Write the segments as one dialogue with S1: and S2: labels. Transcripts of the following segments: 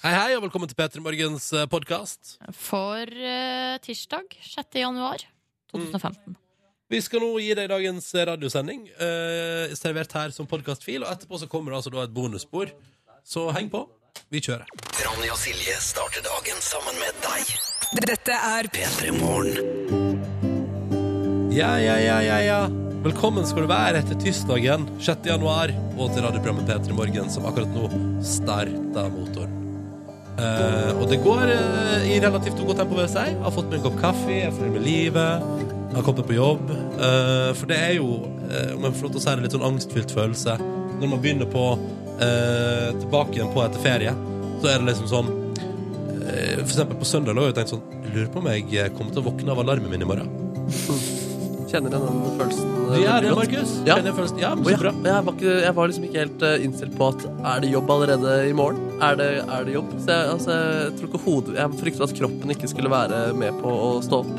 S1: Hei, hei, og velkommen til P3 Morgens eh, podkast.
S2: For eh, tirsdag 6. januar
S1: Mm.
S2: 2015.
S1: Vi skal nå gi deg dagens radiosending, eh, servert her som podkastfil. Og etterpå så kommer det altså da et bonusspor. Så heng på. Vi kjører.
S3: Ronny og Silje starter dagen sammen med deg.
S4: Dette er
S3: P3 Morgen.
S1: Ja, ja, ja, ja, ja. Velkommen skal du være etter tirsdagen 6. januar og til radioprogrammet P3 Morgen, som akkurat nå starter motoren. Eh, og det går eh, i relativt godt tempo, vil jeg si. Jeg har fått meg en kopp kaffe, jeg er fornøyd med livet, jeg har kommet på jobb. Eh, for det er jo, eh, om jeg får lov til å si det, litt sånn angstfylt følelse. Når man begynner på eh, tilbake igjen på etter ferie, så er det liksom sånn eh, For eksempel på søndag lå jeg og tenkte sånn Jeg lurer på om jeg kommer til å våkne av alarmen min i morgen.
S5: Kjenner jeg den følelsen? eh,
S1: Ja,
S5: veldig
S1: det,
S5: godt.
S1: Markus.
S5: Ja.
S1: Kjenner jeg følelsen? Ja, men
S5: Å, ja.
S1: så bra.
S5: Men Jeg, var ikke, jeg var liksom ikke helt eh, innstilt på at er det jobb allerede i morgen? Er det, er det jobb? Så jeg, altså, jeg tror ikke hodet Jeg frykter at kroppen ikke skulle være med på å stå opp.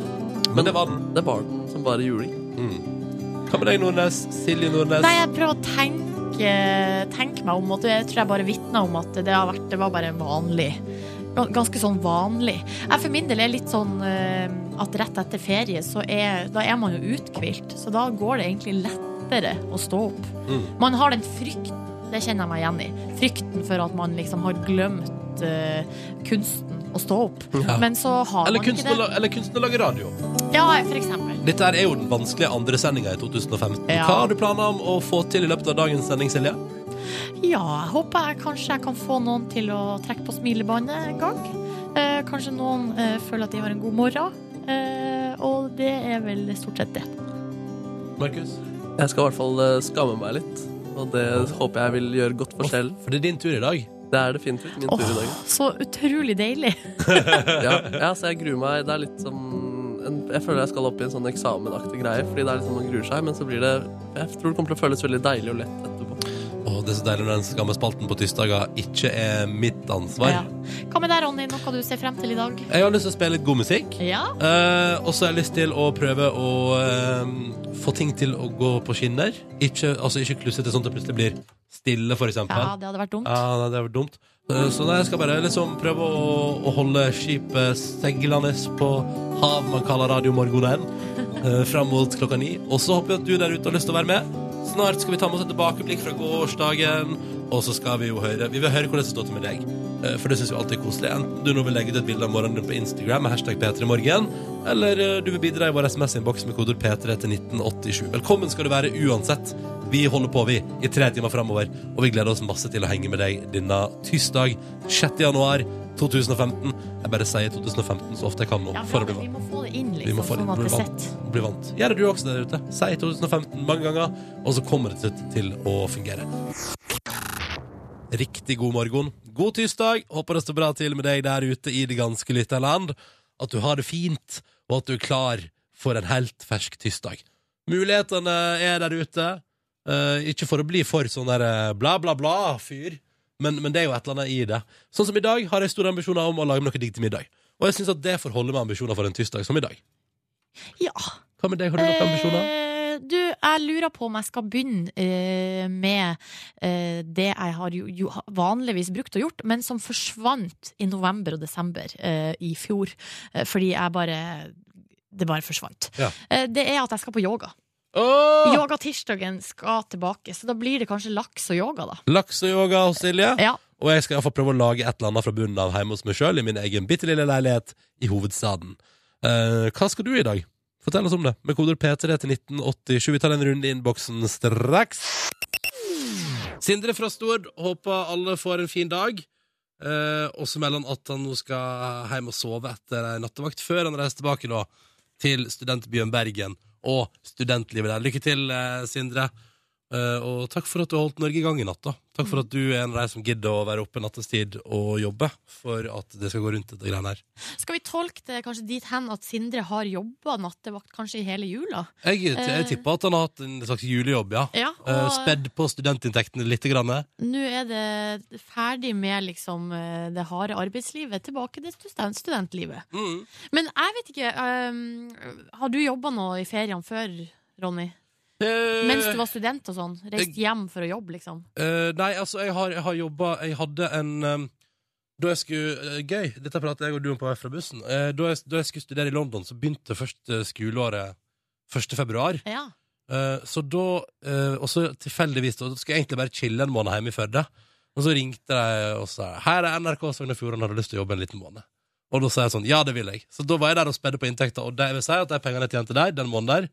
S1: Men det var den. Mm.
S5: Det var den som bare juling.
S1: Hva med deg, Nordnes? Silje Nordnes?
S2: Nei, jeg prøver å tenke, tenke meg om, og det tror jeg bare vitner om at det, har vært, det var bare vanlig. Gan- Ganske sånn vanlig. Jeg for min del er litt sånn eh, at rett etter ferie, så er, da er man jo uthvilt. Så da går det egentlig lettere å stå opp.
S1: Mm.
S2: Man har den frykten, det kjenner jeg meg igjen i. Frykten for at man liksom har glemt eh, kunsten å stå opp.
S1: Ja.
S2: Men så har
S1: Eller
S2: man
S1: kunsten,
S2: ikke
S1: å
S2: det.
S1: la- eller kunsten å lage radio.
S2: Ja, for eksempel.
S1: Dette her er jo den vanskelige andre sendinga i 2015.
S2: Ja.
S1: Hva har du planer om å få til i løpet av dagens sending, Silje?
S2: Ja, jeg håper jeg kanskje jeg kan få noen til å trekke på smilebåndet en gang. Eh, kanskje noen eh, føler at de har en god morgen. Eh, og det er vel stort sett det.
S1: Markus?
S5: Jeg skal i hvert fall eh, skamme meg litt. Og det håper jeg vil gjøre godt for sjelen.
S1: For det er din tur i dag.
S5: Det er definitivt min tur i dag.
S2: Åh, så utrolig deilig.
S5: Ja, ja så jeg gruer meg. Det er litt som en, Jeg føler jeg skal opp i en sånn eksamenaktig greie, fordi det er liksom man gruer seg, men så blir det Jeg tror det kommer til å føles veldig deilig og lett etterpå.
S1: Og det er så deilig når den skammespalten på tirsdager ikke er mitt ansvar.
S2: Ja. Hva med deg, Ronny? Noe du ser frem til i dag?
S1: Jeg har lyst til å spille litt god musikk.
S2: Ja.
S1: Eh, og så har jeg lyst til å prøve å eh, få ting til å gå på skinner. Ikke, altså ikke klussete sånn at det plutselig blir stille, for eksempel.
S2: ja, det hadde vært dumt.
S1: Ja, nei, det er vel dumt. Eh, Så nei, jeg skal bare liksom prøve å, å holde skipet seilende på hav man kaller radiomorgonen, eh, fram mot klokka ni. Og så håper jeg at du der ute har lyst til å være med. Snart skal vi ta med oss et tilbakeblikk fra gårsdagen, og så skal vi jo høre Vi vil høre hvordan det står til med deg. Eh, For det syns vi alltid er koselig. Enten du nå vil legge ut et bilde av morgenen din på Instagram med hashtag P3morgen, eller eh, du vil bidra i vår SMS-innboks med kodord P3 til 1987. Velkommen skal du være uansett. Vi holder på, vi, i tre timer framover. Og vi gleder oss masse til å henge med deg denne tirsdag 6. januar 2015. Jeg bare sier 2015 så ofte jeg kan nå.
S2: Ja,
S1: for
S2: bra,
S1: å bli
S2: vi
S1: vant.
S2: må få det inn,
S1: Vi må
S2: liksom,
S1: få det bli
S2: sånn at det er
S1: vant.
S2: sett.
S1: Bli vant. Gjør det du også der ute. Si 2015 mange ganger, og så kommer det til, til å fungere. Riktig god morgen. God tirsdag. Håper det står bra til med deg der ute i det ganske lytte land. At du har det fint, og at du er klar for en helt fersk tirsdag. Mulighetene er der ute. Eh, ikke for å bli for sånn der eh, bla, bla, bla-fyr, men, men det er jo et eller annet i det. Sånn som i dag har jeg store ambisjoner om å lage noe digg til middag. Og jeg syns at det får holde med ambisjoner for en tirsdag som i dag.
S2: Ja.
S1: Hva med deg, har du noen ambisjoner?
S2: Eh, Du, jeg lurer på om jeg skal begynne eh, med eh, det jeg har jo, jo ha- vanligvis brukt og gjort, men som forsvant i november og desember eh, i fjor. eh, fordi jeg bare Det bare forsvant.
S1: Ja.
S2: Eh, det er at jeg skal på yoga.
S1: Åh!
S2: Yogatirsdagen skal tilbake, så da blir det kanskje laks og yoga, da.
S1: Lakseyoga hos Silje.
S2: Ja,
S1: Og jeg skal iallfall prøve å lage et eller annet fra bunnen av hjemme hos meg sjøl, i min egen bitte lille leilighet i hovedstaden. Eh, hva skal du i dag? Fortell oss om det. Med koder P3 til 1987. Vi tar en runde i innboksen straks. Sindre fra Stord håper alle får en fin dag. Eh, og så melder han at han nå skal hjem og sove etter ei nattevakt, før han reiser tilbake da til studentbyen Bergen og studentlivet der. Lykke til, eh, Sindre. Eh, og takk for at du har holdt Norge i gang i natt. da Takk for at du er en av de som gidder å være oppe nattestid og jobbe for at det skal gå rundt dette greiene her.
S2: Skal vi tolke det kanskje dit hen at Sindre har jobba nattevakt kanskje i hele jula?
S1: Jeg,
S2: Eh.
S1: jeg tipper at han har hatt en slags julejobb, ja.
S2: Ja,
S1: Eh, spedd på studentinntektene litt. Grann.
S2: Nå er det ferdig med liksom eh, det harde arbeidslivet, tilbake til student studentlivet.
S1: Mm.
S2: eh, Men jeg vet ikke, ehm, har du jobba noe i ferien før, Ronny?
S1: Eh,
S2: Mens du var student og sånn? Reist hjem for å jobbe, liksom?
S1: eh, nei, altså, jeg har, jeg har jobba Jeg hadde en eh, Da jeg skulle eh, Gøy, dette pratet jeg og du om på vei fra bussen. Eh, da, jeg, da jeg skulle studere i London, så begynte først eh, skoleåret 1. februar.
S2: Ja.
S1: Eh, så da eh, Og så tilfeldigvis, da skulle jeg egentlig bare chille en måned hjemme i Førde. Og så ringte de og sa Her er NRK Sogn og Fjordane, har du lyst til å jobbe en liten måned? Og da sa jeg sånn, ja, det vil jeg. Så da var jeg der og spedde på inntekta, og det vil si at de pengene jeg tjente der, den måneden der,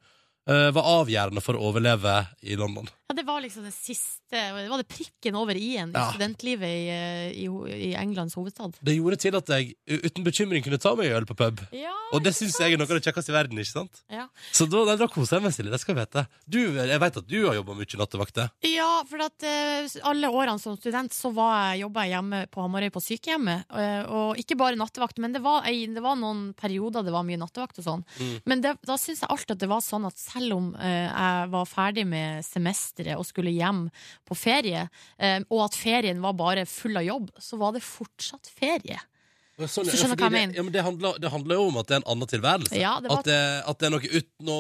S1: eh, var avgjørende for å overleve i London.
S2: ja, det var liksom det siste Det var det prikken over i-en i
S1: Ja.
S2: studentlivet i, eh, i, ho- i Englands hovedstad.
S1: Det gjorde til at jeg u- uten bekymring kunne ta meg en øl på pub.
S2: Ja,
S1: Og det syns jeg er noe av det kjekkeste i verden. ikke sant?
S2: Ja.
S1: Så da, nei, da koser jeg meg, Silje. Det skal jeg vite. Du, jeg vet at du har jobba mye nattevakter.
S2: Ja, for at eh, alle årene som student så var jeg, jobba jeg hjemme på Hamarøy på sykehjemmet. eh, og ikke bare nattevakt, men det var, ei, det var noen perioder det var mye nattevakt og sånn.
S1: Mm.
S2: Men det, da syns jeg alltid at det var sånn at selv om eh, jeg var ferdig med semesteret og skulle hjem på ferie, eh, og at ferien var bare full av jobb, så var det fortsatt ferie.
S1: Sånn,
S2: Hvis du
S1: fordi
S2: skjønner hva jeg
S1: det-
S2: mener.
S1: Ja, men det, handler, det handler jo om at det er en annen tilværelse.
S2: Ja, det var-
S1: at, det, at det er noe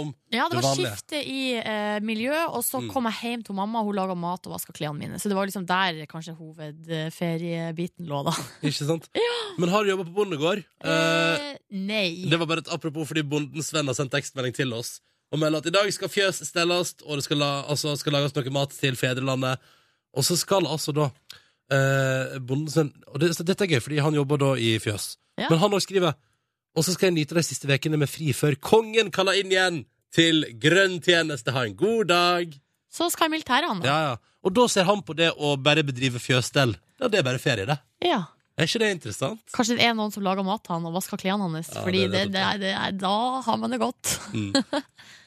S1: utenom
S2: Ja, det
S1: Det
S2: var
S1: vanlige.
S2: skifte i eh, miljø, og så
S1: Mm.
S2: kom jeg hjem til mamma, hun laga mat og vaska klærne mine. Så det var liksom der kanskje hovedferiebiten lå, da.
S1: Ikke sant? Men har du jobba på bondegård? Eh,
S2: Eh, nei.
S1: det var bare et apropos fordi bonden Sven har sendt tekstmelding til oss og melder at i dag skal fjøs stelles, og det skal, la, altså, skal lages noe mat til fedrelandet. Og så skal altså da eh, bonden Sven Og det, så dette er gøy, fordi han jobber da i fjøs.
S2: Ja.
S1: Men han òg skriver Og så skal jeg nyte de siste ukene med fri før kongen kaller inn igjen til grønn tjeneste. Ha en god dag.
S2: Så skal jeg i militæret, han da.
S1: Ja, ja. Og da ser han på det å bare bedrive fjøsstell. Ja, det er bare ferie, det.
S2: Ja.
S1: Er ikke det interessant?
S2: Kanskje det er noen som lager mat til han og vasker klærne hans.
S1: Ja,
S2: fordi
S1: det
S2: det,
S1: er det
S2: det, er- det er, da har man det godt.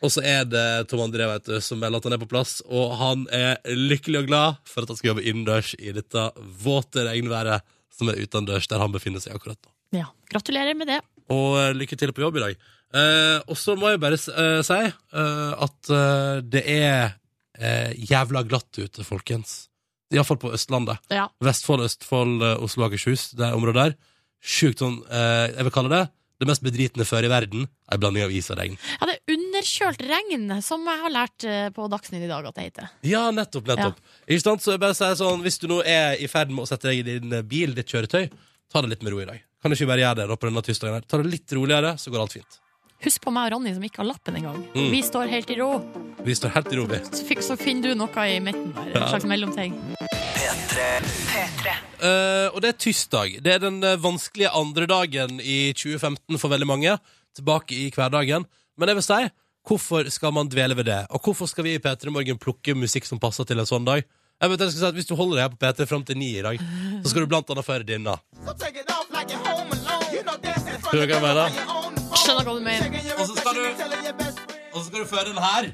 S1: Og så er det Tom André vet du, som melder at han er på plass, og han er lykkelig og glad for at han skal jobbe innendørs i dette våte regnværet som er utendørs, der han befinner seg akkurat nå.
S2: Ja, Gratulerer med det.
S1: Og eh, lykke til på jobb i dag. Eh, og så må jeg bare s- eh, si eh, at eh, det er eh, jævla glatt ute, folkens. Iallfall på Østlandet.
S2: Ja.
S1: Vestfold, Østfold, eh, Oslo, Akershus, det området der. Sjukt sånn, eh, jeg vil kalle det, det mest bedritne før i verden, er en blanding av is og regn.
S2: ja, det er underkjølt regn, som jeg har lært eh, på Dagsnytt i dag at det heter.
S1: Ja, nettopp, nettopp. Ikke sant? Så jeg bare sier sånn, hvis du nå er i ferd med å sette deg i din eh, bil, ditt kjøretøy, ta det litt med ro i dag. Kan du ikke bare gjøre det da på denne tirsdagen her? Ta det litt roligere, så går alt fint.
S2: Husk på meg og Ronny som ikke har lappen engang.
S1: Mm.
S2: Vi står helt i ro.
S1: Vi står helt i ro, vi.
S2: Så, fikk, så finner du noe i midten der. En
S1: Ja.
S2: slags mellomting.
S1: Eh, og det er tirsdag. Det er den eh, vanskelige andre dagen i 2015 for veldig mange. Tilbake i hverdagen. Men jeg vil si, hvorfor skal man dvele ved det? Og hvorfor skal vi i P3 Morgen plukke musikk som passer til en sånn dag? Jeg vet, jeg skal si at Hvis du holder deg her på P3 fram til ni i dag, så skal du blant annet få høre denne. Skjønner du hva jeg mener?
S2: Skjønner hva du mener.
S1: Og så skal du, og så skal du føre den her.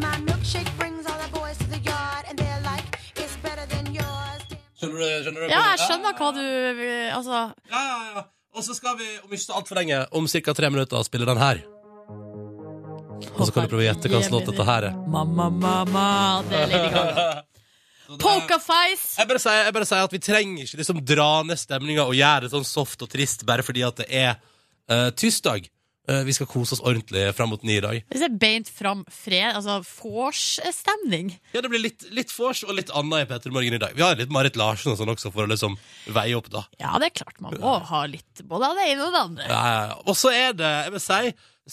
S4: My milkshake brings all the boys to the yard, and they're like, it's better than yours.
S1: Skjønner du? Skjønner du
S2: Ja, jeg skjønner hva du eh, Altså,
S1: Ja, ja, ja. Og så skal vi, om ikke så altfor lenge, om ca. tre minutter, spille den her. Og så kan du prøve å gjette hva slags låt dette her er.
S2: mamma, mamma, det er Lady Gaga.
S1: Så det er-
S2: Pokerface!
S1: Jeg bare sier, jeg bare sier at vi trenger ikke liksom dra ned stemninga og gjøre det sånn soft og trist bare fordi at det er uh, tirsdag. Eh, vi skal kose oss ordentlig fram mot ni i dag.
S2: Det er beint fram fred, altså vors-stemning.
S1: Ja, Det blir litt, litt vors og litt annet i Petter Morgen i dag. Vi har litt Marit Larsen og sånn også for å liksom veie opp, da.
S2: Ja, det er klart man må ha litt både av det ene og det andre.
S1: Ja, ja, ja. Og så er det, jeg vil si,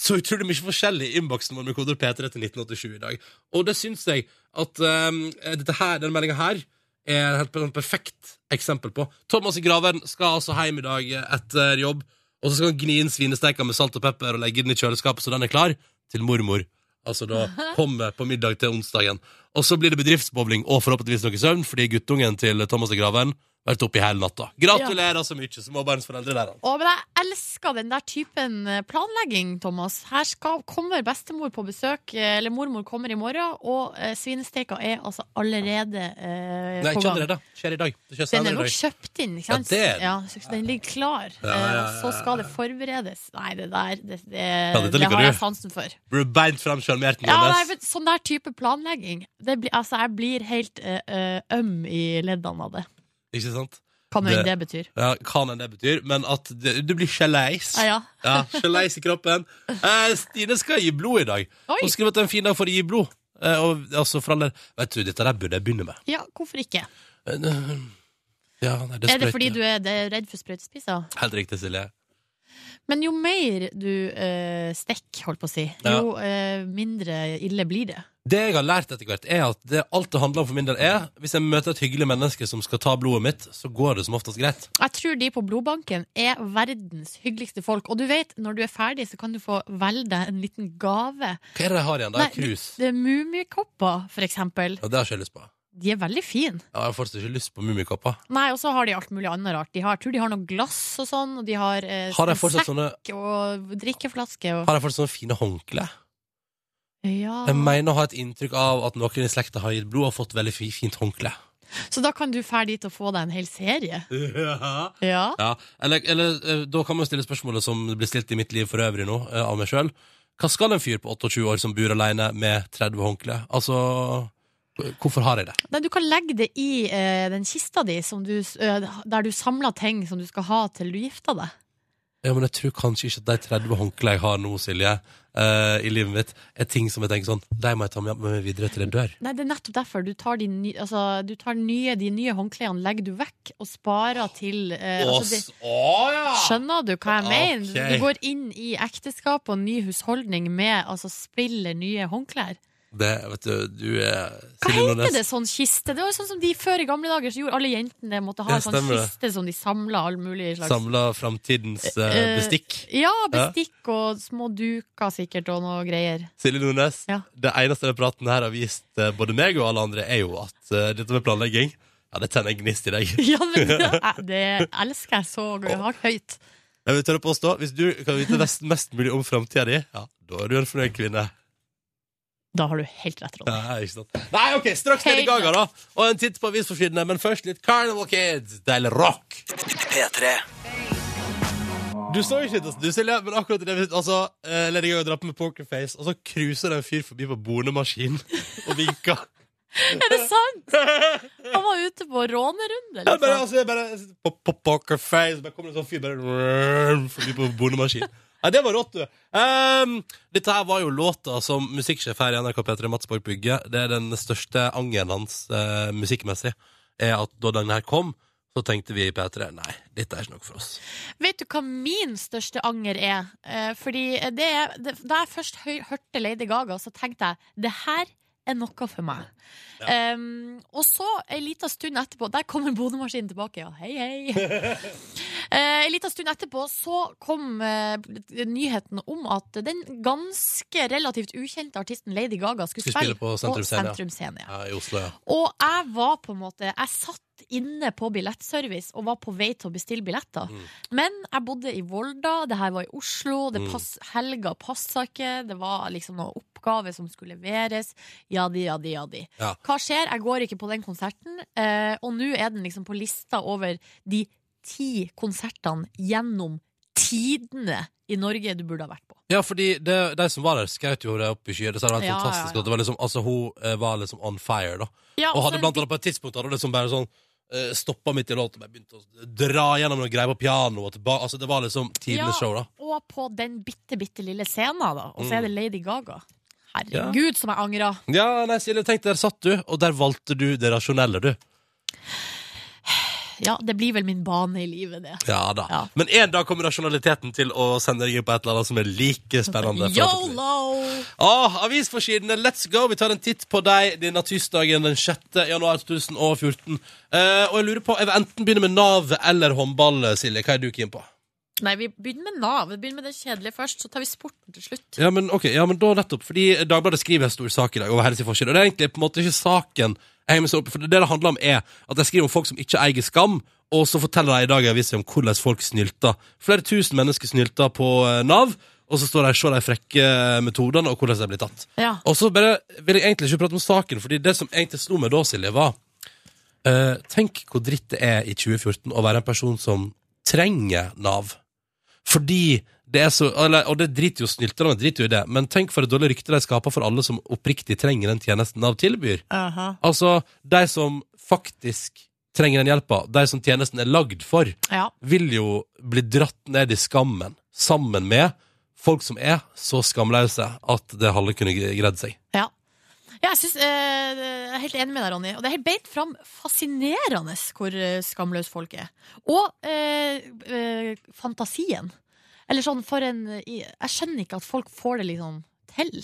S1: så utrolig mye forskjellig i innboksen vår med koder P3 til 1987 i dag. Og det syns jeg at ehm, dette her, denne meldinga her er et helt per- perfekt eksempel på. Thomas i Graveren skal altså hjem i dag eh, etter jobb, og så skal han gni inn svinesteika med salt og pepper og legge den i kjøleskapet så den er klar til mormor. Altså da kommer på middag til onsdagen. Og så blir det bedriftsbowling og forhåpentligvis noe søvn, fordi guttungen til Thomas i Graveren har vært oppe i hele natta. Gratulerer så mye, småbarnsforeldre der. altså.
S2: Å, men jeg elsker den der typen eh, planlegging, Thomas. Her skal, kommer bestemor på besøk, eh, eller mormor kommer i morgen, og eh, svinesteika er altså allerede eh,
S1: Nei,
S2: på
S1: ikke
S2: gang.
S1: allerede. Skjer i dag. Det skjer
S2: Den
S1: senere
S2: er
S1: i
S2: nok
S1: dag.
S2: kjøpt inn, ikke sant?
S1: Ja, det er den.
S2: så den ligger klar.
S1: Ja, ja, ja,
S2: eh, og Så skal det forberedes. Nei, det der Det, det,
S1: dette
S2: det
S1: liker
S2: har
S1: du.
S2: jeg sansen for.
S1: Blir du beint fram sjarmerten
S2: Ja, nei,
S1: hennes?
S2: men Sånn der type planlegging. Det blir, altså, jeg blir helt eh, eh, øm i leddene av det.
S1: Ikke sant?
S2: Hva nå enn det
S1: Det-
S2: betyr.
S1: Ja, hva enn det betyr, men at det, du blir sjeleis.
S2: Ah, ja.
S1: Ja, Sjeleis i kroppen. Eh, Stine skal gi blod i dag.
S2: Oi.
S1: Hun skriver at det er en fin dag for å gi blod. Eh, og, altså, for alle, vet du, dette der burde jeg begynne med.
S2: Ja, hvorfor ikke?
S1: Eh, eh, Ja, nei, det
S2: Er det
S1: sprøyter.
S2: fordi du er det- redd for sprøytespiser?
S1: Helt riktig, Silje.
S2: Men jo mer du uh, stikker, holdt på å si,
S1: Ja.
S2: jo eh, mindre ille blir det.
S1: Det jeg har lært etter hvert, er at det, alt det handler om for min del, er hvis jeg møter et hyggelig menneske som skal ta blodet mitt, så går det som oftest greit.
S2: Jeg tror de på blodbanken er verdens hyggeligste folk. Og du vet, når du er ferdig, så kan du få velge deg en liten gave.
S1: Hva er det jeg har igjen? Det
S2: Nei,
S1: er krus.
S2: Det er Mummikopper, for eksempel.
S1: Ja, det har ikke jeg lyst på.
S2: De er veldig fine.
S1: Jeg har fortsatt ikke lyst på mummikopper.
S2: Nei, og så har de alt mulig annet rart. De har, jeg tror de har noe glass og sånn, og de har, eh,
S1: Har jeg
S2: en sekk
S1: fortsatt sånne,
S2: og drikkeflaske og
S1: har jeg fortsatt sånne fine håndklær?
S2: Ja.
S1: Jeg mener å ha et inntrykk av at noen i slekta har gitt blod og fått veldig fi- fint håndkle.
S2: Så da kan du dra dit og få deg en hel serie.
S1: Ja.
S2: Ja.
S1: Eller, eller eh, da kan man stille spørsmålet som blir stilt i mitt liv for øvrig nå, eh, av meg sjøl. Hva skal en fyr på 28 år som bor aleine med 30 håndklær? Altså, hvorfor har jeg det?
S2: Nei, du kan legge det i eh, den kista di som du, s- eh, der du samler ting som du skal ha til du gifter deg.
S1: Ja, men jeg tror kanskje ikke at de 30 håndklærne jeg har nå, Silje, eh, i livet mitt, er ting som jeg tenker sånn De må jeg ta med meg videre til jeg dør.
S2: Nei, det er nettopp derfor. Du tar de, ny, altså, du tar nye, de nye håndklærne, legger du vekk og sparer til eh, altså, det, Skjønner du hva jeg mener?
S1: Ah, Ok.
S2: Du går inn i ekteskap og ny husholdning med altså spiller nye håndklær.
S1: Det, vet du, du er
S2: Hva heter det sånn kiste? Det var jo sånn som de før i gamle dager så gjorde alle jentene måtte ha
S1: Ja,
S2: en sånn
S1: stemmer det.
S2: kiste som de samla all mulig slags
S1: Samla framtidens eh,
S2: Eh,
S1: bestikk.
S2: Ja, bestikk og små duker sikkert og noe greier.
S1: Silje Nordnes,
S2: Ja.
S1: det eneste den praten her har vist eh, både meg og alle andre, er jo at eh, dette med planlegging, ja, det tenner en gnist i deg.
S2: Ja, men det, eh, det elsker jeg så hardt høyt.
S1: Jeg vil tørre på å påstå, hvis du kan vite mest, mest mulig om framtida di, ja, da er du en fornøyd kvinne.
S2: Da har du helt rett, Ronny.
S1: Ja, ikke sant? Nei, OK, straks Lady
S2: Helt
S1: Gaga, da. Og en titt på avisforsidene, men først litt Carnival Kids, del rock.
S3: P3
S1: Du så ikke det, du, Silje, men akkurat i det altså, eh, Lady Gaga drar på med pokerface, og så cruiser det en fyr forbi på bonemaskin og vinker.
S2: Er det sant? Han var ute på rånerunde,
S1: Ja, bare,
S2: liksom.
S1: altså, jeg bare, på, på pokerface Bare kommer det en sånn fyr bare, Forbi på bondemaskin Nei, det var rått du Ehm, Dette her var jo låta som musikksjef her i NRK P3 Mats Borg Bygge Det er den største angeren hans eh, musikkmessig Er at da den her kom Så tenkte vi i P3 Nei, dette er ikke noe for oss
S2: Vet du hva min største anger er? Eh, fordi det, er- det, da jeg først høy, hørte Lady Gaga, så tenkte jeg det her er noe for meg. Em, og så ei lita stund etterpå Der kommer bonemaskinen tilbake, ja. Hei, hei. Eh, Ei lita stund etterpå så kom eh, nyheten om at den ganske relativt ukjente artisten Lady Gaga skulle
S1: Skulle
S2: spille
S1: spille på Sentrum Scene, ja.
S2: Sentrum Scene, ja.
S1: ja, I Oslo, ja
S2: Og jeg var på en måte Jeg satt inne på billettservice og var på vei til å bestille billetter.
S1: Mm.
S2: Men jeg bodde i Volda, det her var i Oslo, det
S1: Mm.
S2: pass, helga passa ikke, det var liksom noen oppgaver som skulle leveres. Jadi, jadi, jadi.
S1: Ja.
S2: Hva skjer? Jeg går ikke på den konserten, eh, og nå er den liksom på lista over de ti konsertene gjennom tidene i Norge du burde ha vært på.
S1: Ja, fordi det, de som var der skjøt jo det opp i skyer Det var helt
S2: Ja, ja,
S1: fantastisk
S2: ja.
S1: at det var liksom, Altså, hun eh, var liksom on fire da
S2: Ja, altså,
S1: Og hadde
S2: så-
S1: blant annet på et tidspunkt hadde det liksom bare sånn uh, Stoppa midt i låten og bare begynte å dra gjennom noen greier på pianoet. og tilba- Altså, det var liksom tidenes
S2: Ja.
S1: show, da.
S2: Og på den bitte, bitte lille scenen, da. Og så er det Lady Gaga.
S1: Ja.
S2: Herregud, som jeg angra.
S1: Ja, nei, Silje, tenk, der satt du, og der valgte du det rasjonelle, du.
S2: Ja, det blir vel min bane i livet, det.
S1: Ja da.
S2: Ja.
S1: Men en dag kommer rasjonaliteten til å sende deg inn på et eller annet som er like spennende. forhåpentlig.
S2: Yolo!
S1: Ah, avisforsidene, let's go! Vi tar en titt på deg denne tirsdagen den 6. januar 2014. Eh, og jeg lurer på, jeg vil enten begynne med Nav eller håndball, Silje. Hva er du keen på?
S2: Nei, vi begynner med Nav. Vi begynner med det kjedelige først, så tar vi sporten til slutt.
S1: Ja, men ok, ja, men da nettopp Fordi Dagbladet skriver en stor sak i dag over helseforskjell Og det er egentlig på en måte ikke saken jeg henger meg så opp i, For det det handler om er at jeg skriver om folk som ikke eier skam Og så forteller de i dag i avisen om hvordan folk snylter Flere tusen mennesker snylter på eh, NAV Og så står de og ser de frekke eh, metodene og hvordan de blir tatt
S2: Ja.
S1: Og så bare vil jeg egentlig ikke prate om saken Fordi det som egentlig slo meg da, Silje, var eh, Tenk hvor dritt det er i 2014 Å være en person som trenger NAV fordi det er så eller, Og det driter jo snylterne i, driter jo i det, men tenk for et dårlig rykte de skaper for alle som oppriktig trenger den tjenesten Nav tilbyr. Altså, de som faktisk trenger den hjelpa, de som tjenesten er lagd for,
S2: Ja.
S1: vil jo bli dratt ned i skammen sammen med folk som er så skamløse at det halve kunne greid seg.
S2: Ja. Ja, jeg, synes, eh, jeg er helt enig med deg, Ronny. Og det er helt beint fram fascinerende hvor eh, skamløs folk er. Og eh, eh, fantasien. Eller sånn for en Jeg skjønner ikke at folk får det liksom til.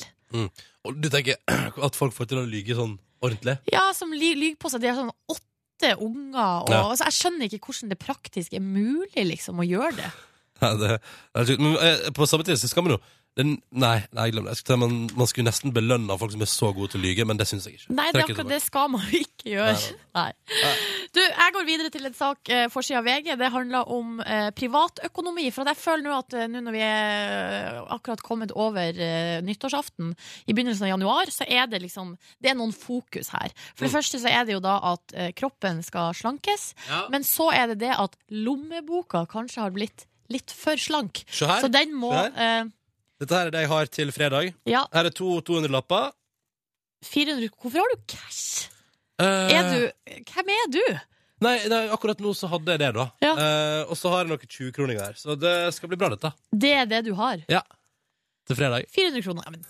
S1: Og du tenker at folk får til å lyge sånn ordentlig?
S2: Ja, som ly- lyver på seg. De er sånn åtte unger. Og,
S1: Ja.
S2: altså, jeg skjønner ikke hvordan det praktisk er mulig liksom, å gjøre det.
S1: Nei, det, det er sykt. Men eh, på samme tid så skal man jo den, Nei, nei glem det. Jeg skulle si, man, man skulle nesten belønne folk som er så gode til å lyge, men det syns jeg ikke.
S2: Nei, det, er
S1: Trekker
S2: akkurat,
S1: tilbake.
S2: det skal man jo ikke gjøre. Nei. Du, jeg går videre til en sak eh, forsida av VG. Det handler om eh, privatøkonomi. For at jeg føler nå at eh, nå når vi er eh, akkurat kommet over eh, nyttårsaften, i begynnelsen av januar, så er det liksom Det er noen fokus her.
S1: Mm.
S2: For det første så er det jo da at eh, kroppen skal slankes. Men så er det det at lommeboka kanskje har blitt litt for slank.
S1: Se her.
S2: Så den må
S1: Se
S2: eh,
S1: Dette her er det jeg har til fredag.
S2: Ja,
S1: Her er to 200-lapper.
S2: 400 Hvorfor har du cash?
S1: Eh,
S2: Er du Hvem er du?
S1: Nei, nei, akkurat nå så hadde jeg det, da.
S2: Ja.
S1: Eh, og så har jeg noen 20-kroninger her. Så det skal bli bra, dette.
S2: Det er det du har.
S1: Ja. Til fredag.
S2: 400 kroner. Ja, men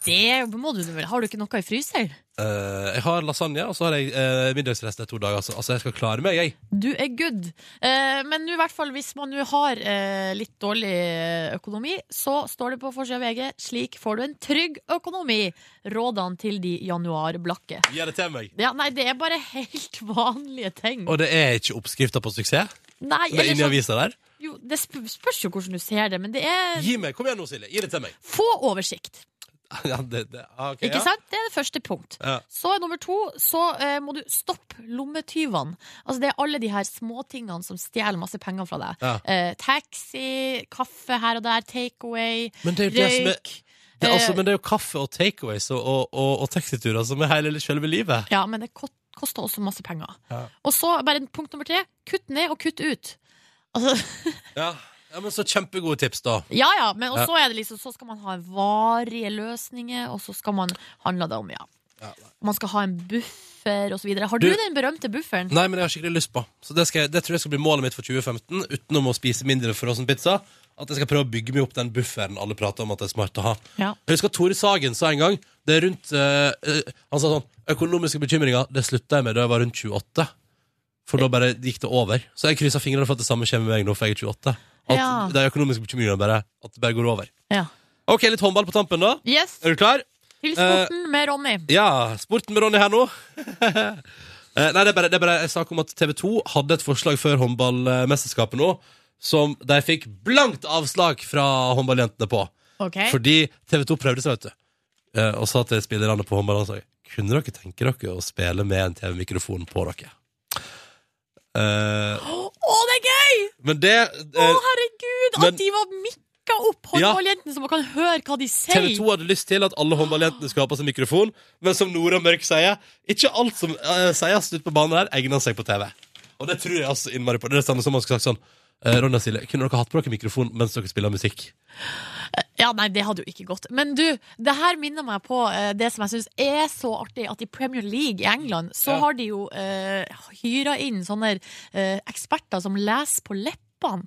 S2: det må du vel Har du ikke noe i fryseren?
S1: Eh, jeg har lasagne, og så har jeg uh, middagsrester to dager. Så, altså, jeg skal klare meg, jeg.
S2: Du er good. Eh, men nå i hvert fall hvis man nå har eh, litt dårlig eh, økonomi, så står det på forsida av VG 'Slik får du en trygg økonomi'. Rådene til de januarblakke.
S1: Gi det til meg.
S2: Ja, nei, det er bare helt vanlige ting.
S1: Og det er ikke oppskrifta på suksess?
S2: Nei,
S1: Det er
S2: eller
S1: inni
S2: sånn,
S1: avisa der?
S2: jo, det sp spørs jo hvordan du ser det, men det er
S1: Gi meg, Kom igjen nå, Silje. Gi det til meg.
S2: få oversikt.
S1: ja, det, det, ah, ok,
S2: Ikke
S1: ja.
S2: sant? Det er det første punkt.
S1: Ja.
S2: Så er nummer to, så eh, må du stoppe lommetyvene. Altså det er alle de her småtingene som stjeler masse penger fra deg.
S1: Ja.
S2: Eh, taxi, kaffe her og der, takeaway,
S1: Men det er jo det som er
S2: røyk.
S1: det, er altså,
S2: Eh,
S1: Men det er jo kaffe og takeaways og, og, og, og taxiturer som er hele selve livet.
S2: Ja, men det ko- koster også masse penger.
S1: Ja.
S2: Og så bare punkt nummer tre, kutt ned og kutt ut. Altså,
S1: Ja. ja, men Så kjempegode tips, da.
S2: ja, ja, men og
S1: Ja.
S2: så er det liksom, så skal man ha varige løsninger, og så skal man handle det om, ja. Man skal ha en buffer og så videre. Har du,
S1: Du-
S2: den berømte bufferen?
S1: Nei, men jeg har skikkelig lyst på. Så det, skal, jeg- det tror jeg skal bli målet mitt for 2015, utenom å spise mindre frossen pizza. At jeg skal prøve å bygge meg opp den bufferen alle prater om at det er smart å ha.
S2: Ja.
S1: Jeg husker at Tore Sagen sa en gang det er rundt, eh, eh, Han sa sånn Økonomiske bekymringer det slutta jeg med da jeg var rundt 28. For da bare gikk det over. Så jeg kryssa fingrene for at det samme skjer med meg nå, for jeg er 28. At
S2: Ja.
S1: de økonomiske bekymringene bare, at det bare går over.
S2: Ja.
S1: OK, litt håndball på tampen, da.
S2: Yes,
S1: Er du Eh. klar?
S2: til sporten med Ronny.
S1: Ja, sporten med Ronny her nå. Eh, Nei, det er bare, det er bare en sak om at TV 2 hadde et forslag før håndballmesterskapet nå, som de fikk blankt avslag fra håndballjentene på.
S2: Ok.
S1: Fordi TV 2 prøvde seg, vet du. Eh, Og sa til spillerne på håndballandslaget Kunne dere tenke dere å spille med en TV-mikrofon på dere? Eh,
S2: Å, det er gøy!
S1: men det
S2: Å,
S1: eh,
S2: herregud!
S1: men-
S2: At de var mikka opp,
S1: Ja.
S2: håndballjentene, så man kan høre hva de sier.
S1: TV 2 hadde lyst til at alle håndballjentene skulle ha på seg mikrofon, men som Nora Mørk sier, ikke alt som eh, sies ute på banen der, egner seg på TV. Og det tror jeg altså innmari på. Det er det samme som man skulle sagt sånn eh, Ronja og Silje, kunne dere hatt på dere mikrofon mens dere spiller musikk?
S2: Ja, nei, det hadde jo ikke gått. Men du, det her minner meg på eh, det som jeg syns er så artig, at i Premier League i England så
S1: Ja.
S2: har de jo uh, hyra inn sånne eh, eksperter som leser på leppene.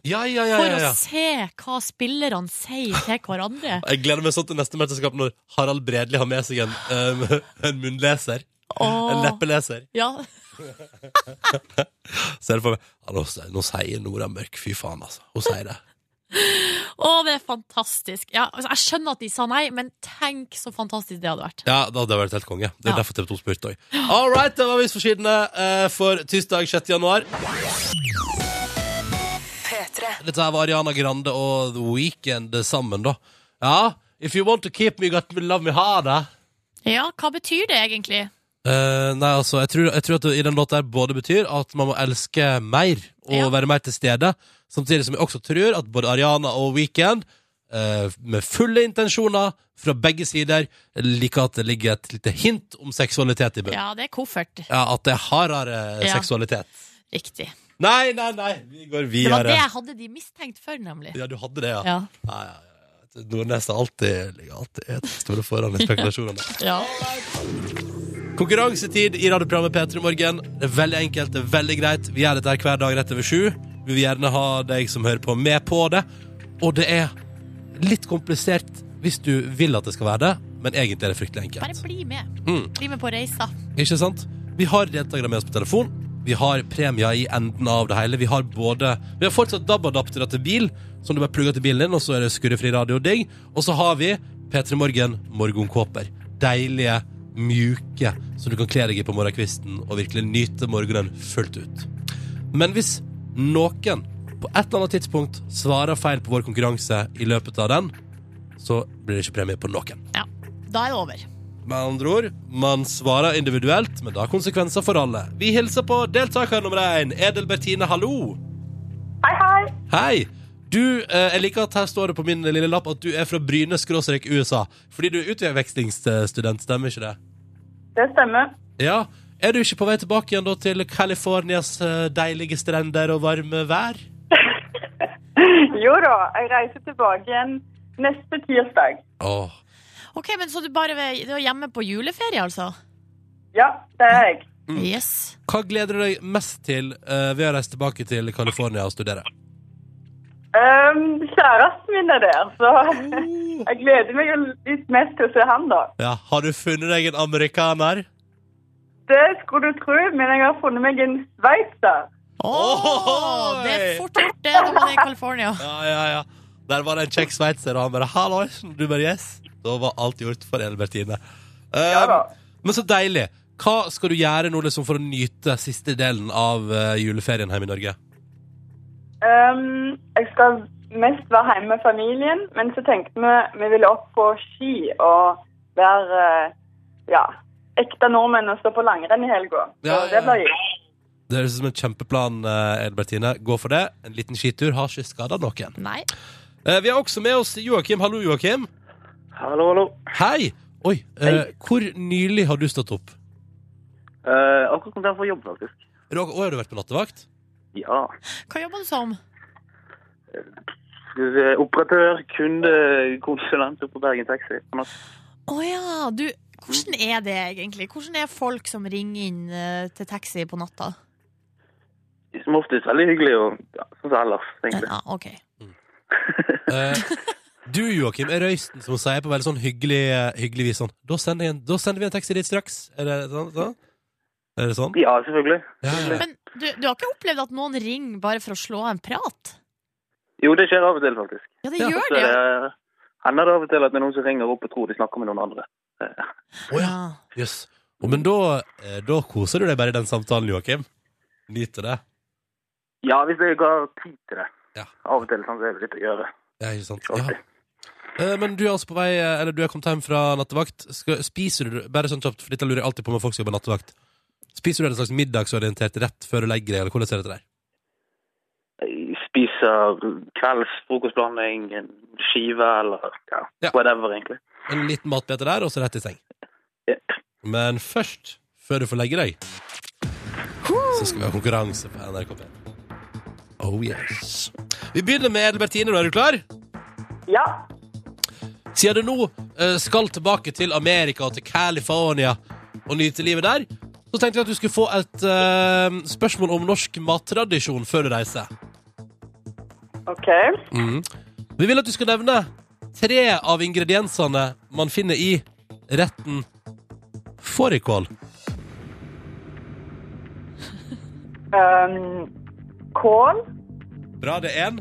S1: Ja, ja, ja.
S2: For
S1: ja, ja.
S2: å se hva spillerne sier til hverandre.
S1: Jeg gleder meg sånn til neste mesterskap når Harald Bredli har med seg en, eh, en munnleser. En
S2: Åh,
S1: leppeleser.
S2: ja.
S1: Ser du for meg ja, nå, sier- nå sier Nora Mørk fy faen, altså. Hun sier det.
S2: Åh, det er fantastisk. Ja, altså, jeg skjønner at de sa nei, men tenk så fantastisk det hadde vært.
S1: Ja, da hadde jeg vært helt konge. Det er
S2: Ja.
S1: derfor TV 2 spurte òg. All right, det var avisforsidene eh, for tirsdag 6. januar. Dette her var Ariana Grande og The Weeknd sammen, da. Ja. If you want to keep me, you got to love me harder.
S2: Ja, hva betyr det egentlig?
S1: Eh, nei, altså, jeg tror, jeg tror at det i den låta her både betyr at man må elske mer og
S2: Ja.
S1: være mer til stede, samtidig som jeg også tror at både Ariana og Weekend, eh, med fulle intensjoner fra begge sider, liker at det ligger et lite hint om seksualitet i bunnen.
S2: Ja, det er koffert.
S1: Ja, at det er hardere
S2: Ja.
S1: seksualitet.
S2: Riktig.
S1: Nei, nei, nei, vi går
S2: Det
S1: videre.
S2: var det jeg hadde de mistenkt for, nemlig.
S1: Ja, du hadde det, ja.
S2: Ja.
S1: ja, ja, ja. Nordnes er alltid, ligger alltid helt store foran i spekulasjonene.
S2: ja.
S1: Konkurransetid i radioprogrammet P3 Morgen. Det er veldig enkelt, det er veldig greit. Vi gjør dette her hver dag rett over sju. Vi vil gjerne ha deg som hører på, med på det. Og det er litt komplisert hvis du vil at det skal være det, men egentlig er det fryktelig
S2: Bare
S1: enkelt.
S2: bli med.
S1: Mm.
S2: Bli med på reisa.
S1: Ikke sant? Vi har deltakere med oss på telefon. Vi har premier i enden av det hele. Vi har både Vi har fortsatt DAB-adaptere til bil, som du bare plugger til bilen din, og så er det skurrefri radio og digg. Og så har vi P3 Morgen morgenkåper. Deilige, mjuke, som du kan kle deg i på morgenkvisten og virkelig nyte morgenen fullt ut. Men hvis noen på et eller annet tidspunkt svarer feil på vår konkurranse i løpet av den, så blir det ikke premie på noen.
S2: Ja, da er det over.
S1: Med andre ord, man svarer individuelt, men det har konsekvenser for alle. Vi hilser på deltaker nummer én, Edel Bertine, hallo.
S6: Hei, hei.
S1: Hei! Du, eh, jeg liker at her står det på min lille lapp at du er fra Bryne skråstrek USA. Fordi du er utvekslingsstudent, stemmer ikke det?
S6: Det stemmer.
S1: Ja. Er du ikke på vei tilbake igjen da til Californias eh, deilige strender og varme vær?
S6: Jo da, jeg reiser tilbake igjen neste tirsdag.
S1: Åh.
S2: Ok, men Så du bare ved- du er hjemme på juleferie, altså?
S6: Ja, det er jeg.
S2: Yes.
S1: Hva gleder du deg mest til eh, ved å reise tilbake til California og studere?
S6: Um, kjæresten min er der, så jeg gleder meg jo litt mest til å se han, da.
S1: Ja, Har du funnet deg en amerikaner?
S6: Det skulle du tro, men jeg har funnet meg en sveitser.
S1: Ohoi!
S2: Åh, det er fort gjort, det, når man er i California.
S1: Ja, ja, ja. Der var det en kjekk sveitser, og han bare 'halloisen', du bare 'yes'. Da var alt gjort for Elbertine. Eh,
S6: Ja da.
S1: men så deilig. Hva skal du gjøre nå liksom, for å nyte siste delen av eh, juleferien hjemme i Norge?
S6: Um, jeg skal mest være hjemme med familien, men så tenkte vi vi ville opp på ski og være eh, ja, ekte nordmenn og stå på langrenn i helga. Så
S1: Ja, ja, ja.
S6: det blir gøy.
S1: Det høres ut som en kjempeplan, eh, Elbertine. Gå for det. En liten skitur har ikke skada noen.
S2: Nei.
S1: Eh, vi har også med oss Joakim. Hallo, Joakim.
S7: Hallo, hallo.
S1: Hei! Oi, eh, hvor nylig har du stått opp?
S7: Eh, akkurat kom jeg fra jobb, faktisk.
S1: Er du, å, har du vært på nattevakt?
S7: Ja.
S2: Hva jobber du som?
S7: Eh, Operatør, kunde, konsulent oppe på Bergen Taxi. Sånn at-
S2: Å ja, du Hvordan er det egentlig? Hvordan er folk som ringer inn eh, til taxi på natta?
S7: de Som oftest veldig hyggelig og ja, sånn som ellers, egentlig.
S2: Ja, ok.
S1: Eh, du, Joakim, er røysten som sier på veldig sånn hyggelig, hyggelig vis sånn da sender, jeg en, 'Da sender vi en taxi dit straks'. Er det sånn? sånn? Er det sånn?
S7: Ja, selvfølgelig.
S1: Ja, ja.
S2: Men du, du har ikke opplevd at noen ringer bare for å slå en prat?
S7: Jo, det skjer av og til, faktisk.
S2: Ja, det
S1: Ja.
S2: gjør
S7: Så
S2: det. jo.
S7: det hender det av og til at det er noen som ringer opp og tror de snakker med noen andre.
S1: Å ja. Jøss. Å, Men da, eh, da koser du deg bare i den samtalen, Joakim. Nyter det.
S7: Ja, hvis jeg har tid til det.
S1: Ja.
S7: Av og til sånn, så er det litt å gjøre.
S1: Ja, ikke sant?
S7: Ok.
S1: Ja. Eh, Men du er altså på vei, eh, eller du er kommet hjem fra nattevakt. Skal, spiser du bare sånn kjapt, for dette lurer jeg alltid på med folk som jobber nattevakt. Spiser du en slags middagsorientert rett før du legger deg, eller hvordan ser det til deg?
S7: Jeg spiser kvelds frokostblanding, en skive eller ja,
S1: Ja.
S7: whatever, egentlig.
S1: En liten matbete der, og så rett i seng.
S7: Jepp.
S1: Men først, før du får legge deg, så skal vi ha konkurranse på NRK P3. Oh yes. Vi begynner med Edelbertine. Er du klar?
S6: Ja,
S1: Siden du nå eh, skal tilbake til Amerika og til California og nyte livet der, så tenkte jeg at du skulle få et eh, spørsmål om norsk mattradisjon før du reiser.
S6: OK.
S1: Vi vil at du skal nevne tre av ingrediensene man finner i retten fårikål.
S6: Um, kål,
S1: Bra, det er én.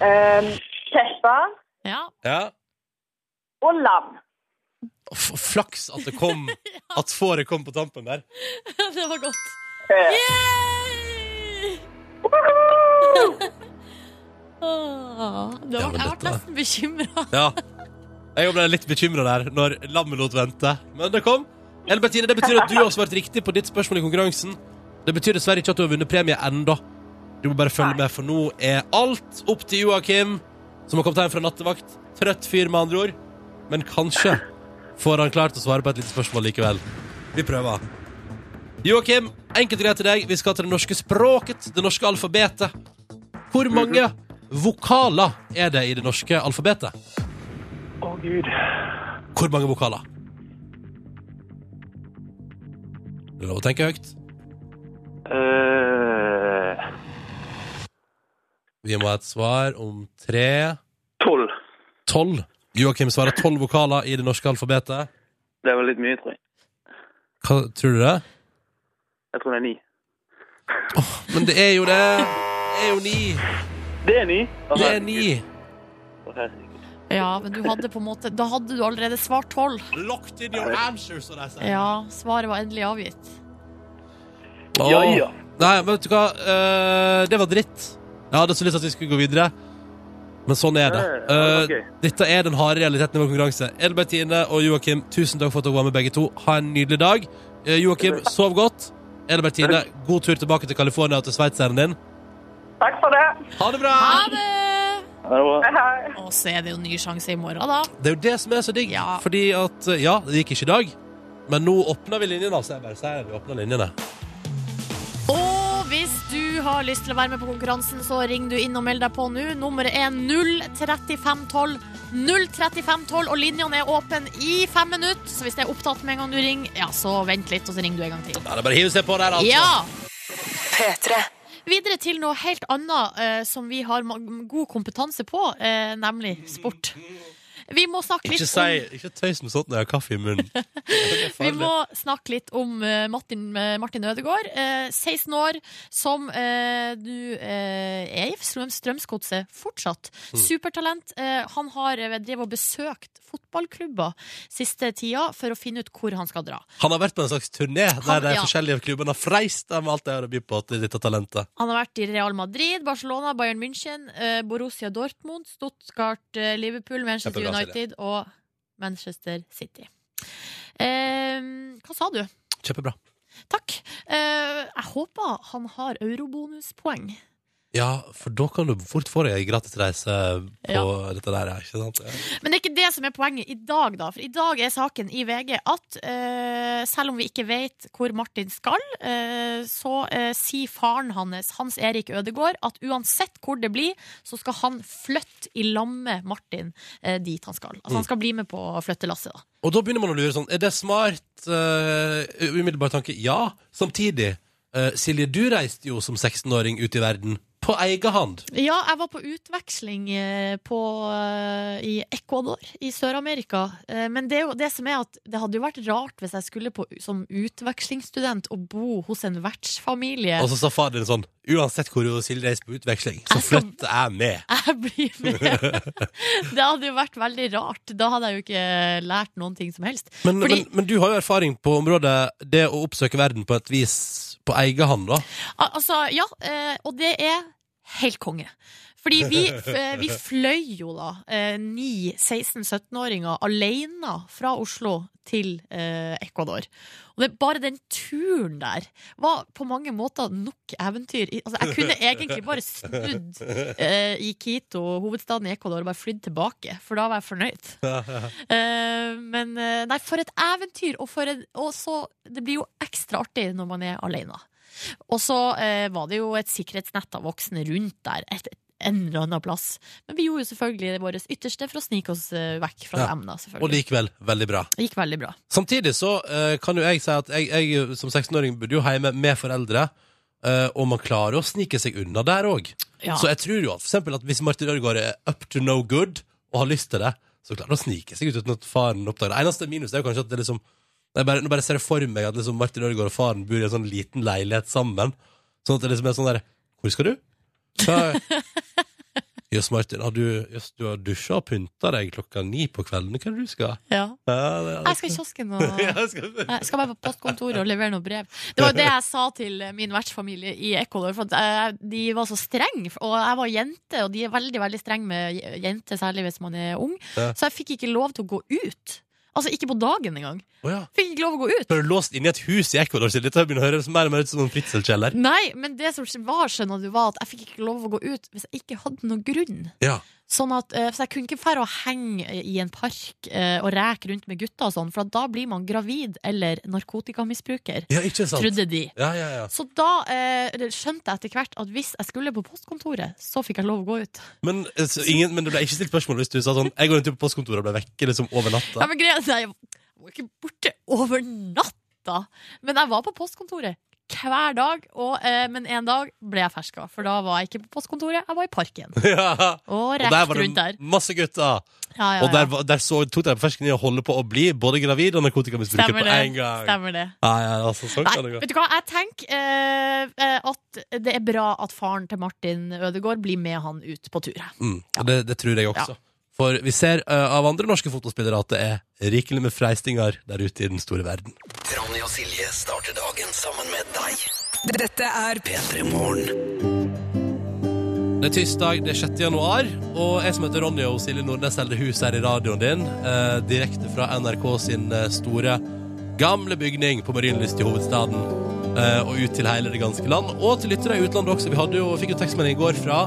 S6: um, pepper
S2: Ja.
S1: Ja.
S6: og lam.
S1: F flaks at det kom At fåret kom på tampen der.
S2: det var godt.
S6: Eh,
S2: Yay! Åh, det
S1: Ja, men
S2: var, jeg
S1: dette-
S2: ble nesten bekymra.
S1: Ja. Jeg ble litt bekymra der når lammet lot vente, men det kom. Ellen Bettine, det betyr at du har svart riktig på ditt spørsmål i konkurransen. Det betyr dessverre ikke at du har vunnet premie ennå. Du må bare følge med, for nå er alt opp til Joakim, som har kommet hjem fra nattevakt. Trøtt fyr, med andre ord. Men kanskje får han klart å svare på et lite spørsmål likevel. Vi prøver. Joakim, enkelt og greit til deg. Vi skal til det norske språket, det norske alfabetet. Hvor mange vokaler er det i det norske alfabetet?
S7: Å, gud.
S1: Hvor mange vokaler? Det er lov å tenke høyt.
S7: Eh,
S1: Vi må ha et svar om tre
S7: Tolv.
S1: Tolv. Joakim svarer tolv vokaler i det norske alfabetet.
S7: Det var litt mye, tror jeg.
S1: Hva tror du det?
S7: Jeg tror det er ni.
S1: Men det er jo det! Det er jo ni!
S7: Det er ni! Å,
S1: Det er ni!
S7: herregud. Å, herregud.
S2: Ja, men du hadde på en måte Da hadde du allerede svart tolv.
S1: Locked in your answer, som de sier.
S2: Ja, svaret var endelig avgitt.
S7: Ja, ja.
S1: Nei, men vet du hva? Eh, det var dritt. Jeg hadde så lyst til at vi skulle gå videre. Men sånn er det.
S7: Ja, ja, det var
S1: Eh,
S7: gøy.
S1: dette er den harde realiteten i vår konkurranse. Elbertine og Joakim, tusen takk for at dere var med, begge to. Ha en nydelig dag. Eh, Joakim, sov godt. Elbertine, god tur tilbake til California og til sveitseren din.
S6: Takk for det.
S1: Ha det bra!
S2: Ha det!
S7: Ja, det var-
S6: Hei, hei.
S2: Og så er det jo ny sjanse i morgen, da.
S1: Det er jo det som er så digg.
S2: Ja.
S1: Fordi at eh, Ja, det gikk ikke i dag, men nå åpner vi linjene. Altså, jeg bare sier vi åpner linjene.
S2: Og hvis du har lyst til å være med på konkurransen, så ring du inn og meld deg på nå. Nummeret er 03512. 03512, og linjene er åpne i fem minutter. Så hvis det er opptatt med en gang du ringer, ja, så vent litt, og så ringer du en gang til.
S1: Ja, det er bare å hive seg på der, altså.
S2: Ja! Videre til noe helt annet eh, som vi har ma- god kompetanse på, eh, nemlig sport. Vi må snakke litt
S1: Ikke, si, ikke tøys med sånt når jeg har kaffe i munnen. Det er
S2: Vi
S1: farlig.
S2: må snakke litt om eh, Martin, eh, Martin Ødegaard, eh, 16 år, som eh, du eh, er i Strøm- Strømsgodset fortsatt. Supertalent. Eh, han har eh, drevet og besøkt fotballklubber siste tida for å finne ut hvor han skal dra.
S1: Han har vært på en slags turné der
S2: Han-
S1: de
S2: ja.
S1: forskjellige klubbene har freist dem med alt de har å by på til dette talentet.
S2: Han har vært i Real Madrid, Barcelona, Bayern München, eh, Borussia Dortmund, Stuttgart, eh, Liverpool, Manchester
S1: Kjempebra,
S2: United og Manchester City. Eh, hva sa du?
S1: Kjempebra.
S2: Takk. Eh, jeg håper han har eurobonuspoeng.
S1: Ja, for da kan du fort få deg en gratis reise på
S2: Ja.
S1: dette der, ja, ikke sant? Ja.
S2: Men det er ikke det som er poenget i dag, da. For i dag er saken i VG at eh, selv om vi ikke vet hvor Martin skal, eh, så eh, sier faren hans, Hans Erik Ødegård, at uansett hvor det blir, så skal han flytte i lag med Martin eh, dit han skal. Altså han skal bli med på flyttelasset, da.
S1: Og da begynner man å lure sånn, er det smart? Eh, umiddelbar tanke, ja. Samtidig, eh, Silje, du reiste jo som 16-åring ut i verden på egen hand.
S2: Ja, jeg var på utveksling eh, på, eh, i Ecuador i Sør-Amerika. Eh, Men det, er jo- det som er at det hadde jo vært rart hvis jeg skulle på, som utvekslingsstudent og bo hos en vertsfamilie.
S1: Og så sa far din sånn Uansett hvor du Silje reiser på utveksling, så
S2: Jeg skal-
S1: flytter jeg med.
S2: Jeg blir med. Det hadde jo vært veldig rart. Da hadde jeg jo ikke lært noen ting som helst.
S1: Men,
S2: Fordi-
S1: men, men du har jo erfaring på området det å oppsøke verden på et vis på egen hånd, da.
S2: Al altså, ja, eh, og det er helt konge. Fordi vi, f- eh, vi fløy jo da eh, ni 16-17-åringer alene fra Oslo til eh, Ecuador. Og det, bare den turen der var på mange måter nok eventyr. I- Altså, jeg kunne egentlig bare snudd eh, i Quito, hovedstaden i Ecuador, og bare flydd tilbake, for da var jeg fornøyd. Eh, men eh, nei, for et eventyr! Og, for en, og så, det blir jo ekstra artig når man er alene. Og så eh, var det jo et sikkerhetsnett av voksne rundt der. Et, en eller annen plass. Men vi gjorde jo selvfølgelig vårt ytterste for å snike oss eh, vekk fra
S1: Ja.
S2: dem. da,
S1: Og
S2: selvfølgelig.
S1: likevel veldig bra.
S2: Det gikk veldig bra.
S1: Samtidig så eh, kan jo jeg si at jeg, jeg som 16-åring bodde jo hjemme med foreldre, eh, og man klarer å snike seg unna der òg.
S2: Ja.
S1: Så jeg tror jo at, for eksempel at hvis Martin Ødegaard er up to no good og har lyst til det, så klarer han å snike seg ut uten at faren oppdager det. Eneste minus er jo kanskje at det liksom jeg bare, Nå bare ser jeg for meg at liksom Martin Ødegaard og faren bor i en sånn liten leilighet sammen. Sånn at det liksom er sånn der Hvor skal du? Hva- Jøss, Martin, har du, jøss, du har dusja og pynta deg klokka ni på kvelden. Hva er det du skal?
S2: Ja.
S1: Ja, det, det,
S2: Jeg skal i kiosken og
S1: jeg skal
S2: Nei, skal være på postkontoret og levere noen brev. Det var jo det jeg sa til eh, min vertsfamilie i Ecuador. For at eh, de var så strenge. Og jeg var jente, og de er veldig veldig strenge med j- jenter, særlig hvis man er ung.
S1: Ja.
S2: Så jeg fikk ikke lov til å gå ut. Altså ikke på dagen engang.
S1: Å ja.
S2: Fikk ikke lov å gå ut.
S1: Ble du låst inne i et hus i Ecuador? Silje? Dette begynner å høres mer og mer ut som en fritselkjeller.
S2: Nei, men det som var, skjønner du, var at jeg fikk ikke lov å gå ut hvis jeg ikke hadde noen grunn.
S1: Ja.
S2: Sånn at, eh, så jeg kunne ikke fære å henge i en park eh, og reke rundt med gutter og sånn, for at da blir man gravid eller narkotikamisbruker,
S1: ja, ikke sant?
S2: trodde de.
S1: Ja, ja, ja.
S2: Så da eh, skjønte jeg etter hvert at hvis jeg skulle på postkontoret, så fikk jeg lov å gå ut.
S1: Men, eh, så ingen, men det ble ikke stilt spørsmål hvis du sa sånn Jeg går en tur på postkontoret og ble vekke liksom over
S2: Ja,
S1: natta.
S2: men greia, Nei, jeg var ikke borte over natta. Men jeg var på postkontoret hver dag. Og, eh, men en dag ble jeg ferska, for da var jeg ikke på postkontoret, jeg var i parken.
S1: Ja.
S2: Og
S1: Og der
S2: rett
S1: var
S2: rundt
S1: det
S2: der.
S1: masse gutter.
S2: Ja, ja,
S1: Og der,
S2: ja.
S1: var- der så, tok de på fersken i å holde på å bli både gravid og narkotikamisbruker på
S2: Stemmer det.
S1: en gang.
S2: Stemmer det.
S1: Ja, ja, altså, sånn kan
S2: Nei,
S1: det gå.
S2: vet du hva? Jeg tenker eh, eh, at det er bra at faren til Martin Ødegaard blir med han ut på tur.
S1: Mm, og det, det tror jeg også. For vi ser eh, av andre norske fotospillere at det er rikelig med freistinger der ute i den store verden.
S3: Ronny og Silje starter dagen sammen med deg.
S8: Dette er
S3: P3 Morgen.
S1: Det er tirsdag, det er 6. januar, og jeg som heter Ronny og Silje Nordnes selger hus her i radioen din, eh, direkte fra NRK sin eh, store, gamle bygning på Marienlyst i hovedstaden, eh, og ut til hele det ganske land, og til lyttere i utlandet også. Vi hadde jo, fikk jo tekstmelding i går fra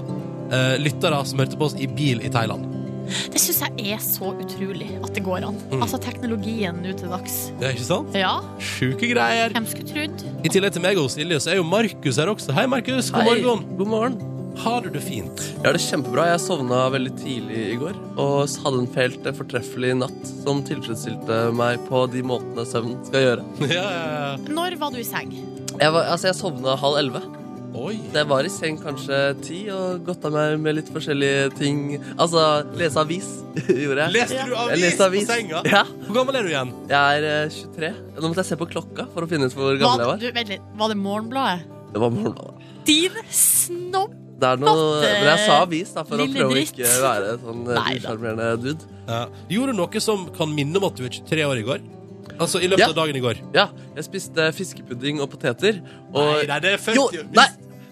S1: eh, lyttere som hørte på oss i bil i Thailand.
S2: Det syns jeg er så utrolig at det går an.
S1: Mm.
S2: Altså teknologien nå til dags.
S1: Det er ikke sant?
S2: Ja,
S1: Sjuke greier.
S2: hvem skulle trodd?
S1: I tillegg til meg og Silje, så er jo Markus her også. Hei, Markus. God
S5: Hei,
S1: morgen.
S5: God morgen.
S1: Har du det fint?
S5: Jeg har det kjempebra. Jeg sovna veldig tidlig i går og hadde en helt fortreffelig natt som tilfredsstilte meg på de måtene søvn skal gjøre.
S1: Ja, ja, ja.
S2: Når var du i seng?
S5: Jeg, var, altså, jeg sovna halv elleve.
S1: Oi.
S5: Så jeg var i seng kanskje ti og godta meg med litt forskjellige ting. Altså, lese avis gjorde jeg.
S1: Leste du
S5: Jeg
S1: avis
S5: leste
S1: på senga?
S5: Ja.
S1: Hvor gammel er du igjen?
S5: Jeg er eh, 23. Nå måtte jeg se på klokka for å finne ut hvor
S2: Var,
S5: gammel jeg var.
S2: du, vent litt, var det Morgenbladet?
S5: Det var morgenbladet.
S2: Din snobb!
S5: Det er noe,
S2: Matte,
S5: men jeg sa avis da, for å
S2: lille
S5: prøve å
S2: dritt.
S5: ikke være sånn eh,
S2: Neida.
S5: usjarmerende dude.
S1: Ja. Gjorde du noe som kan minne om at du er 23 år i går? Altså i løpet
S5: Ja.
S1: av dagen i går.
S5: Ja, jeg spiste fiskepudding og poteter. Og
S1: nei, det er
S5: Jo,
S1: 40
S5: nei!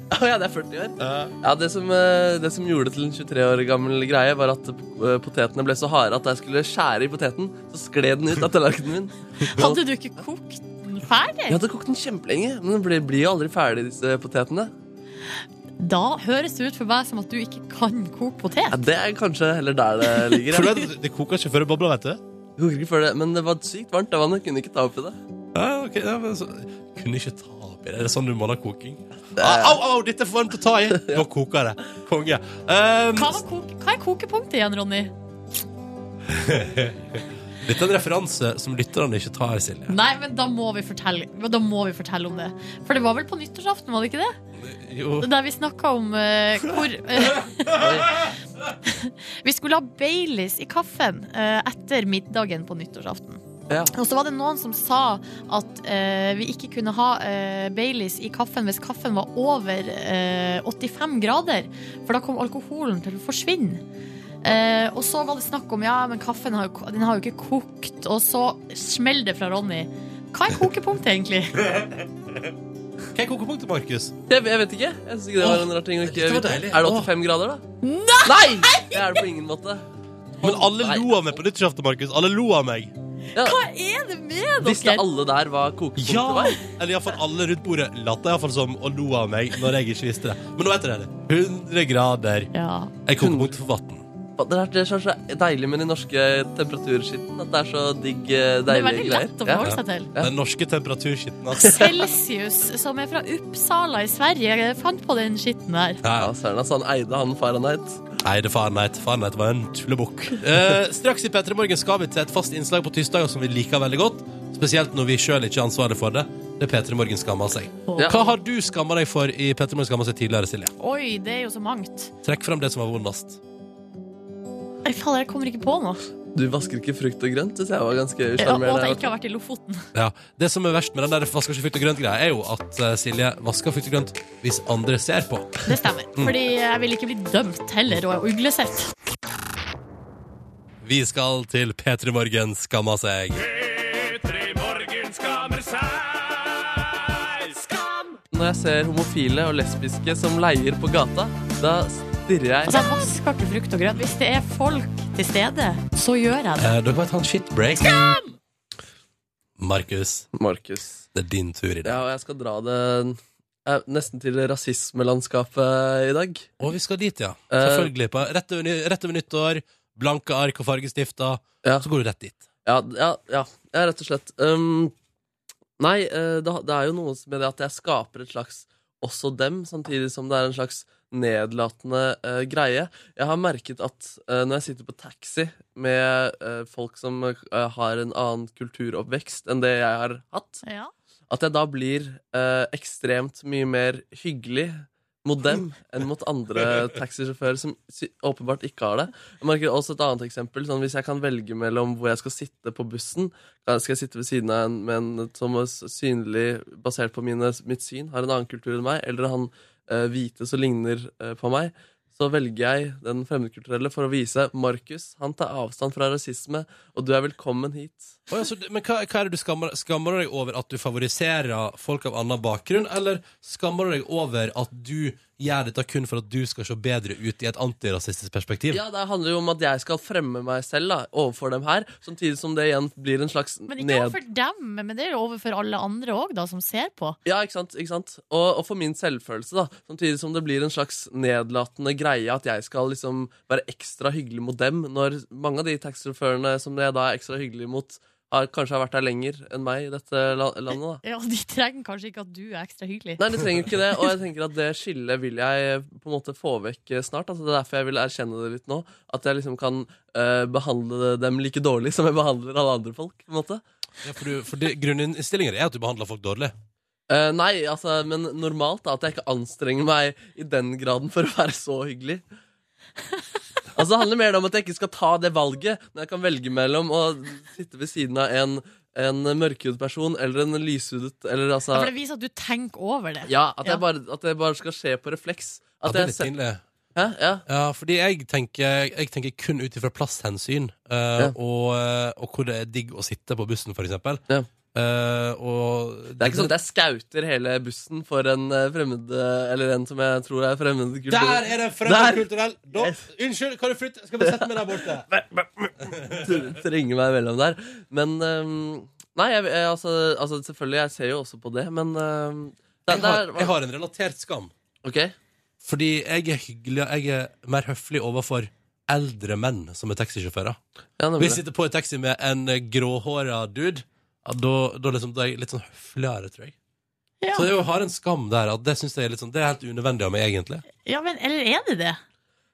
S5: Å ja, det er 40 år.
S1: Ja.
S5: Ja, det som, eh, det som gjorde det til en 23 år gammel greie, var at eh, potetene ble så harde at da jeg skulle skjære i poteten, så skled den ut av tallerkenen min.
S2: Hadde du ikke kokt den ferdig?
S5: Jeg hadde kokt den kjempelenge, men den blir, blir jo aldri ferdig, disse potetene.
S2: Da høres det ut for meg som at du ikke kan koke
S5: Ja,
S2: potet.
S5: det er kanskje heller der det ligger.
S1: For
S5: ja.
S1: du vet, det koker ikke før det bobler, vet du.
S5: Jeg koker ikke før det, men det var sykt varmt. Det vannet kunne ikke ta opp i det.
S1: Ja, ok. Ja, men så... Kunne ikke ta opp i det. Er det sånn du måler koking?
S5: Det-
S1: Au, au, au! Dette er for varmt å ta i! Nå koker det. Konge. Um,
S2: Hva, var koke, hva er kokepunktet igjen, Ronny?
S1: dette er en referanse som lytterne ikke tar, Silje.
S2: Nei, men da må vi fortelle, men da må vi fortelle om det. For det var vel på nyttårsaften, var det ikke det?
S1: Jo.
S2: Der vi snakka om eh, hvor eh, Vi skulle ha Baileys i kaffen eh, etter middagen på nyttårsaften.
S5: Ja.
S2: Og så var det noen som sa at eh, vi ikke kunne ha eh, Baileys i kaffen hvis kaffen var over eh, 85 grader, for da kom alkoholen til å forsvinne. Eh, og så var det snakk om ja, men kaffen har, jo- den har jo ikke kokt, og så smeller det fra Ronny. Hva er kokepunktet, egentlig?
S1: Hva er kokepunktet, Markus?
S5: Jeg, jeg vet ikke. Jeg synes ikke det var en rar ting å ikke
S1: Dette var
S5: vite.
S1: deilig.
S5: Er det 85 grader, da? Nei! Det er det på ingen måte.
S1: Men alle
S5: Nei.
S1: lo av meg på nyttårsaften, Markus. Alle lo av meg.
S5: Ja.
S2: Hva er det med
S5: Visste
S2: dere?
S5: alle der hva kokepunktet
S1: Ja!
S5: var?
S1: Eller iallfall alle rundt bordet lata iallfall som og lo av meg når jeg ikke visste det. Men nå vet dere det. 100 grader
S2: Ja.
S1: er kokepunktet for vann.
S5: Det er, det er så deilig med den norske temperaturskitten. At det er så digg, eh,
S2: Det er
S5: deilige
S2: veldig
S5: greier.
S2: lett å
S5: Ja.
S2: forholde seg til.
S1: Den norske temperaturskitten, altså.
S2: Celsius, som er fra Uppsala i Sverige, fant på den skitten
S1: Ja,
S2: der.
S5: Ja,
S1: ja.
S5: Søren, altså, han eide han Fahrenheit.
S1: Nei, det er Fahrenheit. Fahrenheit var en tullebukk. Eh, straks i P3 Morgen skal vi til et fast innslag på tirsdager som vi liker veldig godt. Spesielt når vi sjøl ikke har ansvaret for det. Det er P3 Morgen skammer seg.
S5: Ja.
S1: Hva har du skamma deg for i P3 Morgen skammer seg tidligere, Silje?
S2: Oi, det er jo så mangt.
S1: Trekk fram det som var vondest.
S2: Nei, faen, jeg kommer ikke på noe.
S5: Du vasker ikke frukt og grønt, syns jeg var ganske
S2: Ja, og at jeg
S5: usjarmerende.
S2: ikke har vært i Lofoten.
S1: Ja, Det som er verst med den der vasker ikke frukt og grønt-greia, er jo at eh, Silje vasker frukt og grønt hvis andre ser på.
S2: Det stemmer. Fordi jeg vil ikke bli dømt heller, og uglesett.
S1: Vi skal til P3 Morgen skamma seg.
S5: Når jeg ser homofile og lesbiske som leier på gata, da stirrer jeg
S2: Altså, jeg vasker ikke frukt og grønt. Hvis det er folk til stede, så gjør jeg det.
S1: Eh, dere må ta en shitbreak. Skam! Markus,
S5: Markus.
S1: det er din tur i dag.
S5: Ja, og jeg skal dra det eh, nesten til rasismelandskapet i dag.
S1: Og vi skal dit, ja.
S5: Eh,
S1: Selvfølgelig. På, rett, over, ny- rett over nyttår. Blanke ark og fargestifter.
S5: Ja.
S1: Så går du rett dit.
S5: Ja, ja, ja, ja rett og slett. Um, nei, eh, det, det er jo noe med det at jeg skaper et slags også dem, samtidig som det er en slags nedlatende eh, greie. Jeg har merket at eh, når jeg sitter på taxi med eh, folk som eh, har en annen kulturoppvekst enn det jeg har hatt,
S2: Ja.
S5: at jeg da blir eh, ekstremt mye mer hyggelig mot dem enn mot andre taxisjåfører som sy- åpenbart ikke har det. Jeg merker også et annet eksempel. Sånn, hvis jeg kan velge mellom hvor jeg skal sitte på bussen da Skal jeg sitte ved siden av en med en som er s- synlig, basert på mine, mitt syn, har en annen kultur enn meg, eller han eh, hvite som ligner eh, på meg, så velger jeg den fremmedkulturelle for å vise Markus, han tar avstand fra rasisme, og du er velkommen hit.
S1: Å ja, så, du- men hva, hva er det du skammer, skammer du deg over? At du favoriserer folk av annen bakgrunn? Eller skammer du deg over at du gjør dette kun for at du skal se bedre ut i et antirasistisk perspektiv?
S5: Ja, det handler jo om at jeg skal fremme meg selv da, overfor dem her, samtidig som det igjen blir en slags
S2: Men ikke
S5: ned...
S2: overfor dem, men det er jo overfor alle andre òg, da, som ser på.
S5: Ja, ikke sant, ikke sant? Og, og for min selvfølelse, da. Samtidig som det blir en slags nedlatende greie at jeg skal liksom være ekstra hyggelig mot dem, når mange av de taxisjåførene som jeg da er ekstra hyggelig mot, har, kanskje har vært der lenger enn meg i dette la- landet, da.
S2: Ja, De trenger kanskje ikke at du er ekstra hyggelig.
S5: Nei, de trenger ikke det, og jeg tenker at det skillet vil jeg på en måte få vekk eh, snart. Altså, det er derfor jeg vil erkjenne det litt nå. At jeg liksom kan eh, behandle dem like dårlig som jeg behandler alle andre folk. på en måte.
S1: Ja, for du, for det, grunninnstillinger er at du behandler folk dårlig.
S5: Eh, nei, altså, men normalt da, at jeg ikke anstrenger meg i den graden for å være så hyggelig. Altså, Det handler mer om at jeg ikke skal ta det valget når jeg kan velge mellom å sitte ved siden av en, en mørkhudet person eller en lyshudet eller
S2: Ja,
S5: altså...
S2: for det viser at du tenker over det.
S5: Ja, at,
S2: Ja.
S5: Jeg bare, at det bare skal skje på refleks.
S1: Ja,
S5: At
S1: det er
S5: jeg
S1: litt
S5: ser-
S1: pinlig.
S5: Hæ? Ja.
S1: Ja, fordi jeg tenker, jeg tenker kun ut ifra plasshensyn, eh,
S5: Ja.
S1: og, eh, og hvor det er digg å sitte på bussen, for eksempel.
S5: Ja.
S1: Eh, og
S5: Det er ikke sånn at jeg skauter hele bussen for en eh, fremmed eh, Eller en som jeg tror er fremmed kultur.
S1: Der er det fremmedkulturell! Da-
S5: Yes.
S1: Unnskyld, kan du flytte? Skal vi sette meg der borte?
S5: Tr- Trenger meg mellom der. Men ehm, Nei, jeg, jeg, altså, altså selvfølgelig, jeg ser jo også på det, men ehm, det,
S1: Jeg har,
S5: det er-
S1: jeg har en relatert skam.
S5: Ok.
S1: Fordi jeg er hyggelig Jeg er mer høflig overfor eldre menn som er taxisjåfører.
S5: Ja, nemlig.
S1: Hvis jeg sitter på en taxi med en eh, gråhåra dude, ja, da, da, liksom, da er jeg litt sånn høfligere, tror jeg.
S2: Ja.
S1: Så jeg har en skam der. At det synes jeg er litt sånn Det er helt unødvendig av meg, egentlig.
S2: Ja, men Eller er det det?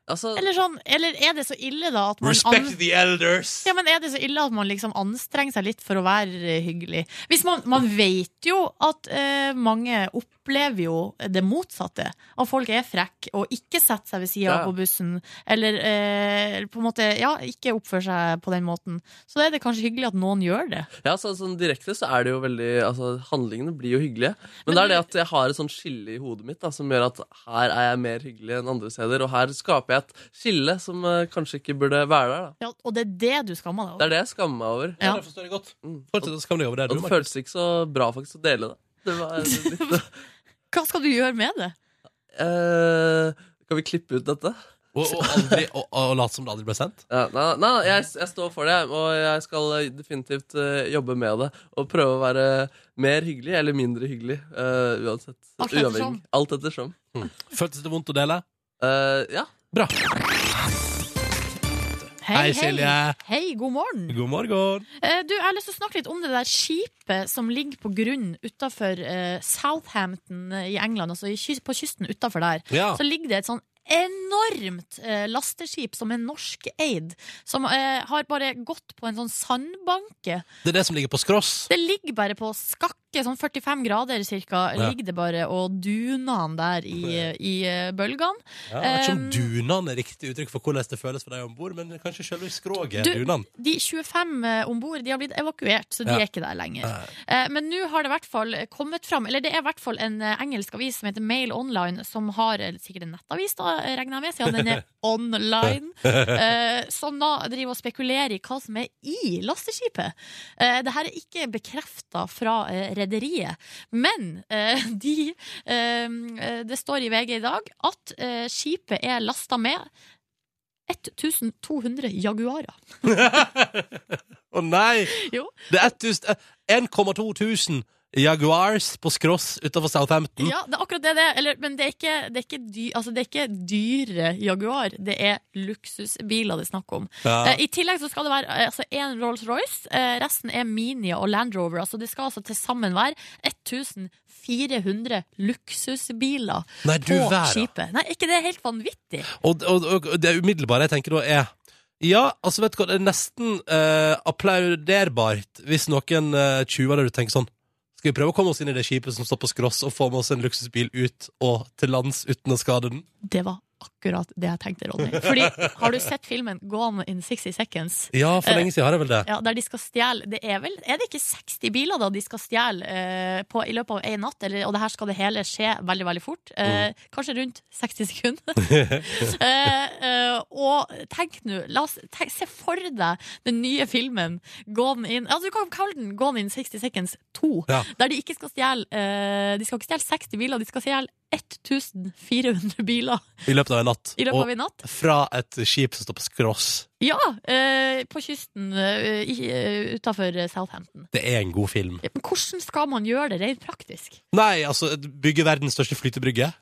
S5: altså,
S2: Eller, sånn, eller er det så ille, da, at man an-
S1: Respect the elders!
S2: Ja, men Er det så ille at man liksom anstrenger seg litt for å være eh, hyggelig? Hvis Man, man vet jo at eh, mange opplever jo det motsatte. At folk er frekke og ikke setter seg ved sida
S5: Ja.
S2: på bussen. Eller eh, på en måte, ja, ikke oppfører seg på den måten. Så da er det kanskje hyggelig at noen gjør det.
S5: ja, så, sånn direkte så er det jo veldig Altså, handlingene blir jo hyggelige. Men, det
S2: Men
S5: er det at jeg har et sånt skille i hodet mitt da, som gjør at her er jeg mer hyggelig enn andre steder, og her skaper jeg et skille som eh, kanskje ikke burde være der. da
S2: Ja, og det er det du skammer deg
S5: Det
S2: over.
S5: er det jeg skammer meg over.
S1: Ja,
S2: Ja.
S1: det forstår jeg godt.
S5: Mm.
S1: Fortsett å skamme deg over det. Du,
S5: Og det
S1: Markus.
S5: føltes ikke så bra faktisk å dele det. det var litt,
S2: Hva skal du gjøre med det?
S5: Eh, kan vi klippe ut dette?
S1: og, og, aldri, og, og late som det aldri ble sendt.
S5: Ja, nei, nei, nei jeg, jeg står for det, og jeg skal eh, definitivt eh, jobbe med det. Og prøve å være mer hyggelig eller mindre hyggelig. eh, uansett.
S2: Alt ettersom.
S5: Uavhengig. Alt ettersom.
S1: Føltes det vondt å dele?
S5: Eh, ja.
S1: Bra. Hei, Silje.
S2: Hei, god morgen.
S1: God morgen.
S2: Eh, Du, jeg har lyst til å snakke litt om det der skipet som ligger på grunn utenfor eh, Southampton eh, i England, altså i ky- på kysten utenfor der.
S1: Ja.
S2: Så ligger det et sånn enormt eh, lasteskip som er norskeid, som eh, har bare gått på en sånn sandbanke.
S1: Det er det som ligger på skross.
S2: Det ligger bare på skakke, sånn 45 grader cirka,
S1: Ja.
S2: ligger det bare og duner han der i, i eh, bølgene.
S1: Ja, jeg vet ikke om
S2: Um,
S1: dunan er riktig uttrykk for hvordan det føles for deg om bord, men kanskje selve skroget er
S2: Du-
S1: dunan.
S2: De 25 om bord de har blitt evakuert, så de
S1: Ja.
S2: er ikke der lenger.
S1: Nei.
S2: Eh, Men nå har det i hvert fall kommet fram Eller det er i hvert fall en eh, engelsk avis som heter Mail Online, som har eh, sikkert en nettavis, da, eh, regner jeg med, siden den er online, eh, som da driver og spekulerer i hva som er i lasteskipet. Eh, Det her er ikke bekrefta fra eh, rederiet, men eh, de eh, Det står i VG i dag at eh, skipet er lasta med 1200 Jaguarer.
S1: Å nei!
S2: Jo.
S1: Det er eh, 1,2 tusen Jaguars på skross utenfor Southampton.
S2: Ja, det er akkurat det det er. Eller, men det er ikke, det er ikke, dy, altså, det er ikke dyre Jaguar. Det er luksusbiler det er snakk om.
S1: Ja.
S2: Eh, I tillegg så skal det være eh, altså, én Rolls-Royce, eh, resten er Minia og Land Rover. Altså, det skal altså til sammen være 1400 luksusbiler
S1: Nei, du
S2: på
S1: verden.
S2: skipet. Nei, ikke det er helt vanvittig?
S1: Og, og, og det umiddelbare jeg tenker da er Ja, altså vet du hva, det er nesten eh, applauderbart hvis noen eh, tjuver der ute tenker sånn Skal vi prøve å komme oss inn i det skipet som står på skross, og få med oss en luksusbil ut og til lands uten å skade den?
S2: Det var akkurat det jeg tenkte, Ronny. Fordi, har du sett filmen Gone in 60 Seconds?
S1: Ja, for
S2: Eh,
S1: lenge siden har jeg vel det.
S2: Ja, der de skal stjele det er, vel, er det ikke 60 biler da de skal stjele eh, på, i løpet av en natt? Eller, og det her skal det hele skje veldig veldig fort. Eh, Kanskje rundt 60 sekunder. eh, eh, og tenk nå, la oss tenk, se for deg den nye filmen Gone in altså Du kan kalle den Gone in 60 Seconds 2.
S1: Ja.
S2: Der de ikke skal stjele eh, De skal ikke stjele 60 biler, de skal stjele 1400 biler
S1: I løpet av en natt.
S2: i løpet av en natt.
S1: Og fra et skip som står på skross.
S2: Ja! Eh, på kysten eh, i- eh, utafor Southampton.
S1: Det er en god film.
S2: Men hvordan skal man gjøre det rent praktisk?
S1: Nei, altså, bygge verdens største flytebrygge.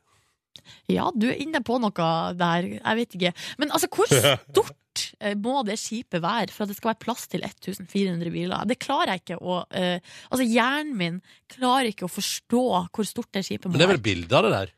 S2: Ja, du er inne på noe der, jeg vet ikke. Men altså, hvor stort eh, må det skipet være for at det skal være plass til 1400 biler? Det klarer jeg ikke å eh, Altså, hjernen min klarer ikke å forstå hvor stort det skipet må
S1: Men det er
S2: være.
S1: vel bilde av det der?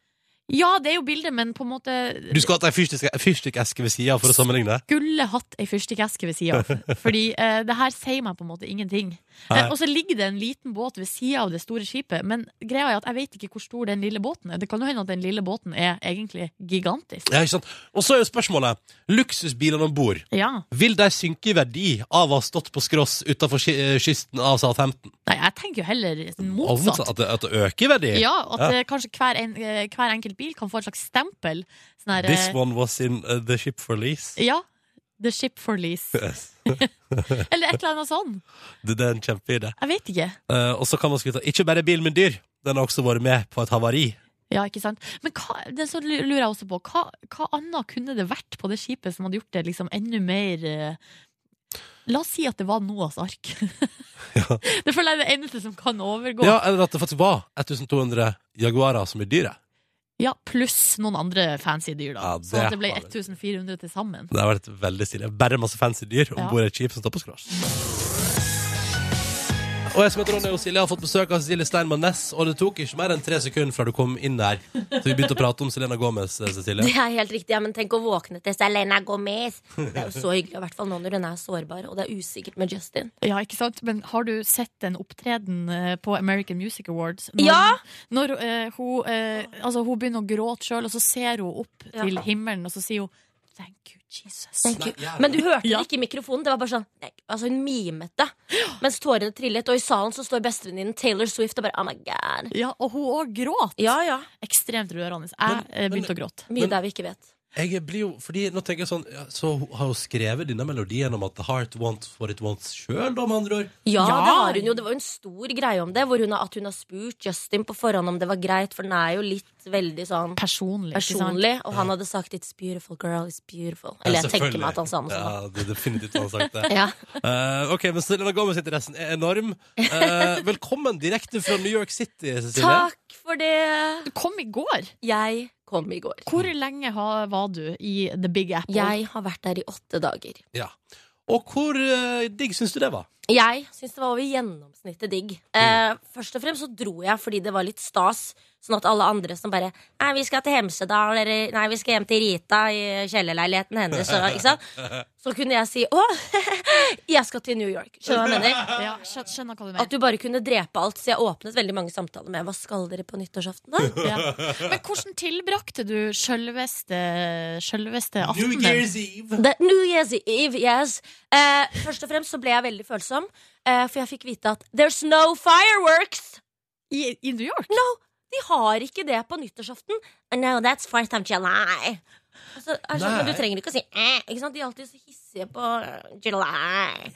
S2: Ja, det er jo bildet, men på en måte
S1: Du skulle hatt ei fyrstikkeske fyrstikkeske ved sida for å sammenligne.
S2: skulle hatt ei fyrstikkeske ved sida av. Fordi eh, det her sier meg på en måte ingenting.
S1: Nei.
S2: Eh, og så ligger det en liten båt ved sida av det store skipet, men greia er at jeg vet ikke hvor stor den lille båten er. Det kan jo hende at den lille båten er egentlig gigantisk.
S1: Ja, ikke sant? Og så er jo spørsmålet luksusbilene om bord.
S2: Ja.
S1: Vil de synke i verdi av å ha stått på skross utenfor ky- eh, kysten av Southampton?
S2: Nei, jeg tenker jo heller
S1: Og
S2: motsatt.
S1: At det, at det øker i verdi?
S2: Ja, at eh, kanskje hver, en, eh, hver enkelt bil kan få et slags stempel. Sånn her,
S1: This
S2: eh,
S1: one was in eh, the ship for lease.
S2: Ja. The ship for lease. Eller et eller annet sånt.
S1: Det, det er en kjempeidé.
S2: Jeg vet ikke.
S1: Eh, og så kan man skryte av ikke bare bil, men dyr. Den har også vært med på et havari.
S2: Ja, ikke sant? Men hva, det så lurer jeg også på, hva, hva annet kunne det vært på det skipet som hadde gjort det liksom enda mer eh, La oss si at det var Noas ark. det føler jeg er det eneste som kan overgå.
S1: Ja, Eller at det faktisk var 1200 Jaguarer som er dyre.
S2: Ja, pluss noen andre fancy dyr, da.
S1: Ja, det
S2: sånn at det ble
S1: har det.
S2: 1400 til sammen.
S1: Det har vært veldig stilig. Bare masse fancy dyr om
S2: Ja.
S1: bord i et skip som står på skross. Og jeg som heter Ronny og Silje har fått besøk av Cecilie Steinmann Næss, og det tok ikke mer enn tre sekunder fra du kom inn her, til vi begynte å prate om Selena Gomez, eh, Cecilie.
S8: Det er helt riktig, ja, men tenk å våkne til Selena Gomez. Det er jo så hyggelig, i hvert fall nå når hun er sårbar, og det er usikkert med Justin.
S2: Ja, ikke sant? Men har du sett den opptreden eh, på American Music Awards? Når,
S8: Ja!
S2: Når eh, hun, eh, altså, hun begynner å gråte sjøl, og så ser hun opp
S8: Ja.
S2: til himmelen, og så sier hun Thank you, Jesus.
S8: Thank you. Men du hørte
S2: Ja.
S8: det ikke i mikrofonen. Det var bare sånn nei, Altså Hun mimet det mens tårene trillet. Og i salen så står bestevenninnen Taylor Swift og bare Oh my god.
S2: Ja, og hun òg gråt.
S8: Ja, ja.
S2: Ekstremt rørende. Jeg
S1: Men-
S2: eh, begynte
S1: men-
S2: å gråte.
S8: Mye der vi ikke vet.
S1: Jeg blir jo, fordi nå tenker jeg sånn, ja, så har hun skrevet denne melodien om at the heart wants what it wants sjøl, da, med andre ord?
S8: Ja,
S2: Ja.
S8: det har hun jo. Det var jo en stor greie om det. Hvor hun har, at hun har spurt Justin på forhånd om det var greit, for den er jo litt veldig sånn
S2: Personlig. ikke sant?
S8: personlig. Og han hadde sagt 'It's beautiful, girl. It's beautiful'. Eller jeg tenker meg at han sa noe sånt.
S1: Ja, det er definitivt han har sagt det.
S8: Ja.
S1: Eh, ok, men Selena Gomez-interessen er enorm. Eh, velkommen direkte fra New York City, Cecilie.
S8: Takk for det.
S2: Du kom i går.
S8: Jeg kom i går.
S2: Hvor lenge ha- var du i The Big Apple?
S8: Jeg har vært der i åtte dager.
S1: Ja. Og hvor eh, digg syns du det var?
S8: Jeg syns det var over gjennomsnittet digg. Eh, først og fremst så dro jeg fordi det var litt stas. Sånn at alle andre som bare Nei, vi skal til Hemsedal, eller Nei, vi skal hjem til Rita i kjellerleiligheten hennes. Og, ikke sant? Så kunne jeg si Å, jeg skal til New York. Skjønner du hva jeg mener?
S2: Ja, skjø- skjønner hva du
S8: At
S2: mener.
S8: du bare kunne drepe alt. Så jeg åpnet veldig mange samtaler med Hva skal dere på nyttårsaften, da?
S2: Ja. Men hvordan tilbrakte du sjølveste, sjølveste
S8: sånn
S2: aftenen?
S1: Eve.
S8: The New Year's Eve, yes. Eh, først og fremst så ble jeg veldig følsom, eh, for jeg fikk vite at There's no fireworks!
S2: I, I New York?
S8: No, de har ikke det på nyttårsaften. No, that's first of July. Og så er det sånn, men du
S1: Nei.
S8: trenger ikke å si eh, ikke sant? De er alltid så hissige på eh, July.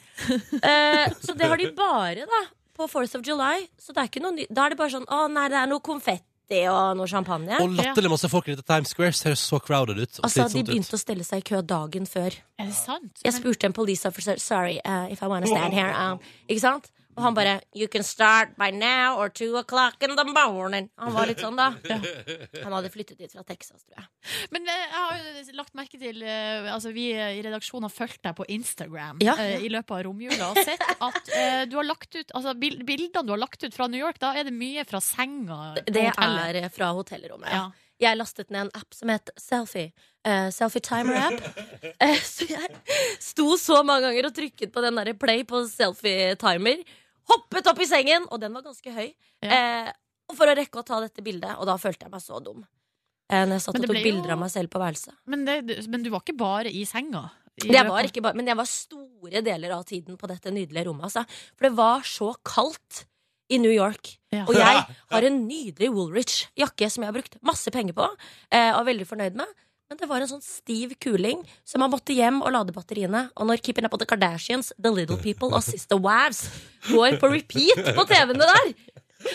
S8: Eh, så det har de bare da på Fourth of July. Så det er ikke noe ny Da er det bare sånn å nei, det er noe konfetti og noe champagne.
S1: Og latterlig masse folk rundt i Times Square ser så crowded ut. og
S8: Altså, De
S1: slitsomt ut.
S8: begynte å stelle seg i kø dagen før.
S2: Er det sant?
S8: uh, Jeg spurte en police officer Sorry, eh, if I wanna stand here um, Ikke sant? Og han bare You can start by now or two o'clock in the morning. Han var litt sånn, da. Han hadde flyttet dit fra Texas, tror jeg.
S2: Men eh, jeg har jo lagt merke til eh, Altså Vi eh, i redaksjonen har fulgt deg på Instagram
S8: Ja.
S2: eh, i løpet av romjula og sett at eh, du har lagt ut Altså bil- bildene du har lagt ut fra New York, da er det mye fra senga. på
S8: Det
S2: hotellet.
S8: er fra hotellrommet.
S2: ja.
S8: Jeg lastet ned en app som het Selfie. Eh, selfie timer app. Eh, så jeg sto så mange ganger og trykket på den der play på selfie timer. Hoppet opp i sengen, og den var ganske høy.
S2: Ja.
S8: Eh, og for å rekke å ta dette bildet, og da følte jeg meg så dum. Eh, når jeg satt
S2: Men
S8: og
S2: det
S8: tok
S2: ble jo-
S8: bilder av meg selv på værelset.
S2: men, det, men du var ikke bare i senga? i
S8: Det
S2: løpet
S8: var
S2: av-
S8: ikke bare, men jeg var store deler av tiden på dette nydelige rommet. Altså. For det var så kaldt i New York.
S2: Ja.
S8: Og jeg har en nydelig Woolrich-jakke som jeg har brukt masse penger på. Eh, og er veldig fornøyd med Men det var en sånn stiv kuling, så man måtte hjem og lade batteriene. Og når Keeping Up With The Kardashians, The Little People og Sister Wives går på repeat på TV-ene der,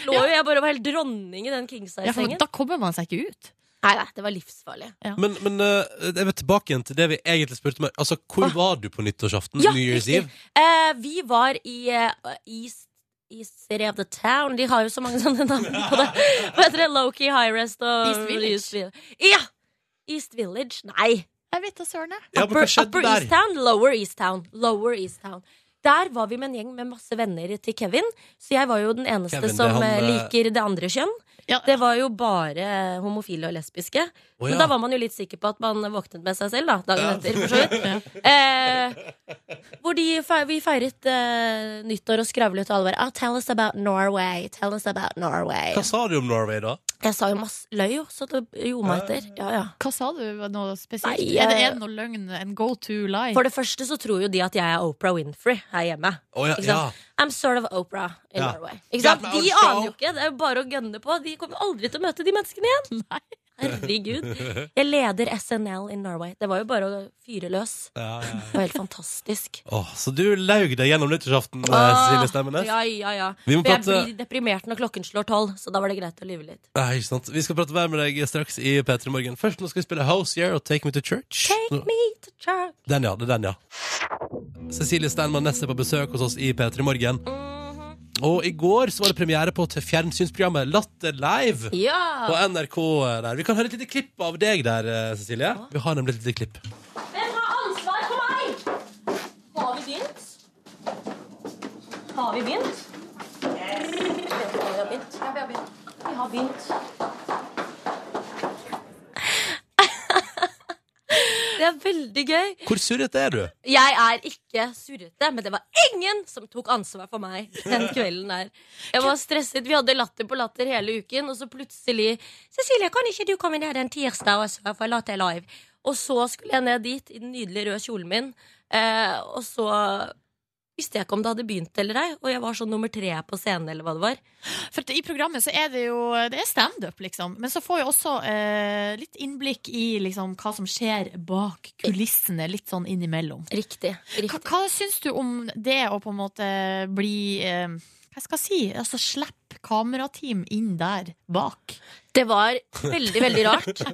S8: lå jo jeg bare og var helt dronning i den
S2: ja, for
S8: Kingside-sengen.
S2: Da kommer man seg ikke ut.
S8: Nei, nei, det var livsfarlig.
S1: Men, men eh, jeg vil tilbake igjen til det vi egentlig spurte om. Altså, hvor var du på nyttårsaften?
S8: Ah. Ja,
S1: New Year's
S8: riktig.
S1: Eve?
S8: Eh, vi var i eh, East, East City of the Town. De har jo så mange sånne navn på det. Hva heter det? Loki, High Rest og
S2: East Village.
S8: Ja! East Village. Nei.
S2: Jeg vet da søren, jeg.
S1: Ja, men hva
S8: Upper,
S1: skjedde
S8: Upper
S1: der?
S8: East Town, Lower East Town. Lower East Town. Der var vi med en gjeng med masse venner til Kevin, så jeg var jo den eneste
S1: Kevin, det er
S8: som
S1: han,
S8: eh,
S1: eh,
S8: liker det andre kjønn.
S2: Ja.
S8: Det var jo bare eh, homofile og lesbiske.
S1: Å,
S8: Men
S1: ja.
S8: da var man jo litt sikker på at man våknet med seg selv, da. Dagen
S1: Ja.
S8: etter, for så vidt. Eh, hvor de, fe- vi feiret eh, nyttår og skravlet, og alle var ah, Tell us about Norway. Tell us about Norway.
S1: Hva sa du om Norway, da?
S8: Jeg sa jo masse løy, jo, så det gjorde meg etter. Ja, ja.
S2: Hva sa du? Var det Noe spesielt?
S8: Nei,
S2: er, det,
S8: jeg-
S2: er det noe løgn? En go to lie?
S8: For det første så tror jo de at jeg er Oprah Winfrey her hjemme.
S1: Å, ja,
S8: Ikke
S1: ja.
S8: sant? I'm sort of Oprah in
S1: Ja.
S8: Norway. Ikke sant?
S1: Get my own
S8: De
S1: show.
S8: aner jo ikke. Det er jo bare å gønne på. De kommer aldri til å møte de menneskene igjen. Herregud. Jeg leder SNL in Norway. Det var jo bare å fyre løs.
S1: Ja, ja.
S8: Det var helt fantastisk.
S1: Åh, så du laug deg gjennom nyttårsaften, eh, Silje Stemmenes?
S8: Ah, Ja, ja, ja.
S1: Vi må
S8: For jeg
S1: prate-
S8: blir deprimert når klokken slår tolv, så da var det greit å lyve litt.
S1: Nei, ikke sant. Vi skal prate mer med deg straks i P3 Morgen. Først nå skal vi spille House Year og Take Me To Church.
S8: Take me to church.
S1: Den, ja. Det er den, ja. Cecilie Steinmann Næss er på besøk hos oss i P3 Morgen.
S8: Mhm.
S1: Og i går så var det premiere på til fjernsynsprogrammet Latter Live på
S8: Ja!
S1: NRK eh, der. Vi kan høre et lite klipp av deg der, eh, Cecilie. Vi har nemlig et lite klipp.
S8: Hvem har ansvar for meg? Har vi begynt? Har vi begynt? Vet du hva vi har begynt? Ja, vi har begynt. Vi har begynt. Det er veldig gøy.
S1: Hvor surrete er du?
S8: Jeg er ikke surrete, men det var ingen som tok ansvar for meg den kvelden der. Jeg var stresset. Vi hadde latter på latter hele uken, og så plutselig 'Cecilie, kan ikke du komme ned en tirsdag også for Latter Live?' Og så skulle jeg ned dit i den nydelige røde kjolen min, eh, og så visste jeg ikke om det hadde begynt eller ei, og jeg var sånn nummer tre på scenen, eller hva det var.
S2: For i programmet så er det jo Det er standup, liksom. Men så får vi også eh, litt innblikk i liksom, hva som skjer bak kulissene, litt sånn innimellom.
S8: Riktig.
S2: Hva,
S8: riktig.
S2: hva syns du om det å på en måte bli eh, Hva skal jeg si? Altså slippe kamerateam inn der bak.
S8: Det var veldig, veldig rart.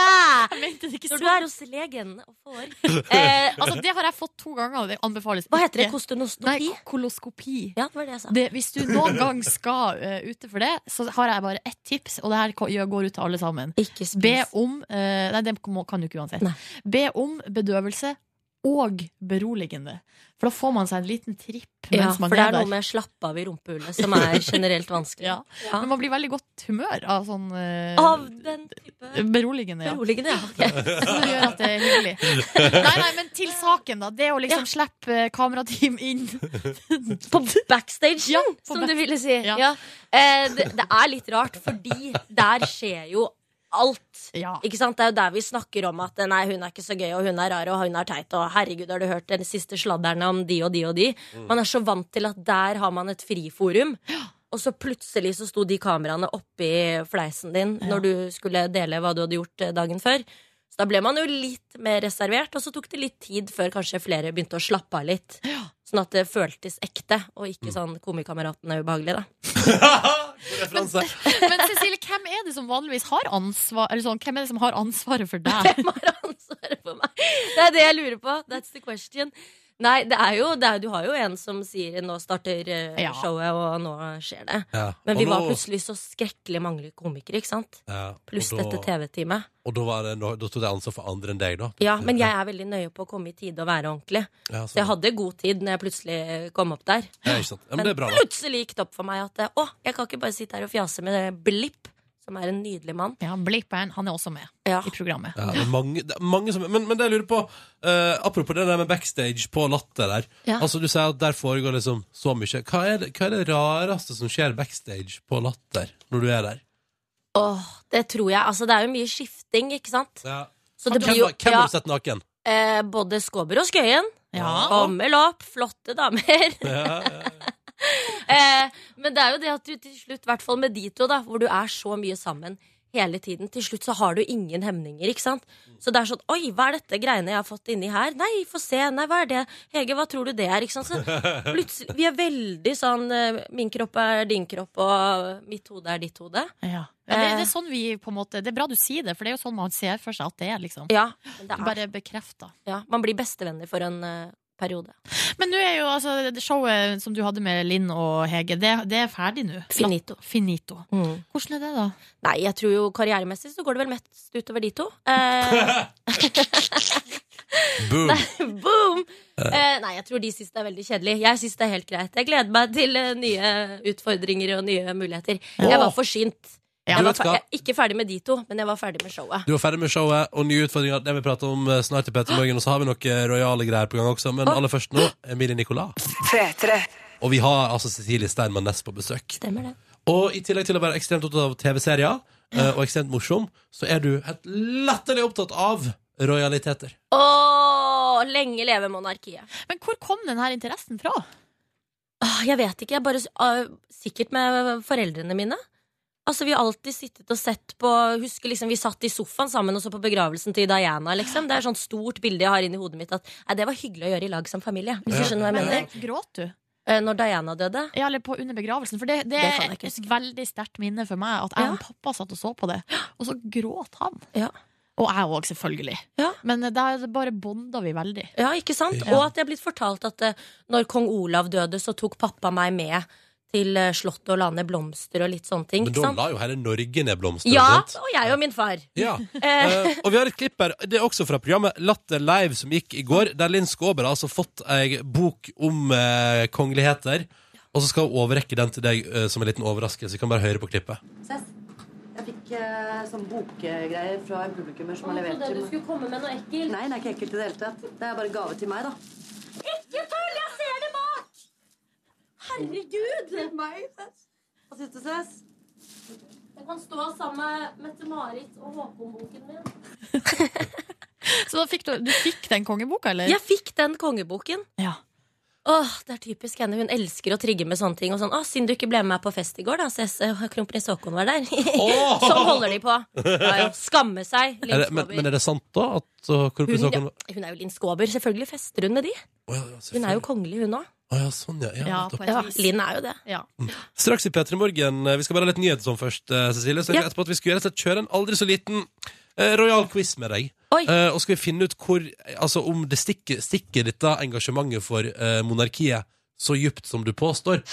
S2: Jeg mente det ikke
S8: Når
S2: sånn.
S8: du er hos legen og får eh,
S2: Altså, det har jeg fått to ganger, og det anbefales
S8: Hva heter det?
S2: ikke. Nei,
S8: Kostonostopi?
S2: koloskopi.
S8: Ja, det var det jeg sa.
S2: Det, hvis du noen gang skal eh, ute for det, så har jeg bare ett tips, og det her ko- gjør- går ut til alle sammen.
S8: Ikke spis.
S2: Be om eh, Nei, det må- kan du ikke uansett.
S8: Nei.
S2: Be om bedøvelse og beroligende. For da får man seg en liten tripp
S8: ja,
S2: mens
S8: for
S2: man
S8: det
S2: er
S8: er noe
S2: der.
S8: med slapp av i rumpehullet som er generelt vanskelig.
S2: Ja.
S8: Ja.
S2: Men man blir veldig godt humør av sånn eh,
S8: Av den type
S2: beroligende, ja.
S8: beroligende, ja. ok.
S2: Som gjør at det er hyggelig. Nei, nei, men til saken, da. Det å liksom slippe eh, kamerateam inn.
S8: På backstagen,
S2: Ja, på
S8: som
S2: back-
S8: du ville si.
S2: Ja.
S8: Ja. Eh, det, det er litt rart, fordi der skjer jo alt.
S2: Ja.
S8: Ikke sant? Det er jo der vi snakker om at nei, hun er ikke så gøy, og hun er rar, og hun er teit, og herregud, har du hørt den siste sladderne om de og de og de? Man er så vant til at der har man et friforum. Og så plutselig så sto de kameraene oppi fleisen din når du skulle dele hva du hadde gjort eh, dagen før. Så da ble man jo litt mer reservert, og så tok det litt tid før kanskje flere begynte å slappe av litt. Sånn at det føltes ekte, og ikke sånn komikameraten er ubehagelig, da.
S1: Referanse.
S2: Men Cecilie, hvem er det som vanligvis har ansvar Eller sånn, hvem er det som har ansvaret for deg?
S8: Hvem har ansvaret for meg? Det er det jeg lurer på. That's the question. Nei, det er jo, det er, du har jo en som sier 'nå starter eh,
S2: Ja.
S8: showet', og 'nå skjer det'.
S1: Ja.
S8: Men
S1: Og
S8: vi
S1: nå-
S8: var plutselig så skrekkelig mange komikere, ikke sant?
S1: ja,
S8: Pluss
S1: og da-
S8: dette TV-teamet.
S1: Og da, var det, da, da tok jeg ansvar for andre enn deg, da?
S8: Ja, men jeg er veldig nøye på å komme i tide og være ordentlig.
S1: Ja,
S8: Så
S1: sånn.
S8: jeg hadde god tid når jeg plutselig eh, kom opp der.
S1: ja, ikke sant. Ja, men
S8: Men
S1: det er bra, da.
S8: plutselig gikk det opp for meg at eh, å, jeg kan ikke bare sitte her og fjase med eh, Blipp, som er en nydelig mann.
S2: Ja, Blake Band, han er også med
S8: Ja.
S2: i programmet.
S1: Ja, det er mange, det er mange som, men, men det jeg lurer på eh, Apropos det der med backstage på latter der.
S2: Ja.
S1: Altså Du sier at der foregår liksom så mye. Hva er, det, hva er det rareste som skjer backstage på latter når du er der?
S8: Åh, det tror jeg. Altså, det er jo mye skifting, ikke sant?
S1: Ja.
S8: Så det
S1: Hvem,
S8: blir jo
S1: har- hvem
S8: ja,
S1: har du sett naken?
S8: eh, både Skåber og Skøyen.
S2: Ja.
S8: Gammel opp, flotte damer.
S1: Ja, ja,
S8: Eh, men det er jo det at du til slutt, i hvert fall med de to, da, hvor du er så mye sammen hele tiden, til slutt så har du ingen hemninger, ikke sant? Så det er sånn Oi, hva er dette greiene jeg har fått inni her? Nei, få se. Nei, hva er det? Hege, hva tror du det er? Ikke sant? Så plutselig Vi er veldig sånn eh, Min kropp er din kropp, og mitt hode er ditt hode.
S2: Ja. Ja, det, det er sånn vi på en måte Det er bra du sier det, for det er jo sånn man ser for seg at det er, liksom.
S8: Ja. men Det er,
S2: Bare bekrefta.
S8: ja man blir bestevenner for en eh, periode.
S2: Men nå er jo altså det showet som du hadde med Linn og Hege, det, det er ferdig nå.
S8: Finito.
S2: Finito. Mm. Hvordan er det, da?
S8: Nei, jeg tror jo karrieremessig så går det vel mest utover de to. Eh,
S1: Boom!
S8: boom! Eh, nei, jeg tror de syns det er veldig kjedelig. Jeg syns det er helt greit. Jeg gleder meg til eh, nye utfordringer og nye muligheter. Jeg var
S1: Åh!
S8: forsynt.
S2: Ja,
S8: jeg,
S1: du
S8: var
S1: vet
S8: fer-
S1: hva?
S8: jeg er ikke ferdig med de to, men jeg var ferdig med showet.
S1: Du var ferdig med showet og nye utfordringer. Det vi prater om eh, snart i
S8: Ah.
S1: Petter Morgen. Og så har vi noen rojale greier på gang også. Men aller først nå, Emilie Nicolas. Og vi har altså Cecilie Steinmann Næss på besøk.
S8: Stemmer det.
S1: Og i tillegg til å være ekstremt opptatt av TV-serier eh, og ekstremt morsom, så er du helt latterlig opptatt av rojaliteter.
S8: Å, lenge leve monarkiet.
S2: Men hvor kom den her interessen fra?
S8: Åh, jeg vet ikke. Jeg bare, s- ah, sikkert med foreldrene mine. Altså, Vi har alltid sittet og sett på Husker liksom, Vi satt i sofaen sammen og så på begravelsen til Diana. liksom Det er sånn stort bilde jeg har inni hodet mitt. At nei, Det var hyggelig å gjøre i lag som familie. Hvis du skjønner hva jeg
S2: Men
S8: mener
S2: eh, gråt du?
S8: Eh, Når Diana døde
S2: Ja, eller på under begravelsen. For det, det,
S8: Det kan jeg
S2: er
S8: ikke
S2: et
S8: huske.
S2: veldig sterkt minne for meg at jeg
S8: Ja.
S2: og pappa satt og så på det, og så gråt han.
S8: Ja.
S2: Og jeg òg, selvfølgelig.
S8: Ja.
S2: Men der bare bonda vi veldig.
S8: Ja, ikke sant?
S1: Ja.
S8: Og at jeg er blitt fortalt at eh, når kong Olav døde, så tok pappa meg med til eh, slottet og la ned blomster og litt sånne ting.
S1: Men da
S8: Ikke sant?
S1: la jo hele Norge ned blomster.
S8: Ja,
S1: sant?
S8: og jeg og min far.
S1: Ja. Eh, og vi har et klipp her. Det er også fra programmet Latter Live som gikk i går, der Linn Skåber har altså fått ei bok om eh, kongeligheter. Og så skal hun overrekke den til deg eh, som en liten overraskelse. Vi kan bare høre på klippet.
S9: Jeg fikk eh, sånn bokgreier fra en publikummer som har levert til meg.
S8: komme med noe ekkelt.
S9: Nei, den er ikke ekkelt i det hele tatt. Det er bare gave til meg, da.
S8: Ikke tull! Jeg ser det bak! Herregud!
S9: Hva syns du, Cess?
S8: Jeg kan stå sammen med Mette-Marit og Håkon-boken min.
S2: Så da fikk du, du fikk den kongeboka, eller?
S8: Jeg fikk den kongeboken.
S2: Ja.
S8: Åh, det er typisk henne. Hun elsker å trigge med sånne ting. Og sånn, «Åh, Siden du ikke ble med meg på fest i går, da, så jeg s- kronprins Haakon var der. sånn holder de på. Ja, ja. Skamme seg. Linn
S1: Er det, men,
S8: Skåber.
S1: men er det sant, da? At uh,
S8: hun,
S1: Korpus Håkon
S8: ja, hun er jo Linn Skåber. Selvfølgelig fester hun med de.
S1: Å ja, ja,
S8: Hun er jo kongelig, hun òg.
S1: selvfølgelig. Å ja, sånn, ja. ja.
S2: Ja,
S1: nettopp.
S2: på et
S8: Ja,
S2: vis.
S8: Linn er jo det.
S2: Ja.
S1: Straks i P3 Morgen. eh, Vi skal bare ha litt nyheter sånn først, eh, Cecilie. Så
S8: Ja.
S1: etterpå at vi skulle gjøre et kjøre en aldri så liten eh, rojal quiz med deg.
S8: Oi.
S1: Eh, og skal vi finne ut hvor, altså om det stikker, stikker dette engasjementet for eh, monarkiet så djupt som du påstår.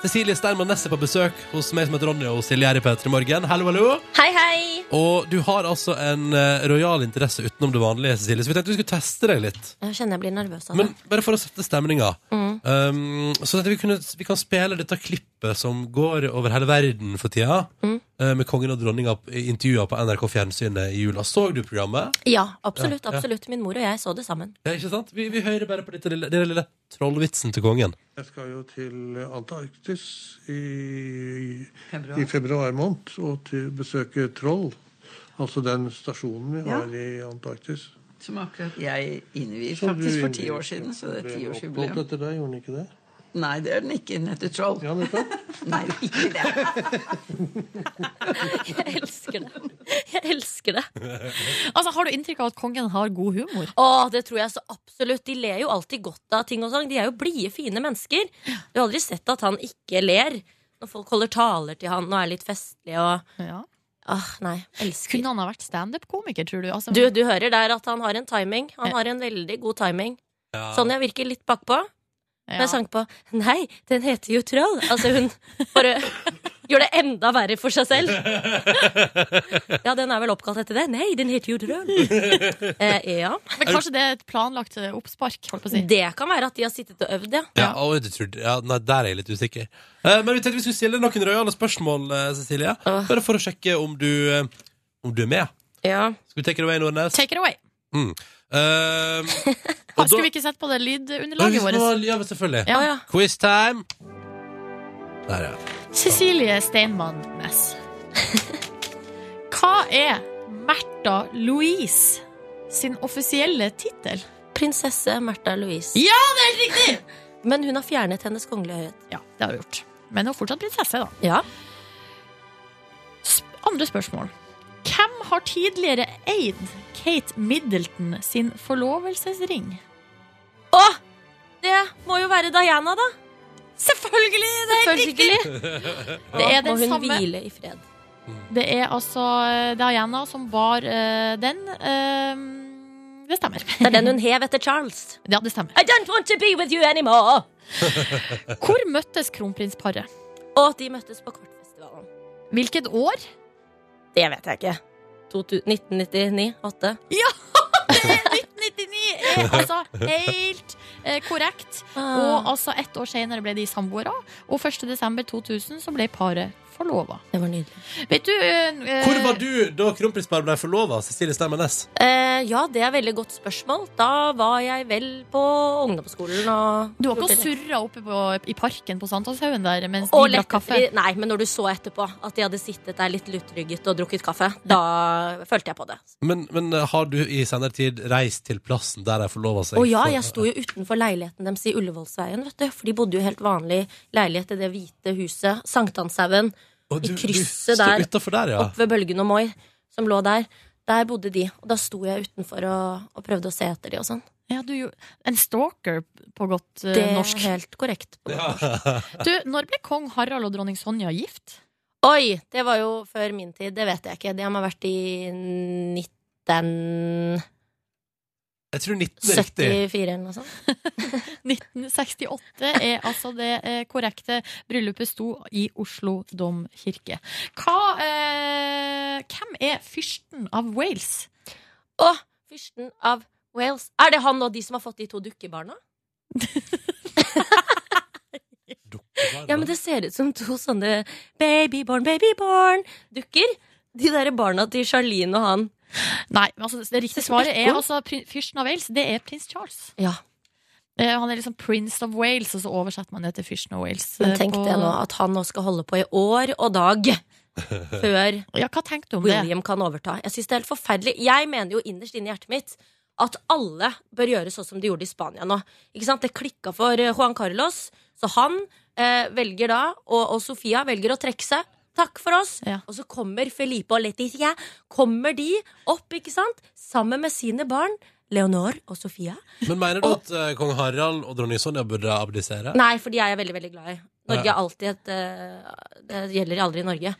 S1: Cecilie Steinmann Næss er på besøk hos meg som heter Ronny og Silje her i P3 Morgen. Hallo, hallo.
S8: Hei, hei!
S1: Og du har altså en eh, rojal interesse utenom det vanlige, Cecilie, så vi tenkte vi skulle teste deg litt.
S8: Jeg kjenner jeg blir nervøs av det.
S1: Men bare for å sette stemninga.
S2: Mm.
S1: Um, så at vi, kunne, vi kan spille dette klippet som går over hele verden for tida,
S2: Mm.
S1: eh, med kongen og dronninga p- i intervjuer på NRK Fjernsynet i jula. Så du programmet?
S8: Ja, absolutt.
S1: Ja, ja.
S8: absolutt. Min mor og jeg så det sammen.
S1: Ja, ikke sant? Vi, vi hører bare på dette lille, denne lille trollvitsen til kongen.
S10: Jeg skal jo til Antarktis i februar, i februar måned og til besøke Troll. Altså den stasjonen vi har i Antarktis.
S9: Som akkurat jeg innvier,
S10: Som du
S9: faktisk for ti
S10: innviet.
S9: år siden. Så det er
S10: Ble
S9: tiårsjubileum.
S10: oppkalt etter deg, gjorde den ikke det?
S9: Nei, det er den ikke. Den heter Troll.
S10: Ja, nettopp.
S9: Nei, ikke det.
S8: Jeg elsker det. Jeg elsker det.
S2: Altså, Har du inntrykk av at kongen har god humor?
S8: Å, det tror jeg så absolutt. De ler jo alltid godt av ting og sånn. De er jo blide, fine mennesker. Du har aldri sett at han ikke ler når folk holder taler til han og er litt festlige og
S2: Ja.
S8: Åh, nei, elsker
S2: Kunne han ha vært standup-komiker, tror du? Altså,
S8: Du, du hører der at han har en timing. Han har en veldig god timing.
S2: Ja.
S8: Sonja virker litt bakpå, men
S2: Ja.
S8: sang på 'Nei, den heter jo Troll'. Altså, hun bare gjør det enda verre for seg selv. ja, den er vel oppkalt etter det? Nei, den heter jo Troll. eh, ja.
S2: Men kanskje det er et planlagt eh, oppspark? Holdt på å si.
S8: Det kan være at de har sittet og øvd, ja.
S1: Ja, og jeg tror, ja, nei, der er jeg litt usikker. Eh, men vi tenkte vi skulle stille noen røyale spørsmål, eh, Cecilie. Bare for å sjekke om du, eh, om du er med. Skal vi take it away, Nordnes?
S2: Take it away.
S1: Mm. Eh,
S2: Har-
S1: og da-
S2: Skulle vi ikke sett på det
S1: Ja,
S2: lydunderlaget
S1: vi
S2: vårt?
S1: skal- Ja, men selvfølgelig.
S2: Ja, ja.
S1: Quiz time. Der, ja.
S2: Cecilie Steinmann Næss. Hva er Märtha Louise sin offisielle tittel?
S8: Prinsesse Märtha Louise.
S2: Ja, det er riktig!
S8: Men hun har fjernet hennes kongelige høyhet.
S2: Ja, det har hun gjort. Men hun er fortsatt prinsesse, da.
S8: Ja.
S2: Andre spørsmål. Hvem har tidligere eid Kate Middleton sin forlovelsesring?
S8: Å! Det må jo være Diana, da.
S2: Selvfølgelig! Det er helt Det er
S8: må
S2: den
S8: hun
S2: samme-
S8: hvile i fred.
S2: Det er altså eh, Diana som bar eh, den. Eh, det stemmer.
S8: Det er den hun hev etter Charles.
S2: Ja, det stemmer.
S8: I don't want to be with you anymore!
S2: Hvor møttes kronprinsparet?
S8: Og de møttes på Kortfestivalen.
S2: Hvilket år?
S8: Det vet jeg ikke. 2000 1999? 8?
S2: Ja! 1999 er altså helt eh, korrekt.
S8: Ah.
S2: Og altså ett år senere ble de samboere, og 1. desember 2000 så ble paret forlova.
S8: Det var nydelig.
S2: Vet du eh,
S1: Hvor var du da kronprinsparet ble forlova, Cecilie Stemmernes?
S8: Eh, ja, det er veldig godt spørsmål. Da var jeg vel på ungdomsskolen og
S2: Du var ikke og surra oppe på, i parken på Sankthanshaugen der mens
S8: Og
S2: de drakk
S8: lett-
S2: kaffe?
S8: Nei, men når du så etterpå at de hadde sittet der litt lutrygget og drukket kaffe, da følte jeg på det.
S1: Men, men eh, har du i senere tid reist til plassen der de forlova seg?
S8: Å ja,
S1: For-
S8: jeg sto jo utenfor leiligheten deres i Ullevålsveien, vet du. For de bodde jo i helt vanlig leilighet i det hvite huset. Sankthanshaugen.
S1: Å, du-
S8: I
S1: du
S8: krysset
S1: sto
S8: der.
S1: utenfor der, ja.
S8: Opp ved Bølgen og Moi, som lå der. Der bodde de. Og da sto jeg utenfor og, og prøvde å se etter de og sånn.
S2: Ja, du, jo- en stalker på godt eh,
S8: Det er
S2: norsk.
S8: helt korrekt.
S1: Ja.
S2: Du, når ble kong Harald og dronning Sonja gift?
S8: Oi! Det var jo før min tid. Det vet jeg ikke. Det må ha vært i 1974
S1: Jeg tror 19 er riktig.
S8: eller noe sånt.
S2: 1968 er altså det eh, korrekte. Bryllupet sto i Oslo domkirke. Hva, eh, hvem er fyrsten av Wales?
S8: Å, fyrsten av Wales. Er det han og de som har fått de to dukkebarna? Ja, men det ser ut som to sånne babyborn, babyborn-dukker. De derre barna til Charlene og han.
S2: Nei, altså, det riktige svaret er altså prin- fyrsten av Wales. Det er prins Charles.
S8: Ja,
S2: Eh, Han er liksom Prince of Wales, og så oversetter man det til fyrsten av Wales.
S8: men
S2: eh,
S8: tenk
S2: på-
S8: det nå, at han nå skal holde på i år og dag før
S2: Ja, hva tenkte du om det?
S8: William kan overta. Jeg synes det er helt forferdelig. Jeg mener jo innerst inne i hjertet mitt at alle bør gjøre sånn som de gjorde i Spania nå. Ikke sant? Det klikka for eh, Juan Carlos, så han eh, velger da, og, og Sofia velger å trekke seg. Takk for oss. Og så kommer Felipe og Leticia. Kommer de opp, ikke sant? Sammen med sine barn, Leonor og Sofia.
S1: Men mener du at eh, kong Harald og dronning Sonja burde abdisere?
S8: Nei, for de er jeg veldig, veldig glad i. Norge
S1: Ja.
S8: er alltid et eh, Det gjelder aldri Norge.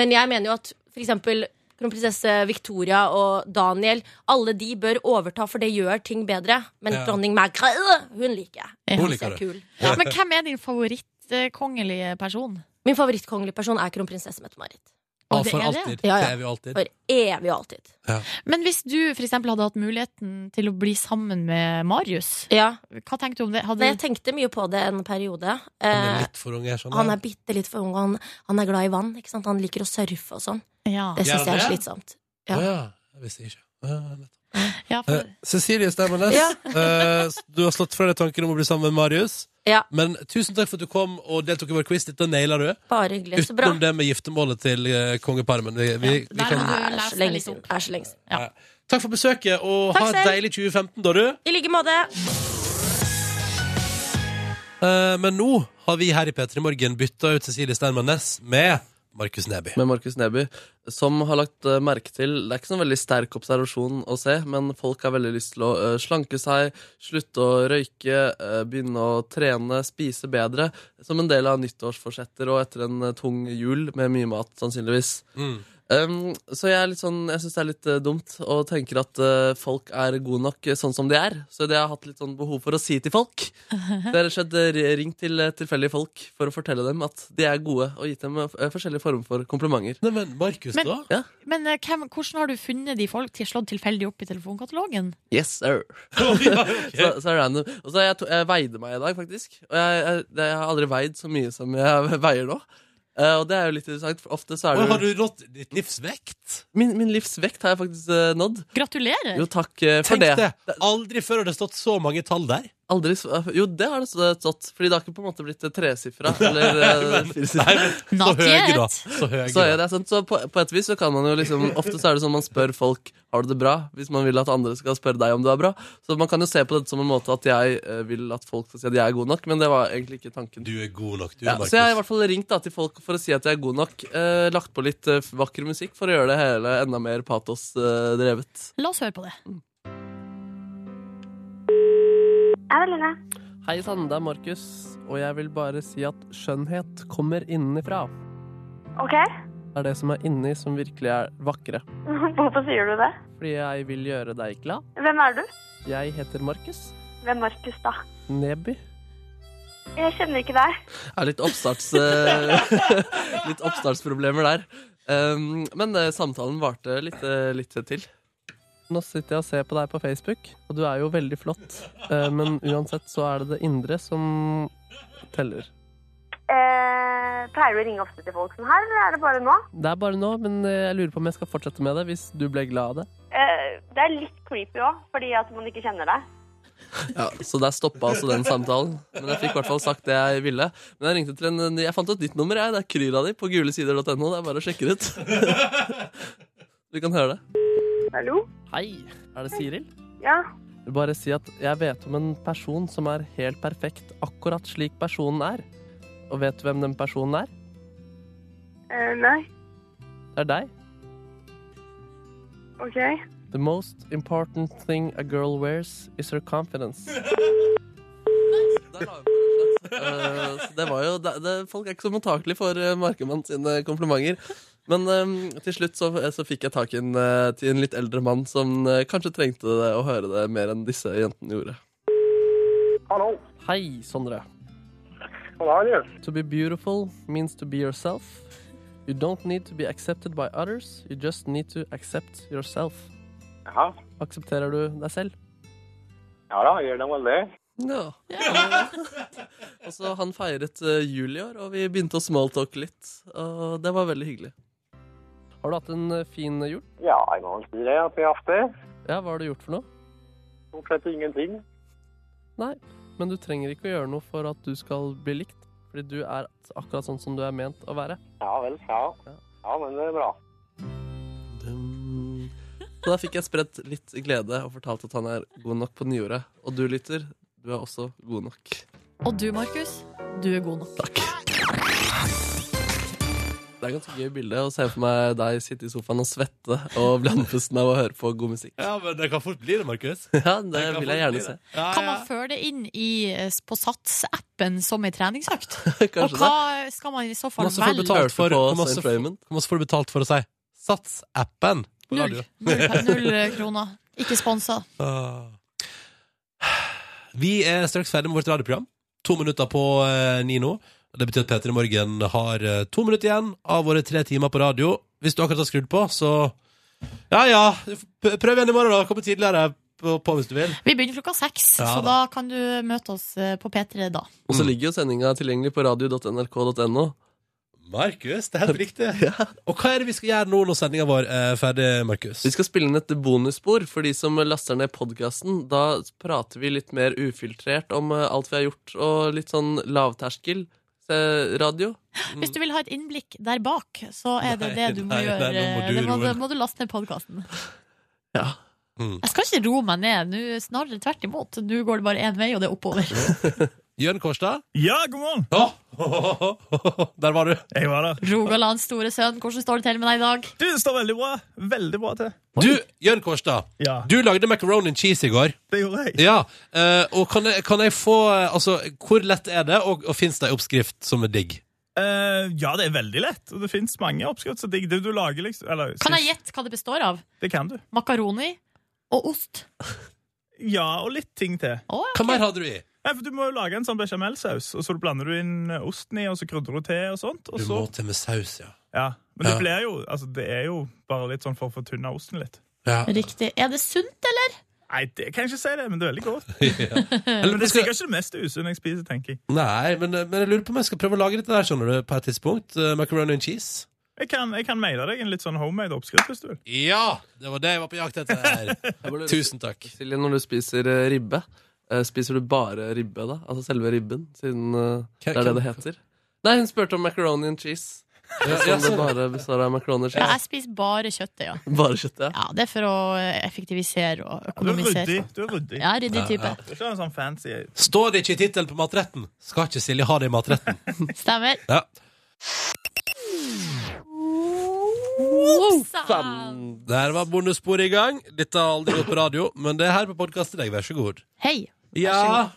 S8: Men jeg mener jo at for eksempel kronprinsesse Victoria og Daniel Alle de bør overta, for det gjør ting bedre. Men
S2: Ja.
S8: dronning Magre, hun liker jeg.
S2: Ja. Hun
S8: synes jeg
S2: liker
S8: er
S2: du.
S8: kul.
S2: Ja, men hvem er din favorittkongelige person?
S8: Min favorittkongelige person er kronprinsesse Mette-Marit.
S2: Å, det Ja, for er det? alltid. Det er vi alltid.
S8: For evig og alltid.
S2: Men hvis du for eksempel hadde hatt muligheten til å bli sammen med Marius, hva tenkte du om det? Hadde...
S8: Men jeg tenkte mye på det en periode.
S1: Han er
S8: Eh,
S1: litt for ung, sånn, jeg skjønner.
S8: han er bitte litt for ung, og han, han er glad i vann. Ikke sant? Han liker å surfe og sånn.
S2: Ja.
S8: Det syns
S1: Gjør han
S8: jeg er
S1: det?
S8: slitsomt.
S1: Å ja. Jeg visste ikke. Ja, nettopp.
S2: Ja,
S1: Eh, Cecilie Stemmernes,
S8: Ja.
S1: eh, du har slått fra deg tanken om å bli sammen med Marius.
S8: Ja.
S1: Men tusen takk for at du kom og deltok i vår quiz. Dette naila du.
S8: Bare hyggelig. Så bra.
S1: Utenom det med giftermålet til eh, kongeparet. Men vi, vi, vi kan...
S8: Det er så lenge siden. Det er så lenge siden.
S1: Ja. Takk for besøket, og
S8: Takk
S1: ha et
S8: selv.
S1: deilig 2015, da, du.
S8: I like måte.
S1: Eh, men nå har vi her i P3 Morgen bytta ut Cecilie Steinmann Næss med Markus Neby.
S5: Med Markus Neby, som har lagt eh, merke til Det er ikke sånn veldig sterk observasjon å se, men folk har veldig lyst til å eh, slanke seg, slutte å røyke, eh, begynne å trene, spise bedre. Som en del av nyttårsforsetter og etter en eh, tung jul med mye mat, sannsynligvis.
S1: Mm.
S5: Um, så jeg er litt sånn, jeg syns det er litt eh, dumt og tenker at eh, folk er gode nok eh, sånn som de er. Så det har jeg hatt litt sånn behov for å si til folk. Det har rett og slett eh, ringt til eh, tilfeldige folk for å fortelle dem at de er gode, og gitt dem eh, f- eh, forskjellige former for komplimenter.
S1: Nei, men Markus,
S2: Men- da?
S5: Ja.
S2: Men eh, hvem, hvordan har du funnet de folk til slått tilfeldig opp i telefonkatalogen?
S5: Yes, sir. så, så random. Og så jeg, to, jeg veide meg i dag, faktisk. Og jeg, jeg, det- jeg har aldri veid så mye som jeg veier nå. Eh, og det er jo litt interessant, for ofte så er det
S1: Oi,
S5: jo
S1: har du rått ditt livs vekt?
S5: Min, min livs vekt har jeg faktisk eh, nådd.
S2: Gratulerer!
S5: Jo, takk eh, for
S1: Tenk det.
S5: det.
S1: Aldri før har det stått så mange tall der.
S5: Aldri, s- eh, jo, det har det s- stått. Fordi det har ikke på en måte blitt eh, tresifra. Eller eh, firesifra.
S1: Nei, men så
S2: Not
S1: høye,
S2: yet.
S1: da. Så høye,
S5: Så, er
S1: da.
S5: det, sant? så på, på et vis så kan man jo liksom Ofte så er det sånn man spør folk Har du det bra, hvis man vil at andre skal spørre deg om du er bra Så man kan jo se på det som en måte At jeg eh, vil at folk skal si at jeg er god nok Men det var egentlig ikke tanken
S1: Du er god nok, du,
S5: ja,
S1: Markus.
S5: Så jeg har i hvert fall ringt da, til folk for å si at jeg er god nok eh, Lagt på litt eh, vakker musikk For å gjøre det hele enda mer patos eh, drevet
S2: La oss høre på det.
S5: Hei sann, det er Markus Og jeg vil bare si at skjønnhet kommer innenifra
S6: OK?
S5: Det er det som er inni som virkelig er vakre
S6: Hvorfor sier du det?
S5: Fordi jeg vil gjøre deg glad
S6: Hvem er du?
S5: Jeg heter Markus
S6: Hvem Markus, da?
S5: Neby
S6: Jeg kjenner ikke deg.
S5: er litt, oppstarts, eh, litt oppstartsproblemer der. Um, men eh, samtalen varte litt, eh, litt til. Nå sitter jeg og ser på deg på Facebook, og du er jo veldig flott. Eh, men uansett så er det det indre som teller.
S6: Eh, pleier du å ringe ofte til folk sånn her, eller er det bare nå?
S5: Det er bare nå, men eh, jeg lurer på om jeg skal fortsette med det hvis du ble glad av det.
S6: Eh, det er litt creepy òg, fordi at man ikke kjenner deg.
S5: Ja, Så der stoppa altså den samtalen. Men jeg fikk i hvert fall sagt det jeg ville. Men jeg ringte til en, jeg fant et nytt nummer, jeg. Det er Kryla di på gulesider.no. Det er bare å sjekke det ut. Du kan høre det.
S6: Hallo?
S5: Hei. Er det Siril?
S6: Ja.
S5: vil bare si at jeg vet om en person som er helt perfekt akkurat slik personen er. Og vet du hvem den personen er?
S6: Eh, nei.
S5: Det er deg.
S6: OK.
S5: The most important thing a girl wears is her confidence. Eh, så det var jo, det, det, folk er ikke så mottakelige for eh, Markemann sine komplimenter. Men eh, til slutt så, så fikk jeg tak i en, eh, til en litt eldre mann som eh, kanskje trengte det å høre det mer enn disse jentene gjorde.
S7: Hallo.
S5: Hei, Sondre.
S7: Hallo.
S5: To be beautiful means to be yourself. You don't need to be accepted by others, you just need to accept yourself.
S7: Jaha.
S5: Aksepterer du deg selv?
S7: Ja da, gjør det vel det.
S5: Ja. og så han feiret eh, jul i år, og vi begynte å smalltalke litt. Og det var veldig hyggelig. Har du hatt en eh, fin jul?
S7: Ja, jeg må vel si det at jeg har hatt det.
S5: Ja, hva har du gjort for noe?
S7: Stort sett ingenting.
S5: Nei, men du trenger ikke å gjøre noe for at du skal bli likt. Fordi du er akkurat sånn som du er ment å være.
S7: Ja vel, ja. Ja, men det er bra.
S5: Dum. Så da fikk jeg spredt litt glede og fortalt at han er god nok på nyordet. Og du lytter, du er også god nok.
S2: Og du, Markus, du er god nok.
S5: Takk. Det er ganske gøy bilde å se for meg deg sitte i sofaen og svette og bli andpusten av å høre på god musikk.
S1: Ja, men det kan fort bli det, Markus.
S5: Ja, det
S1: kan
S5: vil jeg
S1: fort bli
S5: gjerne
S1: det.
S5: se.
S1: Ja, ja.
S2: Kan man føre det inn i, eh, på Sats-appen som ei treningsøkt? Og
S5: Kanskje det.
S2: hva eh, skal man i så fall
S1: Masse får
S2: velge?
S1: betalt
S5: Hørte
S1: for,
S5: på
S1: hvor masse,
S5: Saint Raymond.
S1: hvor masse får du betalt for å si Sats-appen på
S2: Null,
S1: radio.
S2: null, null eh, kroner. Ikke sponsa.
S1: Ah. Vi er straks ferdig med vårt radioprogram. To minutter på eh, ni nå. Det betyr at Peter i morgen har eh, to minutter igjen av våre tre timer på radio. Hvis du akkurat har skrudd på, så Ja ja, p- prøv igjen i morgen, da. Komme tidligere på, på hvis du vil.
S2: Vi begynner klokka seks,
S1: Ja,
S2: så da
S1: da.
S2: kan du møte oss eh, på P3 da.
S5: Og så ligger jo sendinga tilgjengelig på radio.nrk.no.
S1: Markus, det er helt riktig. Og hva er det vi skal gjøre nå når sendinga vår er ferdig, Markus?
S5: Vi skal spille inn et bonusspor for de som laster ned podkasten. Da prater vi litt mer ufiltrert om eh, alt vi har gjort, og litt sånn lavterskel eh, radio.
S2: Hvis du vil ha et innblikk der bak, så er det
S1: Nei,
S2: det du må
S1: nei, nei,
S2: gjøre.
S1: nå må du
S2: det må,
S1: roe
S2: det
S1: deg.
S2: må du laste ned podkasten.
S5: Ja.
S2: Jeg skal ikke roe meg ned, nå snarere tvert imot. Nå går det bare én vei, og det er oppover.
S1: Jørn Kårstad?
S11: Ja, god morgen!
S1: Å! Der var du.
S11: Jeg var der.
S2: Rogalands store sønn, hvordan står det til med deg i dag?
S11: Du, det står veldig bra. Veldig bra til.
S1: Du, Jørn Kårstad.
S11: Ja,
S1: Du lagde macaroni and cheese i går.
S11: det gjorde jeg.
S1: Ja, eh, og kan jeg, kan jeg få eh, Altså, hvor lett er det, og, og fins det ei oppskrift som er digg?
S11: Eh, ja, det er veldig lett. Og det fins mange oppskriftsdigg. Det du lager liksom eller,
S2: Kan jeg gjette hva det består av?
S11: Det kan du.
S2: Makaroni og ost.
S11: Ja, og litt ting til.
S1: Hva mer hadde du i?
S11: Nei, for Du må jo lage en sånn bechamelsaus, og så blander du inn eh, osten i, og så krydrer du til, og sånt. Og
S1: Du
S11: så,
S1: må til med saus, ja.
S11: ja. Men det
S1: Ja.
S11: blir jo altså, Det er jo bare litt sånn for å fortynne osten litt.
S2: Riktig. Er det sunt, eller?
S11: Nei, det kan jeg ikke si det, men det er veldig godt.
S1: Eller
S11: Men det er sikkert ikke det mest usunne jeg spiser, tenker jeg.
S1: Nei, men, eh, men jeg lurer på om jeg skal prøve å lage dette der, skjønner du, på et tidspunkt. Eh, macaroni and cheese.
S11: Jeg kan, jeg kan maile deg en litt sånn homemade oppskrift hvis du vil.
S1: Ja! Det var det jeg var på jakt etter her. Tusen takk.
S5: Silje, når du spiser eh, ribbe, eh, spiser du bare ribbe da? Altså selve ribben, siden eh, det er det det heter? Nei, hun spurte om macaroni and cheese.
S1: Ja,
S5: Sånn
S1: ja,
S5: det
S1: sånn.
S5: bare består av macaroni and
S2: Ja, jeg
S5: cheese.
S2: spiser bare kjøttet, ja.
S5: Bare kjøttet, ja.
S2: ja. Det er for å eh, effektivisere
S11: Du
S2: og
S11: er ryddig.
S2: økonomisere.
S11: Du er ryddig.
S2: sånn. Ja, ryddig type.
S11: Du er ikke en sånn fancy
S1: Står det ikke i tittelen på matretten? Skal ikke Silje ha det i matretten?
S2: Stemmer.
S1: Ja. Der var bondesporet i gang. Dette har aldri gått på radio, men det er her på podkast til deg. Vær så god.
S2: Hei.
S1: Ja.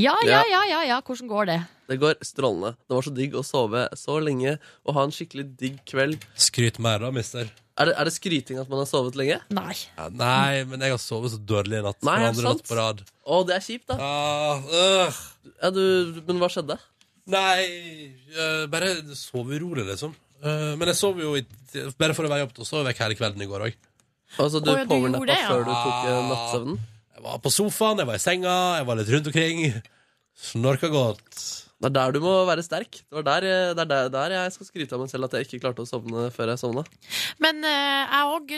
S2: Ja, ja, ja, ja, ja. Hvordan går det?
S5: Det går strålende. Det var så digg å sove så lenge og ha en skikkelig digg kveld.
S1: Skryt mer, da, mister.
S5: Er det, er det skryting at man har sovet lenge?
S2: Nei.
S1: Ja, nei, men jeg har sovet så dårlig i natt.
S5: Nei,
S1: for
S5: er det
S1: andre
S5: sant?
S1: natt på rad. øh,
S5: Å, det er kjipt, da. Ja, du, men hva skjedde?
S1: Nei, eh, bare sov urolig, liksom. Eh, men jeg sov jo i, bare for å veie opp til å sove vekk hele kvelden i går òg.
S5: Altså, du
S2: Å, ja, du gjorde
S5: powernappa
S2: det, ja.
S5: før du tok eh, nattsøvnen?
S1: Jeg var på sofaen, jeg var i senga, jeg var litt rundt omkring. Snorka godt.
S5: Det er der du må være sterk. Det, var der, jeg- det er der, der jeg skal skryte av meg selv at jeg ikke klarte å sovne før jeg sovna.
S2: Men eh, jeg òg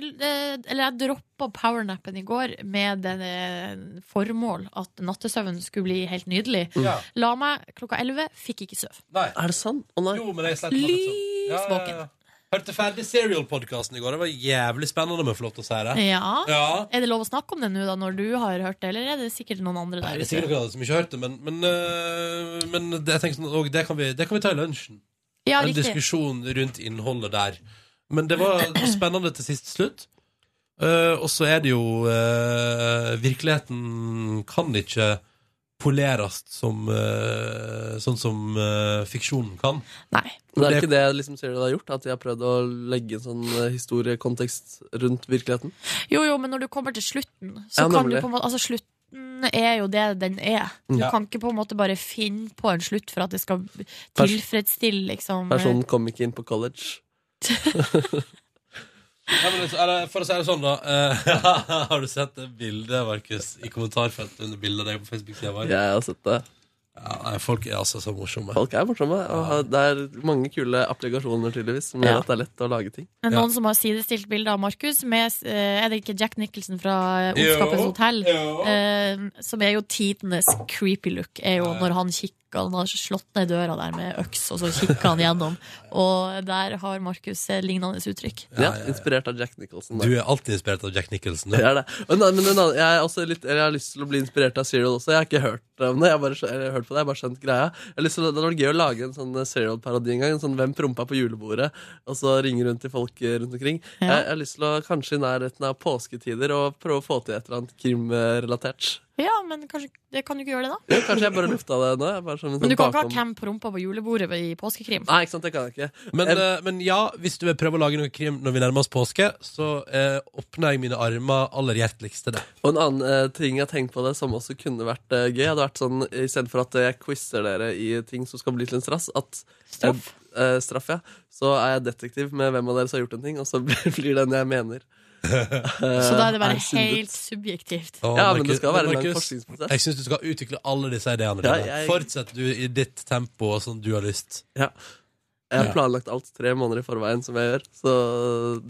S2: Eller jeg droppa powernappen i går med det eh, formål at nattesøvnen skulle bli helt nydelig.
S1: Mm. Ja.
S2: La meg klokka elleve, fikk ikke søvn.
S5: Er det sant? Å nei.
S1: Jo, men jeg slapp meg litt sånn.
S2: Lys våken.
S1: Hørte ferdig Serial-podkasten i går. Det var jævlig spennende, om jeg får lov til å si det.
S2: Ja.
S1: Ja.
S2: Er det lov å snakke om det nå, da, når du har hørt det, eller er det sikkert noen andre
S1: Nei,
S2: der?
S1: det er sikkert noen andre som ikke har hørt det, men, men, øh, men det, jeg tenker sånn, og det, kan vi, det kan vi ta i lunsjen.
S2: Ja,
S1: en
S2: riktig.
S1: diskusjon rundt innholdet der. Men det var spennende til sist slutt. Eh, og så er det jo eh, Virkeligheten kan ikke poleres som, eh, sånn som eh, fiksjonen kan.
S2: Nei.
S5: Men er det ikke det liksom Serial har gjort? At de har prøvd å legge en sånn eh, historiekontekst rundt virkeligheten?
S2: Jo, jo, men når du kommer til slutten, så kan
S5: Ja,
S2: du
S5: nemlig.
S2: på en måte Altså, slutten er jo det den er. Du
S5: Ja.
S2: kan ikke på en måte bare finne på en slutt for at det skal
S5: Pers-
S2: tilfredsstille, liksom
S5: Personen kom ikke inn på college.
S1: Ja, men, eller, for å si det sånn, da. eh, har du sett det bildet, Markus, i kommentarfeltet under bildet av deg på Facebook-sida vår?
S5: Jeg har sett det.
S1: Ja, nei, folk er altså så morsomme.
S5: Folk er morsomme. Og har- det er mange kule applikasjoner tydeligvis som gjør
S2: Ja.
S5: at det er lett å lage ting.
S2: Men noen som har sidestilt bildet av Markus med eh, Er det ikke Jack Nicholson fra eh, Ondskapens
S5: Jo,
S2: hotell?
S5: jo.
S2: Eh, som er jo tidenes creepy look, er jo når han kikker Han har slått ned døra der med øks, og så kikker han gjennom. Og der har Markus eh, lignende uttrykk.
S5: Ja, Inspirert av Jack Nicholson. da.
S1: Du er alltid inspirert av Jack Nicholson.
S5: Jeg er det. Og nei, men en annen- jeg, er også litt, jeg har lyst til å bli inspirert av Serial også. Jeg har ikke hørt om det. Jeg har bare, skjø- eller, jeg har hørt på det, jeg har bare skjønt greia. Jeg har lyst til, å- det hadde vært gøy å lage en sånn Serial-parodi en gang. En sånn Hvem prompa på julebordet? Og så ringe rundt til folk eh, rundt omkring.
S2: Ja.
S5: Jeg, jeg har lyst til å kanskje i nærheten av påsketider og prøve å få til et eller annet krimrelatert.
S2: Ja, men kanskje det kan du ikke gjøre det, da?
S5: Jo, Kanskje jeg bare lufta det nå. Jeg bare sånn,
S2: Men du kan ikke
S5: bakom-
S2: ha Cam på rumpa på julebordet i påskekrim.
S5: Nei, ikke sant, det kan jeg ikke.
S1: Men, eh, men ja, hvis du vil prøve å lage noe krim når vi nærmer oss påske, så eh, åpner jeg mine armer aller hjerteligst til det.
S5: Og en annen eh, ting jeg har tenkt på det som også kunne vært eh, gøy, hadde vært sånn i stedet for at jeg quizer dere i ting som skal bli til en strass, at straff, eh, straff ja, så er jeg detektiv med hvem av dere som har gjort en ting, og så blir blir den jeg mener. Eh,
S2: Så da er det bare
S5: Er syndet.
S2: helt subjektivt.
S1: Å,
S5: Ja, men det
S1: Markus-
S5: skal være en lang
S1: Markus,
S5: forskningsprosess.
S1: Jeg syns du skal utvikle alle disse ideene
S5: Ja,
S1: dine.
S5: jeg-
S1: Fortsett du i ditt tempo og sånn du har lyst.
S5: Ja. Jeg har
S1: Ja.
S5: planlagt alt tre måneder i forveien, som jeg gjør, så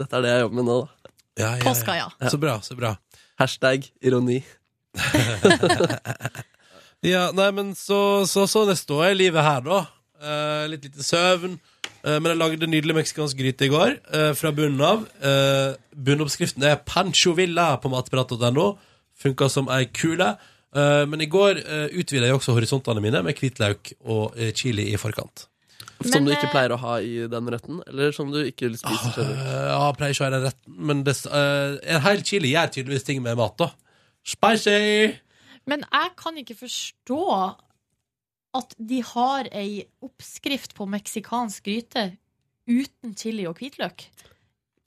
S5: dette er det jeg jobber med nå. da.
S1: Ja, ja,
S2: Påska, ja.
S1: Så bra, så bra.
S5: Hashtag ironi.
S1: Ja, nei, men så, så, så det står i livet her, da. Eh, litt lite søvn. Eh, men jeg lagde nydelig meksikansk gryte i går, eh, fra bunnen av. Eh, bunnoppskriften er pancho villa på matprat.no. Funka som ei kule. Eh, men i går uh, utvida jeg også horisontene mine med hvitløk og eh, chili i forkant.
S5: Som du
S2: Men,
S5: ikke
S2: eh,
S5: pleier å ha i den retten, eller som du ikke spiser
S1: Eh,
S5: selv.
S1: ja, pleier ikke å være den retten, men det, eh, en hel chili gjør tydeligvis ting med mat, da. Spicy!
S2: Men jeg kan ikke forstå at de har ei oppskrift på meksikansk gryte uten chili og hvitløk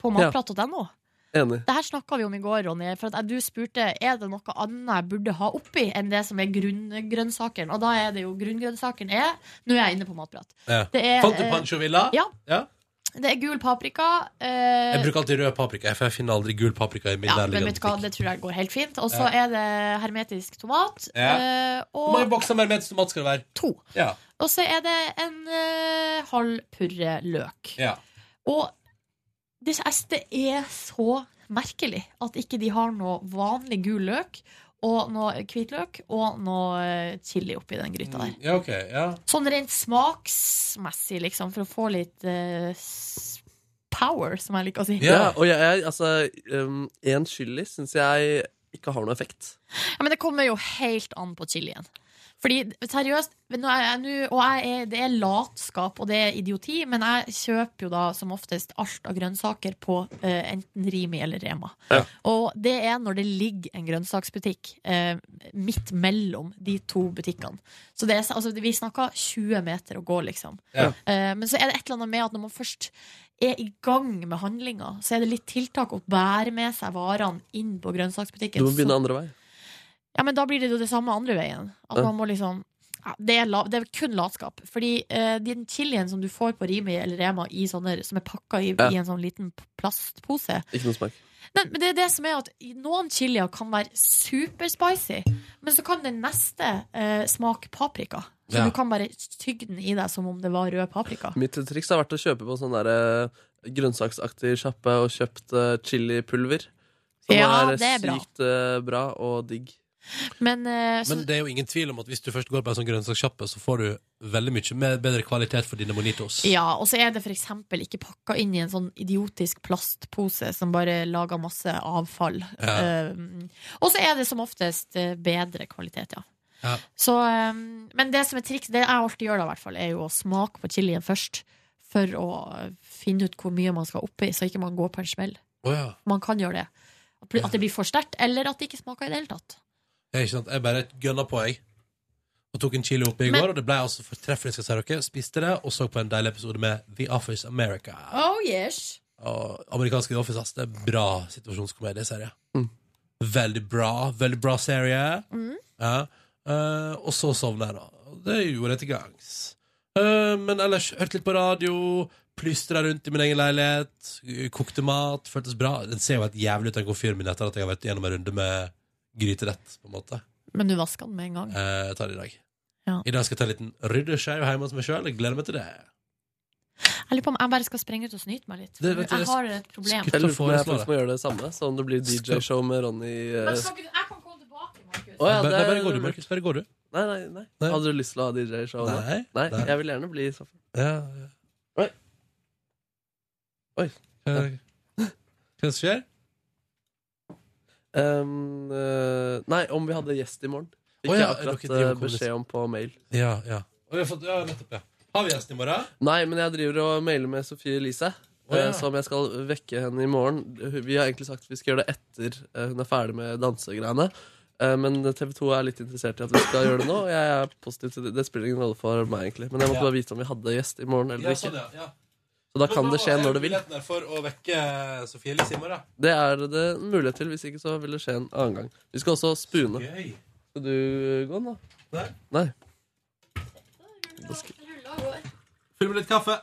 S2: på
S5: Ja.
S2: matprat.no.
S5: Enig.
S2: Det her snakka vi om i går, Ronny. For at jeg- du spurte er det noe annet jeg burde ha oppi enn det som er grunngrønnsakene. Og da er det jo grunngrønnsakene er Nå er jeg inne på matprat.
S1: Ja.
S2: Det er,
S1: Fant du
S2: eh,
S1: Pancho Villa?
S2: ja.
S1: Ja.
S2: Det er gul paprika. Eh,
S1: Jeg bruker alltid rød paprika, for jeg finner aldri gul paprika i min
S2: ja, men
S1: nærliggende
S2: vet du hva, det tror jeg går helt fint. Og så
S1: Ja.
S2: er det hermetisk tomat.
S1: Ja.
S2: eh,
S1: Hvor mange
S2: og,
S1: bokser med hermetisk tomat skal det være?
S2: To.
S1: Ja.
S2: og så er det en eh, halv purre løk.
S1: ja.
S2: Og det, altså, det er så merkelig at ikke de har noe vanlig gul løk og noe hvitløk og noe eh, chili oppi den gryta der.
S1: Ja, ok. Ja.
S2: Sånn rent smaksmessig, liksom, for å få litt eh, s- power, som jeg liker å si.
S5: Ja, og jeg, jeg altså um, En chili syns jeg ikke har noe effekt.
S2: Ja, men det kommer jo helt an på chilien. Fordi, seriøst, nå er jeg, nå- og jeg er, det er latskap og det er idioti, men jeg kjøper jo da som oftest alt av grønnsaker på eh, enten Rimi eller Rema.
S12: Ja.
S2: Og det er når det ligger en grønnsaksbutikk eh, midt mellom de to butikkene. Så det er, altså, vi snakker 20 meter å gå, liksom.
S12: Ja.
S2: Eh, men så er det et eller annet med at når man først er i gang med handlinga, så er det litt tiltak å bære med seg varene inn på grønnsaksbutikken.
S5: Du må begynne
S2: Så-
S5: andre vei.
S2: ja, men da blir det jo det samme andre veien. At
S5: Ja.
S2: man må liksom ja, det, er la, det er kun latskap. Fordi eh, den chilien som du får på Rimi eller Rema i sånne, som er pakka i,
S5: Ja.
S2: i en sånn liten p- plastpose
S5: Ikke noe smak.
S2: Nei, men det er det som er at i- Noen chilier kan være superspicy, men så kan den neste eh, smake paprika. Så
S5: Ja.
S2: du kan bare tygge den i deg som om det var rød paprika.
S5: Mitt triks har vært å kjøpe på sånn der eh, grønnsaksaktig sjappe og kjøpt eh, chilipulver. Som
S2: Ja,
S5: er,
S2: det er bra.
S5: sykt eh, bra og digg.
S2: Men, eh, så,
S1: Men det er jo ingen tvil om at hvis du først går på en sånn grønnsakssjappe, så får du veldig mye mer, bedre kvalitet for dine monitos.
S2: Ja, og så er det for eksempel ikke pakka inn i en sånn idiotisk plastpose som bare lager masse avfall.
S1: Ja.
S2: Um, og så er det som oftest eh, bedre kvalitet, ja.
S1: Ja.
S2: Så, um, men det som er triks, det jeg alltid gjør da i hvert fall, er jo å smake på chilien først. For å finne ut hvor mye man skal oppi, så ikke man går på en smell.
S1: Å ja.
S2: Man kan gjøre det. At bli- At det blir for sterkt, eller at det ikke smaker i det hele tatt.
S1: Ja, ikke sant? Jeg bare gønna på, jeg. Og tok en chili oppi i
S2: Men-
S1: går, og det ble altså fortreffelig. skal jeg si dere Spiste det, og så på en deilig episode med The Office America.
S2: Oh yes!
S1: Og amerikanske The Office, ass. Det er bra situasjonskomedieserie.
S5: Mm.
S1: Veldig bra. Veldig bra serie.
S12: Mm.
S1: Ja. Eh, og så sovna jeg, da. Og Det gjorde jeg til gangs. Eh, men ellers hørte litt på radio, plystra rundt i min egen leilighet, eh, kokte mat. Føltes bra. Den ser jo helt jævlig ut, den komfyren min, etter at jeg har vært gjennom en runde med gryterett. på en måte
S2: Men du vasker den med en gang.
S1: Eh, Jeg tar det i dag.
S2: Ja.
S1: I dag skal jeg ta en liten ryddeskeiv hjemme hos meg sjøl. Jeg gleder meg til det.
S2: Jeg lurer på om jeg bare skal sprenge ut og snyte meg litt.
S1: Det er
S2: For
S1: det jeg
S2: jeg har et problem.
S5: Jeg lurer på om jeg
S1: foreslå det.
S5: faktisk må gjøre det samme, så om det blir DJ-show med Ronny eh,
S2: Men skal ikke, jeg kan komme tilbake, Markus.
S5: Å ja,
S1: Bare-
S5: det er
S1: bare går du,
S5: lurt.
S1: Markus, bare går du.
S5: Nei, nei, nei. Hadde du lyst til å ha DJ-show? nå?
S1: Nei,
S5: nei.
S1: nei.
S5: Jeg vil gjerne bli i så fall.
S1: Ja,
S5: Oi. Oi.
S1: Eh, Hva skjer?
S5: Um, eh, nei, om vi hadde gjest i morgen.
S1: Å
S5: Ikke
S1: ja, dere
S5: akkurat
S1: driver
S5: eh,
S1: og
S5: beskjed
S1: kommuniserer.
S5: om på mail.
S1: Ja, ja. Og vi har fått, ja, nettopp, ja. Har vi gjest i morgen?
S5: Nei, men jeg driver og mailer med Sofie Elise.
S1: Å, ja.
S5: eh, Som jeg skal vekke henne i morgen. Vi har egentlig sagt at vi skal gjøre det etter eh, hun er ferdig med dansegreiene. Eh, Men TV2 er litt interessert i at vi skal gjøre det nå. Og jeg er positiv til det. Det spiller ingen rolle for meg, egentlig. Men jeg måtte
S1: Ja.
S5: bare vite om vi hadde gjest i morgen
S1: Ja,
S5: eller
S1: sånn, ja, ja.
S5: ikke. Så da
S1: Men
S5: kan det skje
S1: er
S5: når det vil.
S1: muligheten der For å vekke Sofie Elise i morgen.
S5: Det er det en mulighet til. Hvis ikke så vil det skje en annen gang. Vi skal også spune.
S1: gøy.
S5: Skal du eh, gå nå?
S1: Nei.
S5: Nei.
S1: Fyll med litt kaffe.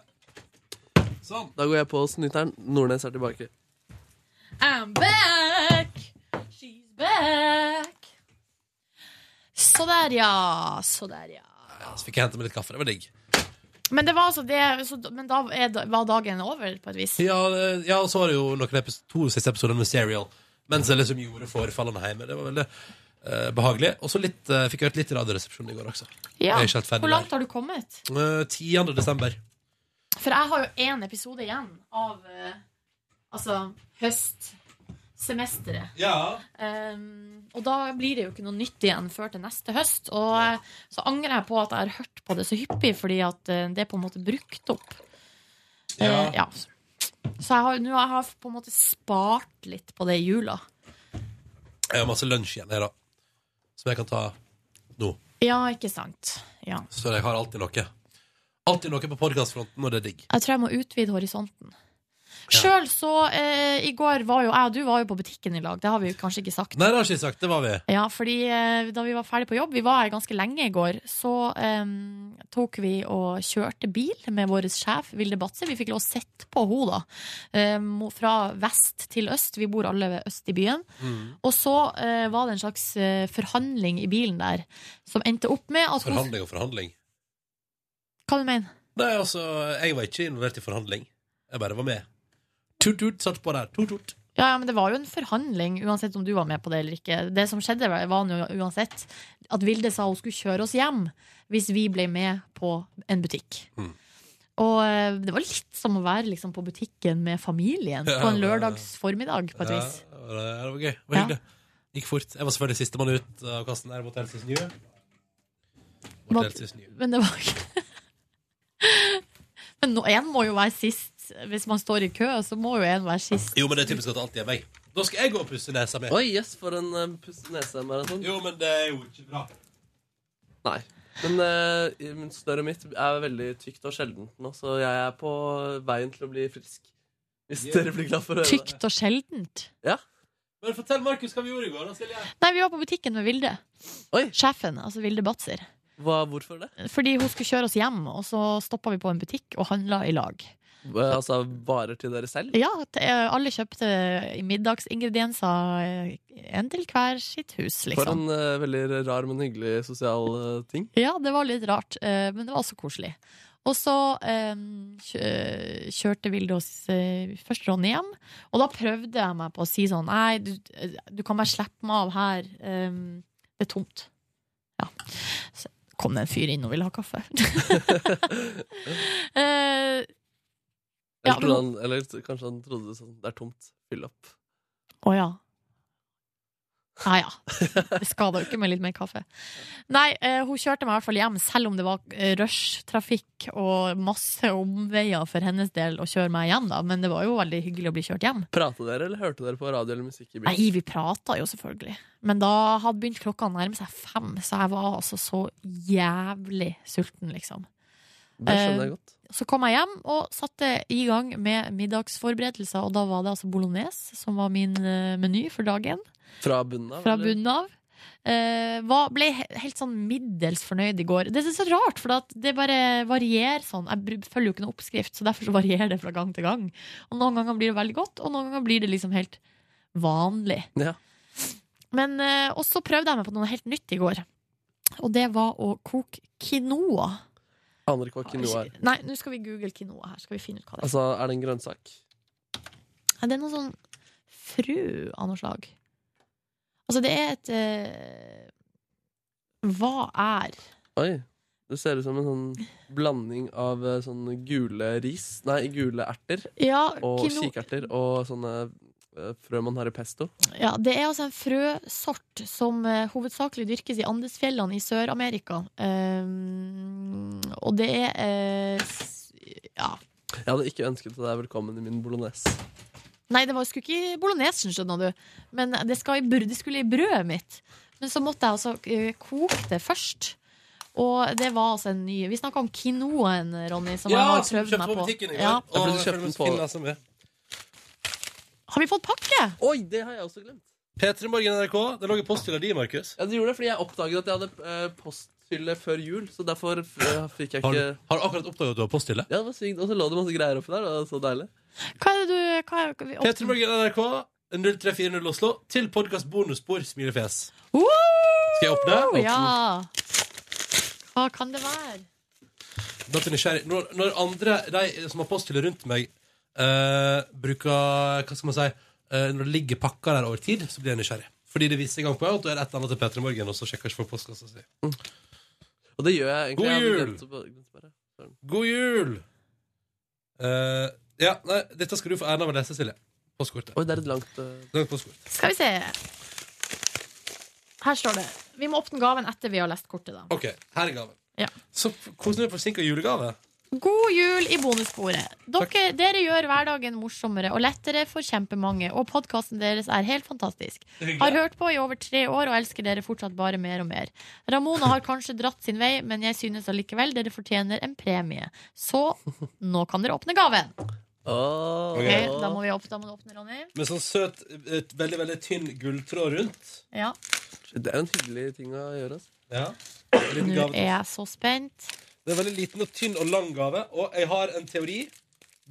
S1: Sånn.
S5: Da går jeg på snyteren. Nordnes er tilbake.
S2: I'm back! She's back! Så der, ja. Så der, ja.
S1: Ja, så fikk jeg hente meg litt kaffe. Det var digg.
S2: Men, det var altså det, så, men da er, da- var dagen over, på et vis.
S1: Ja, det- ja, og så var det jo noen epis- to siste episoder med Serial. Mens jeg liksom gjorde forfallene hjemme. Det var veldig eh, behagelig. Og så litt, eh, fikk jeg hørt litt i Radioresepsjonen i går også.
S2: Ja.
S1: Jeg er ikke helt ferdig
S2: Hvor langt har du kommet?
S1: der. Eh, 10. desember.
S2: For jeg har jo én episode igjen av eh, altså høstsemesteret.
S1: Ja.
S2: Um, og da blir det jo ikke noe nytt igjen før til neste høst. Og eh, så angrer jeg på at jeg har hørt på det så hyppig, fordi at eh, det er på en måte brukt opp.
S1: Ja.
S2: Eh, ja. Så jeg har, nå har jeg på en måte spart litt på det i jula.
S1: Jeg har masse lunsj igjen her, da. Som jeg kan ta nå.
S2: Ja, ikke sant. Ja.
S1: Så jeg har alltid noe. Alltid noe på podkastfronten, og det er digg.
S2: Jeg tror jeg må utvide horisonten. Sjøl så eh, I går var jo jeg og du var jo på butikken i lag. Det har vi jo kanskje ikke sagt.
S1: Nei, det har jeg ikke sagt. Det var vi.
S2: Ja, fordi eh, da vi var ferdig på jobb, vi var her ganske lenge i går, så eh, tok vi og kjørte bil med vår sjef, Vilde Batse. Vi fikk lov å sitte på henne, da. Eh, mo- fra vest til øst. Vi bor alle ved øst i byen. Og så eh, var det en slags eh, forhandling i bilen der, som endte opp med at hun-
S1: Forhandling og forhandling.
S2: Hva du mener
S1: Nei, altså, jeg var ikke involvert i forhandling. Jeg bare var med. Tut-tut satt på der. Tut-tut.
S2: Ja, ja, men det var jo en forhandling, uansett om du var med på det eller ikke. Det som skjedde, var var nå uansett at Vilde sa hun skulle kjøre oss hjem hvis vi ble med på en butikk.
S1: Mm.
S2: Og eh, det var litt som å være liksom, på butikken med familien
S1: Ja,
S2: på en
S1: det-
S2: lørdags formiddag, på et vis.
S1: Ja, det var- det var gøy. Det var hyggelig. Gikk fort. Jeg var selvfølgelig sistemann ut av kassen der mot Elses nye. Mot
S2: Hva-
S1: Elses nye.
S2: Men det var ikke Men nå- en må jo være sist. Hvis man står i kø, så må jo en være sist.
S1: Jo, men det er typisk at det alltid er meg. Da skal jeg gå og pusse nesa mi.
S5: Oi, yes, for en uh, pusse-nese-maraton.
S1: Jo, men det er jo ikke bra.
S5: Nei. Men eh, men snørret mitt er veldig tykt og sjeldent nå, så jeg er på veien til å bli frisk. Hvis dere blir glad for å høre det.
S2: Tykt og sjeldent.
S5: Ja.
S1: Men fortell, Markus, hva vi gjorde i går, da, Silje.
S2: Nei, vi var på butikken med Vilde. Sjefen, altså Vilde Batzer.
S5: Hva, hvorfor det?
S2: Fordi hun skulle kjøre oss hjem, og så stoppa vi på en butikk og handla i lag.
S5: Eh, altså varer til dere selv?
S2: Ja, t- eh, alle kjøpte eh, middagsingredienser, eh, en til hver sitt hus,
S5: For
S2: liksom.
S5: en eh, veldig rar, men hyggelig sosial eh, ting.
S2: Ja, det var litt rart, eh, men det var også koselig. Og så eh, kjø- eh, kjørte Vilde oss eh, først Ronny hjem, og da prøvde jeg meg på å si sånn Nei, du, du kan bare slippe meg av her. eh, Det er tomt. Ja. Så kom det en fyr inn og ville ha kaffe. Eh,
S5: Eller,
S2: Ja,
S5: trodde
S2: men-
S5: han, eller t- kanskje han trodde sånn Det er tomt. Fyll opp.
S2: Å ja. Nei ja. Det skader jo ikke med litt mer kaffe. Nei, eh, hun kjørte meg i hvert fall hjem, selv om det var eh, rushtrafikk og masse omveier for hennes del å kjøre meg hjem, da. Men det var jo veldig hyggelig å bli kjørt hjem.
S5: Prate dere, eller hørte dere på radio eller musikk i bilen?
S2: Nei, vi prata jo selvfølgelig. Men da hadde begynt klokka å nærme seg fem, så jeg var altså så jævlig sulten, liksom.
S5: Det skjønner jeg
S2: Eh,
S5: godt.
S2: Så kom jeg hjem og satte i gang med middagsforberedelser, og da var det altså bolognese som var min eh, meny for dagen.
S5: Fra bunnen av?
S2: Fra
S5: eller?
S2: bunnen av. Eh, var, ble he- helt sånn middels fornøyd i går. Det er så rart, for at det bare varierer sånn. Jeg br- følger jo ikke noen oppskrift, så derfor så varierer det fra gang til gang. Og Noen ganger blir det veldig godt, og noen ganger blir det liksom helt vanlig.
S5: Ja.
S2: Men eh, Og så prøvde jeg meg på noe helt nytt i går. Og det var å koke quinoa.
S5: Aner ikke hva quinoa er.
S2: Nei, nå skal vi google quinoa her. Skal vi finne ut hva det er.
S5: Altså, er det en grønnsak?
S2: Nei, Det er noe sånn frø av noe slag. Altså, det er et eh, Hva er
S5: Oi. Det ser ut som en sånn blanding av eh, sånn gule ris Nei, gule erter
S2: Ja,
S5: og
S2: quinoa-
S5: kikerter og sånne eh, frø man har i pesto.
S2: Ja, det er altså en frøsort som eh, hovedsakelig dyrkes i Andesfjellene i Sør-Amerika. Ehm, og det er eh, s- Ja.
S5: Jeg hadde ikke ønsket deg velkommen i min bolognese.
S2: Nei, det var, skulle ikke i bolognesen, skjønner du. Men det, skal i, br- det skulle i brødet mitt. Men så måtte jeg altså eh, koke det først. Og det var altså en ny Vi snakka om quinoaen, Ronny, som jeg har prøvd meg på. Ja.
S1: Og
S5: Jeg
S1: jeg
S5: prøvde å kjøpe
S1: føler
S5: den
S1: meg så
S5: på-
S1: fin, altså, med.
S2: Har vi fått pakke?
S5: Oi, det har jeg også glemt.
S1: P3 Morgen NRK, det lå i posthylla di, Markus.
S5: Ja, det gjorde det fordi jeg oppdaget at jeg hadde eh, posthylle før jul, så derfor eh, fikk jeg
S1: Har,
S5: ikke
S1: har du akkurat oppdaget at du har posthylle?
S5: Ja, det var sykt. Og så lå det masse greier oppi der. Det var så deilig.
S2: Hva er det du hva er, vi-
S1: P3 Morgen NRK, 0340 Oslo, til podkast bonusspor smilefjes.
S2: Woo!
S1: Skal jeg åpne? Åpne.
S2: Ja. Hva kan det være?
S1: Da blir jeg nysgjerrig. Når, når andre, de som har posthylle rundt meg, eh, bruker Hva skal man si? eh, når det ligger pakker der over tid, så blir jeg nysgjerrig. Fordi det viser gang på gang at du gjør et eller annet til P3 Morgen, og så sjekker ikke folk postkassa si.
S5: Og det gjør jeg egentlig.
S1: God
S5: Jeg hadde
S1: jul!
S5: glemt å bare- glemt å bare-
S1: God jul! Eh, ja, nei, dette skal du få æren av å lese, Silje. Postkortet.
S5: Oi, det er et langt eh,
S1: Langt postkort.
S2: Skal vi se. Her står det. Vi må åpne gaven etter vi har lest kortet, da.
S1: OK, her er gaven.
S2: Ja.
S1: Så f- hvordan er forsinka julegave?
S2: God jul i bonussporet. Dere, dere gjør hverdagen morsommere og lettere for kjempemange, og podkasten deres er helt fantastisk.
S12: Hyggelig.
S2: Har hørt på i over tre år og elsker dere fortsatt bare mer og mer. Ramona har kanskje dratt sin vei, men jeg synes allikevel dere fortjener en premie. Så nå kan dere åpne gaven. Ok, da må vi opp, da må du åpne, Ronny.
S1: Med sånn søt, et veldig veldig tynn gulltråd rundt.
S2: Ja.
S5: Det er en hyggelig ting å gjøre. Altså.
S1: Ja.
S2: Nå er jeg så spent.
S1: Det er en veldig liten og tynn og lang gave. Og jeg har en teori.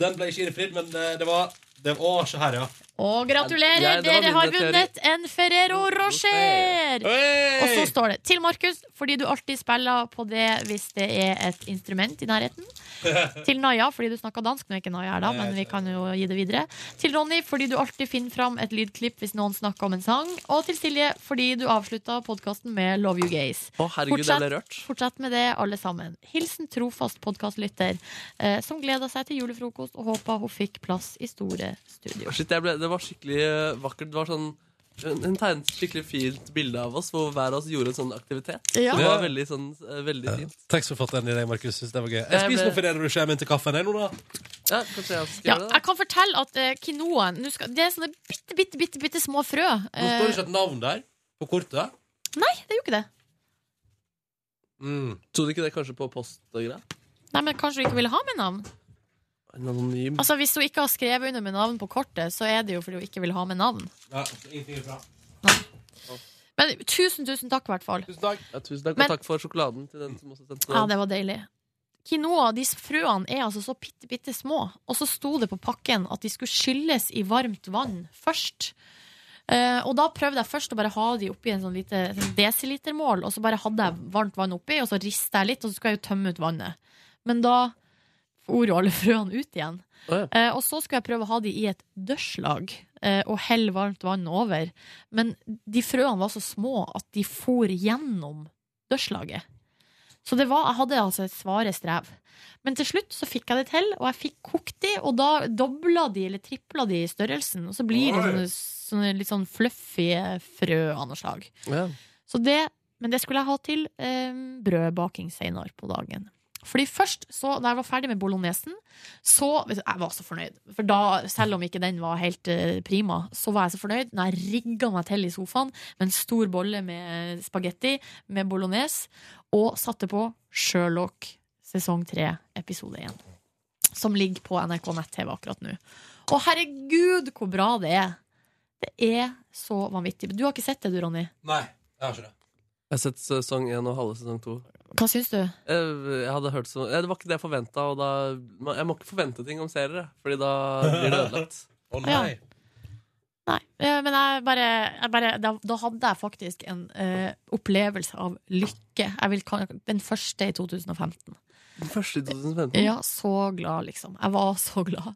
S1: Den ble ikke innfridd, men eh, det var, det var Å, se her, ja.
S2: Og gratulerer!
S1: Ja, det var
S2: dere
S1: min
S2: har
S1: teori.
S2: vunnet en Ferrero Rocher!
S1: Hey!
S2: Og så står det til Markus, fordi du alltid spiller på det hvis det er et instrument i nærheten. Til Naya, fordi du snakker dansk. Nå er ikke Naya her, da, men vi kan jo gi det videre. Til Ronny, fordi du alltid finner fram et lydklipp hvis noen snakker om en sang. Og til Silje, fordi du avslutta podkasten med Love You Gays.
S5: Å, herregud, jeg ble rørt.
S2: fortsett med det, alle sammen. Hilsen trofast podkastlytter, eh, som gleda seg til julefrokost og håpa hun fikk plass i store studio.
S5: Shit, jeg ble, det var skikkelig eh, vakkert. Det var sånn hun hun tegnet et skikkelig fint bilde av oss, hvor hver av oss gjorde en sånn aktivitet.
S1: Ja.
S5: Det var veldig, sånn, eh, veldig fint.
S1: Tekstforfatteren i deg, Markus, synes det var gøy. Jeg
S5: Jeg
S1: spiser
S5: ble-
S1: noe Ferrero Rocher min til kaffen, jeg nå, da.
S5: Ja, kanskje jeg skal
S2: Ja,
S5: gjøre det.
S2: jeg kan fortelle at eh, quinoaen nå skal, Det er sånne bitte, bitte, bitte, bitte små frø.
S1: Nå står det sånn.
S2: Eh,
S1: ikke et navn der på kortet.
S2: nei, det er jo ikke det.
S1: Mm.
S5: Tror du ikke det kanskje på post og greier?
S2: Nei, men Kanskje hun ikke ville ha med navn?
S5: En anonym
S2: Altså, Hvis hun ikke har skrevet under med navn på kortet, så er det jo fordi hun ikke vil ha med navn.
S1: Ja, ingenting er bra.
S2: Men tusen, tusen takk, i hvert fall.
S1: Tusen takk.
S5: Ja, tusen takk,
S2: Men-
S5: og takk for sjokoladen til den som også sendte
S2: Ja, det var deilig. Quinoa, disse frøene er altså så bitte, bitte små. Og så sto det på pakken at de skulle skylles i varmt vann først. Eh, og da prøvde jeg først å bare ha de oppi en sånn lite sånn desilitermål, og så bare hadde jeg varmt vann oppi, og så rista jeg litt, og så skulle jeg jo tømme ut vannet. Men da for jo alle frøene ut igjen. Eh, og så skulle jeg prøve å ha de i et dørslag eh, og helle varmt vann over. Men de frøene var så små at de for gjennom dørslaget. Så det var, jeg hadde altså et svare strev. Men til slutt så fikk jeg det til, og jeg fikk kokt de, og da dobla de eller tripla de i størrelsen. Og så blir det
S12: Oi.
S2: sånne, sånne litt sånn fluffy frø av noe slag.
S5: Ja.
S2: Så det, men det skulle jeg ha til eh, brødbaking senere på dagen. Fordi først, så, da jeg var ferdig med bolognesen, så vet du, Jeg var så fornøyd. For da, selv om ikke den var helt eh, prima, så var jeg så fornøyd. Når jeg rigga meg til i sofaen med en stor bolle med spagetti med bolognese, og satte på Sherlock sesong tre, episode én. Som ligger på NRK nett-TV akkurat nå. Å, herregud, hvor bra det er! Det er så vanvittig. Du har ikke sett det, du, Ronny?
S1: Nei, jeg har ikke det.
S5: Jeg har sett sesong 1 og halve sesong 2
S2: Hva syns du?
S5: Jeg hadde hørt så, Det var ikke det jeg forventa og da, Jeg må ikke forvente ting om serier jeg, Fordi da blir det ødelagt
S1: Å
S2: nei. Nei, eh, men jeg bare, jeg bare da, da hadde jeg faktisk en eh, opplevelse av lykke. Jeg vil, kan- den første i 2015.
S5: Den første i 2015
S2: Ja, så glad, liksom. Jeg var så glad.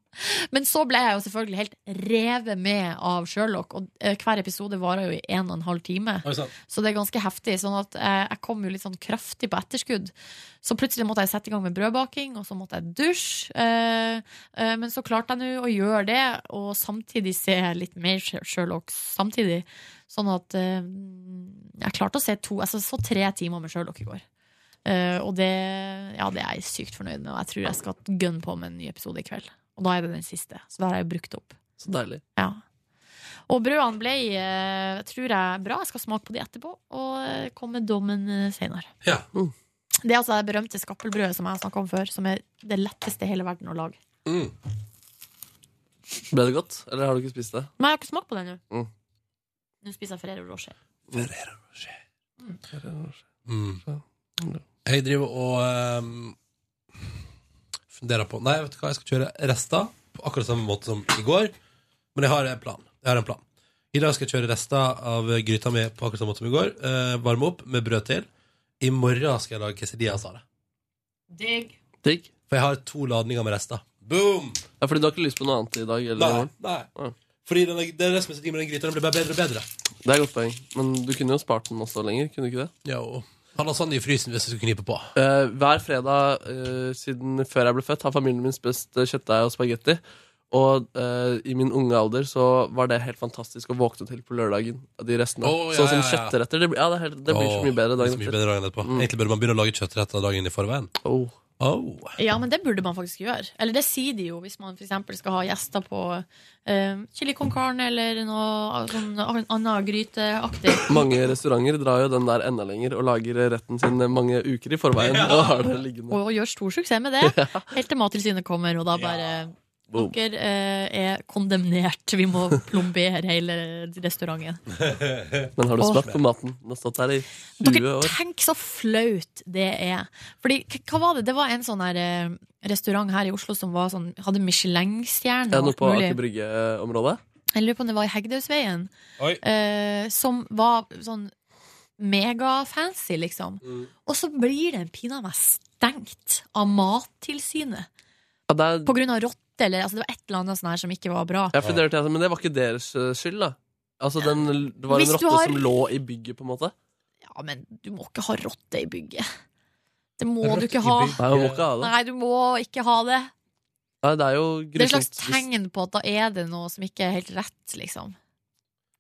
S2: Men så ble jeg jo selvfølgelig helt revet med av Sherlock, og eh, hver episode varer jo i en og en halv time.
S12: Oi, sant.
S2: Så det er ganske heftig. Sånn at eh, jeg kom jo litt sånn kraftig på etterskudd. Så plutselig måtte jeg sette i gang med brødbaking, og så måtte jeg dusje. Eh, eh, men så klarte jeg nå å gjøre det, og samtidig se litt mer Sher- Sherlock samtidig. Sånn at eh, jeg klarte å se to Altså så tre timer med Sherlock i går. Eh, og det, ja, det er jeg sykt fornøyd med, og jeg tror jeg skal gønne på med en ny episode i kveld. Og da er det den siste, så da har jeg jo brukt opp.
S5: Så deilig
S2: Ja. Og brødene ble, eh, tror jeg, bra. Jeg skal smake på de etterpå, og eh, komme med dommen eh, senere.
S1: Ja.
S2: Det er altså det berømte skappelbrødet som jeg har snakka om før, som er det letteste i hele verden å lage.
S5: Ble det godt? Eller har du ikke spist det?
S2: Men jeg har ikke smakt på det ennå.
S5: Mm.
S2: Nå spiser jeg Ferrero Rocher.
S1: Ferrero Rocher. Mm. Jeg driver og ehm, funderer på Nei, vet du hva, jeg skal kjøre rester på akkurat samme måte som i går. Men jeg har en plan. Jeg har en plan. I dag skal jeg kjøre rester av gryta mi på akkurat samme måte som i går. eh, varme opp med brød til. I morgen skal jeg lage quesadillas av det.
S2: Digg.
S5: Digg.
S1: For jeg har to ladninger med rester. Boom!
S5: Ja, fordi du har ikke lyst på noe annet i dag? Eller i
S1: Nei,
S5: morgen?
S1: nei. Fordi den, det er det som er så digg med den gryta. Den blir bare bedre og bedre.
S5: Det er et godt poeng Men du kunne jo spart den også lenger, kunne du ikke det?
S1: Jo. Han har sånn i frysen hvis du skulle knipe på.
S5: Eh, hver fredag eh, siden før jeg ble født, har familien min spist eh, kjøttdeig og spagetti. Og eh, i min unge alder så var det helt fantastisk å våkne til på lørdagen. av De restene.
S1: Å, ja,
S5: sånn som
S1: ja, ja.
S5: kjøttretter. Det, blir- ja, det, er helt, det blir så
S1: Åh,
S5: mye bedre
S1: det blir
S5: dagen
S1: så mye
S5: etter. Mm.
S1: bedre dagen etterpå. Egentlig burde man begynne å lage kjøttretter dagen i forveien.
S5: Oh.
S1: Oh.
S2: Ja, men det burde man faktisk gjøre. Eller det sier de jo hvis man for eksempel skal ha gjester på eh, chili con carne eller noe sånn annet gryteaktig.
S5: Mange restauranter drar jo den der enda lenger og lager retten sin eh, mange uker i forveien. Og har det liggende
S2: Og, og gjør stor suksess med det. Helt til Mattilsynet kommer, og da bare
S5: Boom.
S2: Dere eh, er kondemnert. Vi må plombere hele restauranten.
S5: Men har du
S2: Åh.
S5: smakt på maten? Den har stått her i 20
S2: Dere,
S5: år.
S2: tenk så flaut det er. Fordi, k- hva var det? Det var en sånn her eh, restaurant her i Oslo som var sånn, hadde Michelin-stjerne.
S5: Er det
S2: og
S5: noe på
S2: alt mulig.
S5: Aker Brygge-området?
S2: Jeg lurer på om det var i Hegdehaugsveien.
S5: Oi.
S2: eh, som var sånn megafancy, liksom.
S5: Mm.
S2: Og så blir den pinadø meg stengt av Mattilsynet. På grunn av rotte, eller altså, det var et eller annet sånn her som ikke var bra.
S5: Ja, for det hørte jeg, men det var ikke deres eh, skyld, da. Altså, den, det var
S2: Hvis
S5: en
S2: du
S5: rotte
S2: har-
S5: som lå i bygget, på en måte.
S2: Ja, men du må ikke ha rotte i bygget. Det må
S5: Rotte
S2: du ikke
S5: i
S2: ha.
S5: bygget. Nei, man må ikke ha det.
S2: Nei, du må ikke ha det.
S5: Nei, det er jo
S2: Det er et slags
S5: grusomt. hvis-
S2: tegn på at da er det noe som ikke er helt rett, liksom.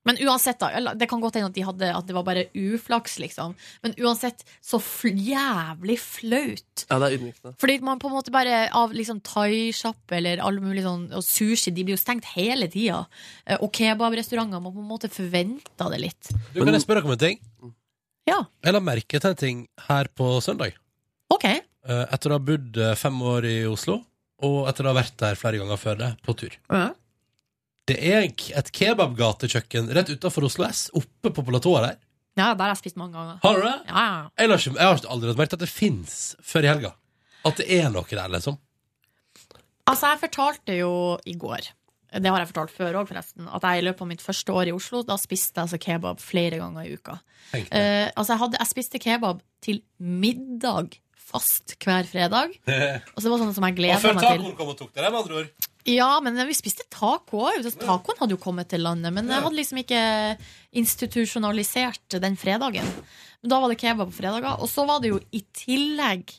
S2: Men uansett, da. eller Det kan godt hende at, de hadde, at det var bare uflaks, liksom. Men uansett, så fl jævlig flaut.
S5: Ja, det er ydmykende.
S2: Fordi man på en måte bare av liksom thaisjappe eller all mulig sånn Og sushi, de blir jo stengt hele tida. Eh, Og kebabrestauranter. Man på en måte forventa det litt.
S1: Du, kan jeg spørre dere om en ting?
S2: Ja.
S1: Jeg la merke til en ting her på søndag.
S2: OK.
S1: Eh, Etter å ha bodd eh, fem år i Oslo, og etter å ha vært der flere ganger før det, på tur. Det er en k- et kebabgatekjøkken rett utenfor Oslo S, oppe på platået der.
S2: Ja, der har jeg spist mange ganger.
S1: Har du det?
S2: Ja, ja.
S1: Jeg har, ikke, jeg har aldri lagt merke til at det fins før i helga. At det er noe der, liksom.
S2: Altså, jeg fortalte jo i går, det har jeg fortalt før òg, forresten, at jeg i løpet av mitt første år i Oslo, da spiste jeg altså kebab flere ganger i uka.
S1: Tenk det.
S2: Eh, altså, jeg, hadde, jeg spiste kebab til middag fast hver fredag. Og så det var sånn som jeg
S1: Og
S2: gleda
S1: før
S2: meg til.
S1: tacoen kom og tok deg, med andre ord.
S2: Ja, men eh, vi spiste taco òg. Tacoen hadde jo kommet til landet, men jeg hadde liksom ikke institusjonalisert den fredagen. Men da var det kebab på fredager. Og så var det jo i tillegg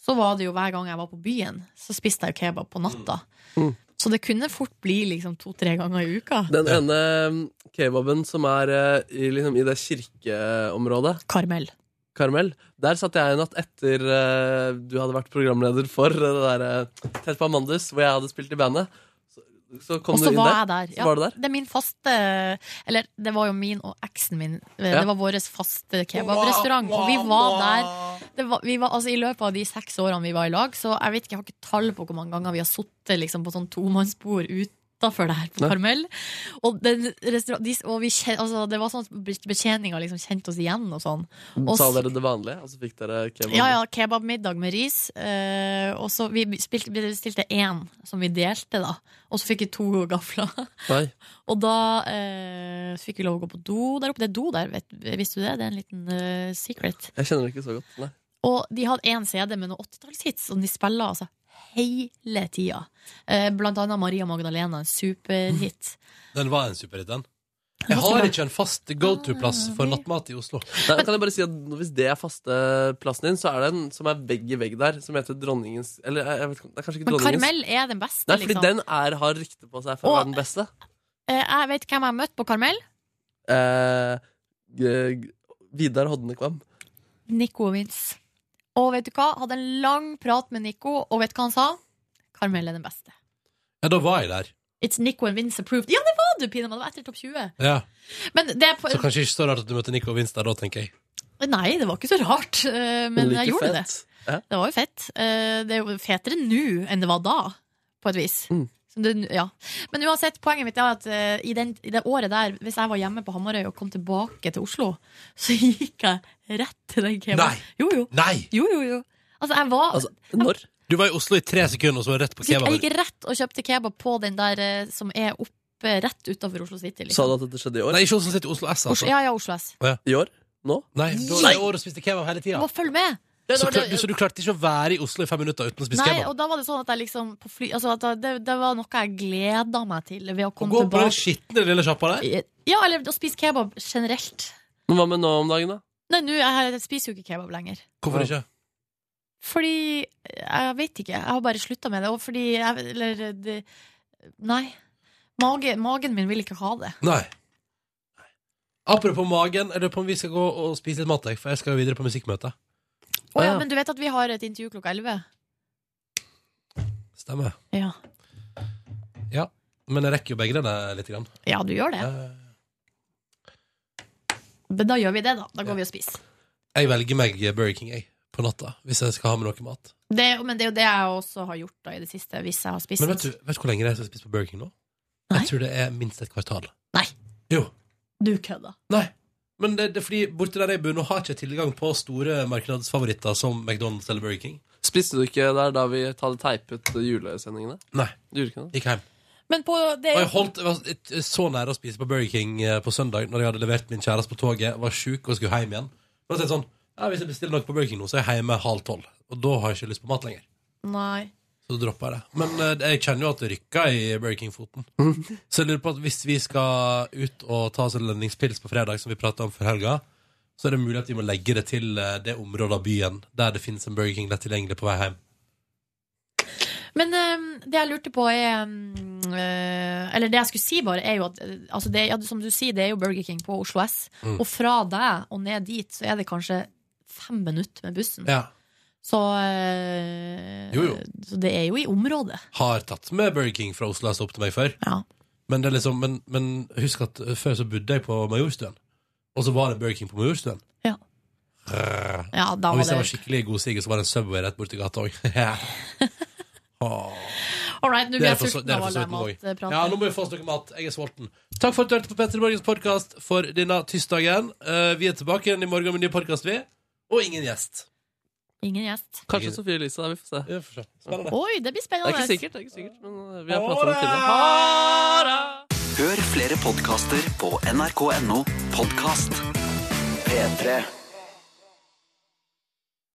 S2: Så var det jo hver gang jeg var på byen, så spiste jeg jo kebab på natta.
S5: Mm.
S2: Så det kunne fort bli liksom to-tre ganger i uka.
S5: Den ene eh, kebaben som er eh, i, liksom, i det kirkeområdet
S2: Karmel.
S5: Karmel. Der satt jeg en natt etter eh, du hadde vært programleder for eh, det der eh, Tett på Amandus, hvor jeg hadde spilt i bandet. Så, så kom
S2: Og så
S5: du inn
S2: var
S5: der.
S2: jeg der.
S5: Så var du der.
S2: Det er min faste Eller det var jo min og eksen min. Det
S5: Ja.
S2: var vår faste kebabrestaurant. Og vi var der det var, vi var, altså, I løpet av de seks årene vi var i lag, så jeg vet ikke, jeg har ikke tall på hvor mange ganger vi har sittet liksom, på sånn tomannsbord utafor der på
S12: Nei.
S2: Karmel. Og, den restaurant- de, og vi, kjen- altså, det var sånn at betjeninga liksom kjente oss igjen og sånn. Og
S5: Sa
S2: s-
S5: dere det vanlige, og så fikk dere kebab?
S2: ja, ja, kebabmiddag med ris. eh, og så Vi spilte- vi bestilte én som vi delte, da. Og så fikk vi to gafler.
S5: Nei.
S2: Og da eh, så fikk vi lov å gå på do der oppe. Det er do der, vet, visste du det? Det er en liten eh, secret.
S5: Jeg kjenner det ikke så godt. Nei.
S2: Og de hadde én CD med noen 80-tallshits, og de spiller altså hele tida. Eh, blant annet Maria Magdalena, en superhit.
S1: Den var en superhit, den. Jeg har ikke en fast go-to-plass
S2: Ah,
S1: for nattmat i Oslo.
S5: Nei, kan jeg bare si at Hvis det er faste plassen din, så er det en som er vegg i vegg der, som heter Dronningens Eller eh, jeg vet, ikke, det er kanskje ikke
S2: Men
S5: Dronningens.
S2: Karmel er den beste,
S5: Nei, fordi
S2: liksom.
S5: den er, har rykte på seg for å
S2: Og-
S5: være den beste.
S2: Eh, jeg vet hvem jeg møtte på Karmel.
S5: Eh, g- g- Vidar Hodnekvam.
S2: Nico og Vince. Og vet du hva? Hadde en lang prat med Nico, og vet du hva han sa? Karmel er den beste.
S1: Ja, da var jeg der.
S2: It's Nico and Vince approved. Ja, det var du, Pina! Det var etter topp 20.
S1: Ja.
S2: Men det er på,
S1: Så kanskje ikke så rart at du møtte Nico og Vince der da, tenker jeg.
S2: Nei, det var ikke så rart, eh, men
S1: Like
S2: jeg gjorde
S1: fett.
S2: det.
S5: Ja.
S2: Det var jo fett. Eh, Det er jo fetere nå enn det var da, på et vis.
S1: Mm.
S2: Så Det, ja. Men uansett, poenget mitt er at eh, i, den, i det året der, hvis jeg var hjemme på Hamarøy og kom tilbake til Oslo, så gikk jeg rett til den kebaben. Jo, jo.
S1: Nei!
S2: Jo, jo, jo. Altså, jeg var
S5: Når?
S1: Du var i Oslo i tre sekunder, og så var det rett på
S2: så gikk, Jeg
S1: kebaben.
S2: gikk rett og kjøpte kebab på den der eh, som er oppe rett utafor Oslo City.
S5: Sa
S2: Liksom.
S5: du at dette skjedde i år?
S1: Nei, ikke Oslo City, Oslo S. altså.
S2: Oslo, ja, ja, Oslo S.
S5: I år? Nå?
S1: Nei, da er det året spiste kebab hele
S2: Du
S1: tida.
S2: må følge med!
S1: Så, klar, du- så du klarte ikke å være i Oslo i fem minutter uten å spise
S2: Nei,
S1: kebab?
S2: og da var det sånn at jeg liksom på fly, altså at det, det var noe jeg gleda meg til ved å
S1: Og
S2: komme
S1: gå på den
S2: tilbake.
S1: skitne lille sjappa der?
S2: Ja, eller å spise kebab generelt.
S5: Men hva med nå om dagen, da?
S2: Nei, nå jeg, jeg spiser jo ikke kebab lenger.
S1: Hvorfor ikke?
S2: Fordi Jeg vet ikke. Jeg har bare slutta med det. Og fordi jeg, Eller det, Nei. Mage, magen min vil ikke ha det.
S1: Nei. Apropos magen, jeg lurer på om vi skal gå og spise litt mat, jeg, for jeg skal jo videre på musikkmøte.
S2: Å ja, men du vet at vi har et intervju klokka elleve?
S1: Stemmer.
S2: Ja.
S1: Ja. Men jeg rekker jo begge denne litt. Grann.
S2: Ja, du gjør det. Men da gjør vi det, da. Da går vi og spiser.
S1: Jeg velger meg Burger King jeg, på natta hvis jeg skal ha med noe mat.
S2: Det, men det er jo det jeg også har gjort da i det siste, hvis jeg har spist.
S1: Men vet du, vet du hvor lenge det er siden jeg har spist på Burger King nå? Jeg tror det er minst et kvartal.
S2: Nei.
S1: Jo.
S2: Du kødda.
S1: Nei. Men det, det er fordi borte der jeg bor, nå har jeg ikke tilgang på store markedsfavoritter som McDonald's eller Burger King.
S5: Spiste du ikke der da vi hadde teipet julesendingene?
S1: Nei.
S5: Du gjorde ikke det?
S1: Gikk hjem.
S2: Men på det
S1: Og jeg, holdt, jeg var jeg- så nære å spise på Burger King eh, på søndag Når jeg hadde levert min kjæreste på toget, var sjuk og skulle hjem igjen. Men så er det sånn, ja, Hvis jeg bestiller noe på Burger King nå, så er jeg hjemme halv tolv. Og da har jeg ikke lyst på mat lenger.
S2: Nei.
S1: Så da dropper jeg det. Men eh, jeg kjenner jo at det rykker i Burger King-foten. Så jeg lurer på at hvis vi skal ut og ta oss en lønningspils på fredag, som vi pratet om før helga, så er det mulig at vi må legge det til eh, det området av byen der det finnes en Burger King lett tilgjengelig på vei hjem.
S2: Men eh, det jeg lurte på er mm, eh, Eller det jeg skulle si bare, er jo at eh, altså det, ja, Som du sier, det er jo Burger King på Oslo S.
S1: Mm.
S2: Og fra deg og ned dit, så er det kanskje fem minutter med bussen.
S1: Ja.
S2: Så, eh,
S1: Jo, jo.
S2: så det er jo i området.
S1: Har tatt med Burger King fra Oslo S opp til meg før. Men, det er liksom, men, men husk at eh, før så bodde jeg på Majorstuen, og så var det Burger King på Majorstuen.
S2: Ja.
S1: Øh.
S2: Ja, da
S1: og
S2: var
S1: hvis jeg
S2: det-
S1: var skikkelig god siger, så var det en Subway rett borti gata òg.
S2: All right, nå
S1: Det
S2: blir
S1: er
S2: jeg
S1: for så-
S2: sulten
S1: det er eh,
S2: av
S1: for
S2: all
S1: så
S2: den
S1: vidt noe.
S2: matpraten.
S1: Ja, nå må vi få oss noe mat. Jeg er sulten. Takk for at du hørte på Petter Morgens podkast for denne tirsdagen. Eh, vi er tilbake igjen i morgen med ny podkast, vi. Og ingen gjest.
S2: Ingen gjest.
S5: Kanskje Sofie Elise, da. Vi får se.
S1: Spennende.
S2: Oi, det blir
S5: Det
S2: spennende.
S5: er ikke sikkert, det er ikke sikkert men uh, vi har pratet om
S3: Ha
S5: det
S3: det!
S5: tidligere.
S3: Hør flere podkaster på nrk.no podkast. P3.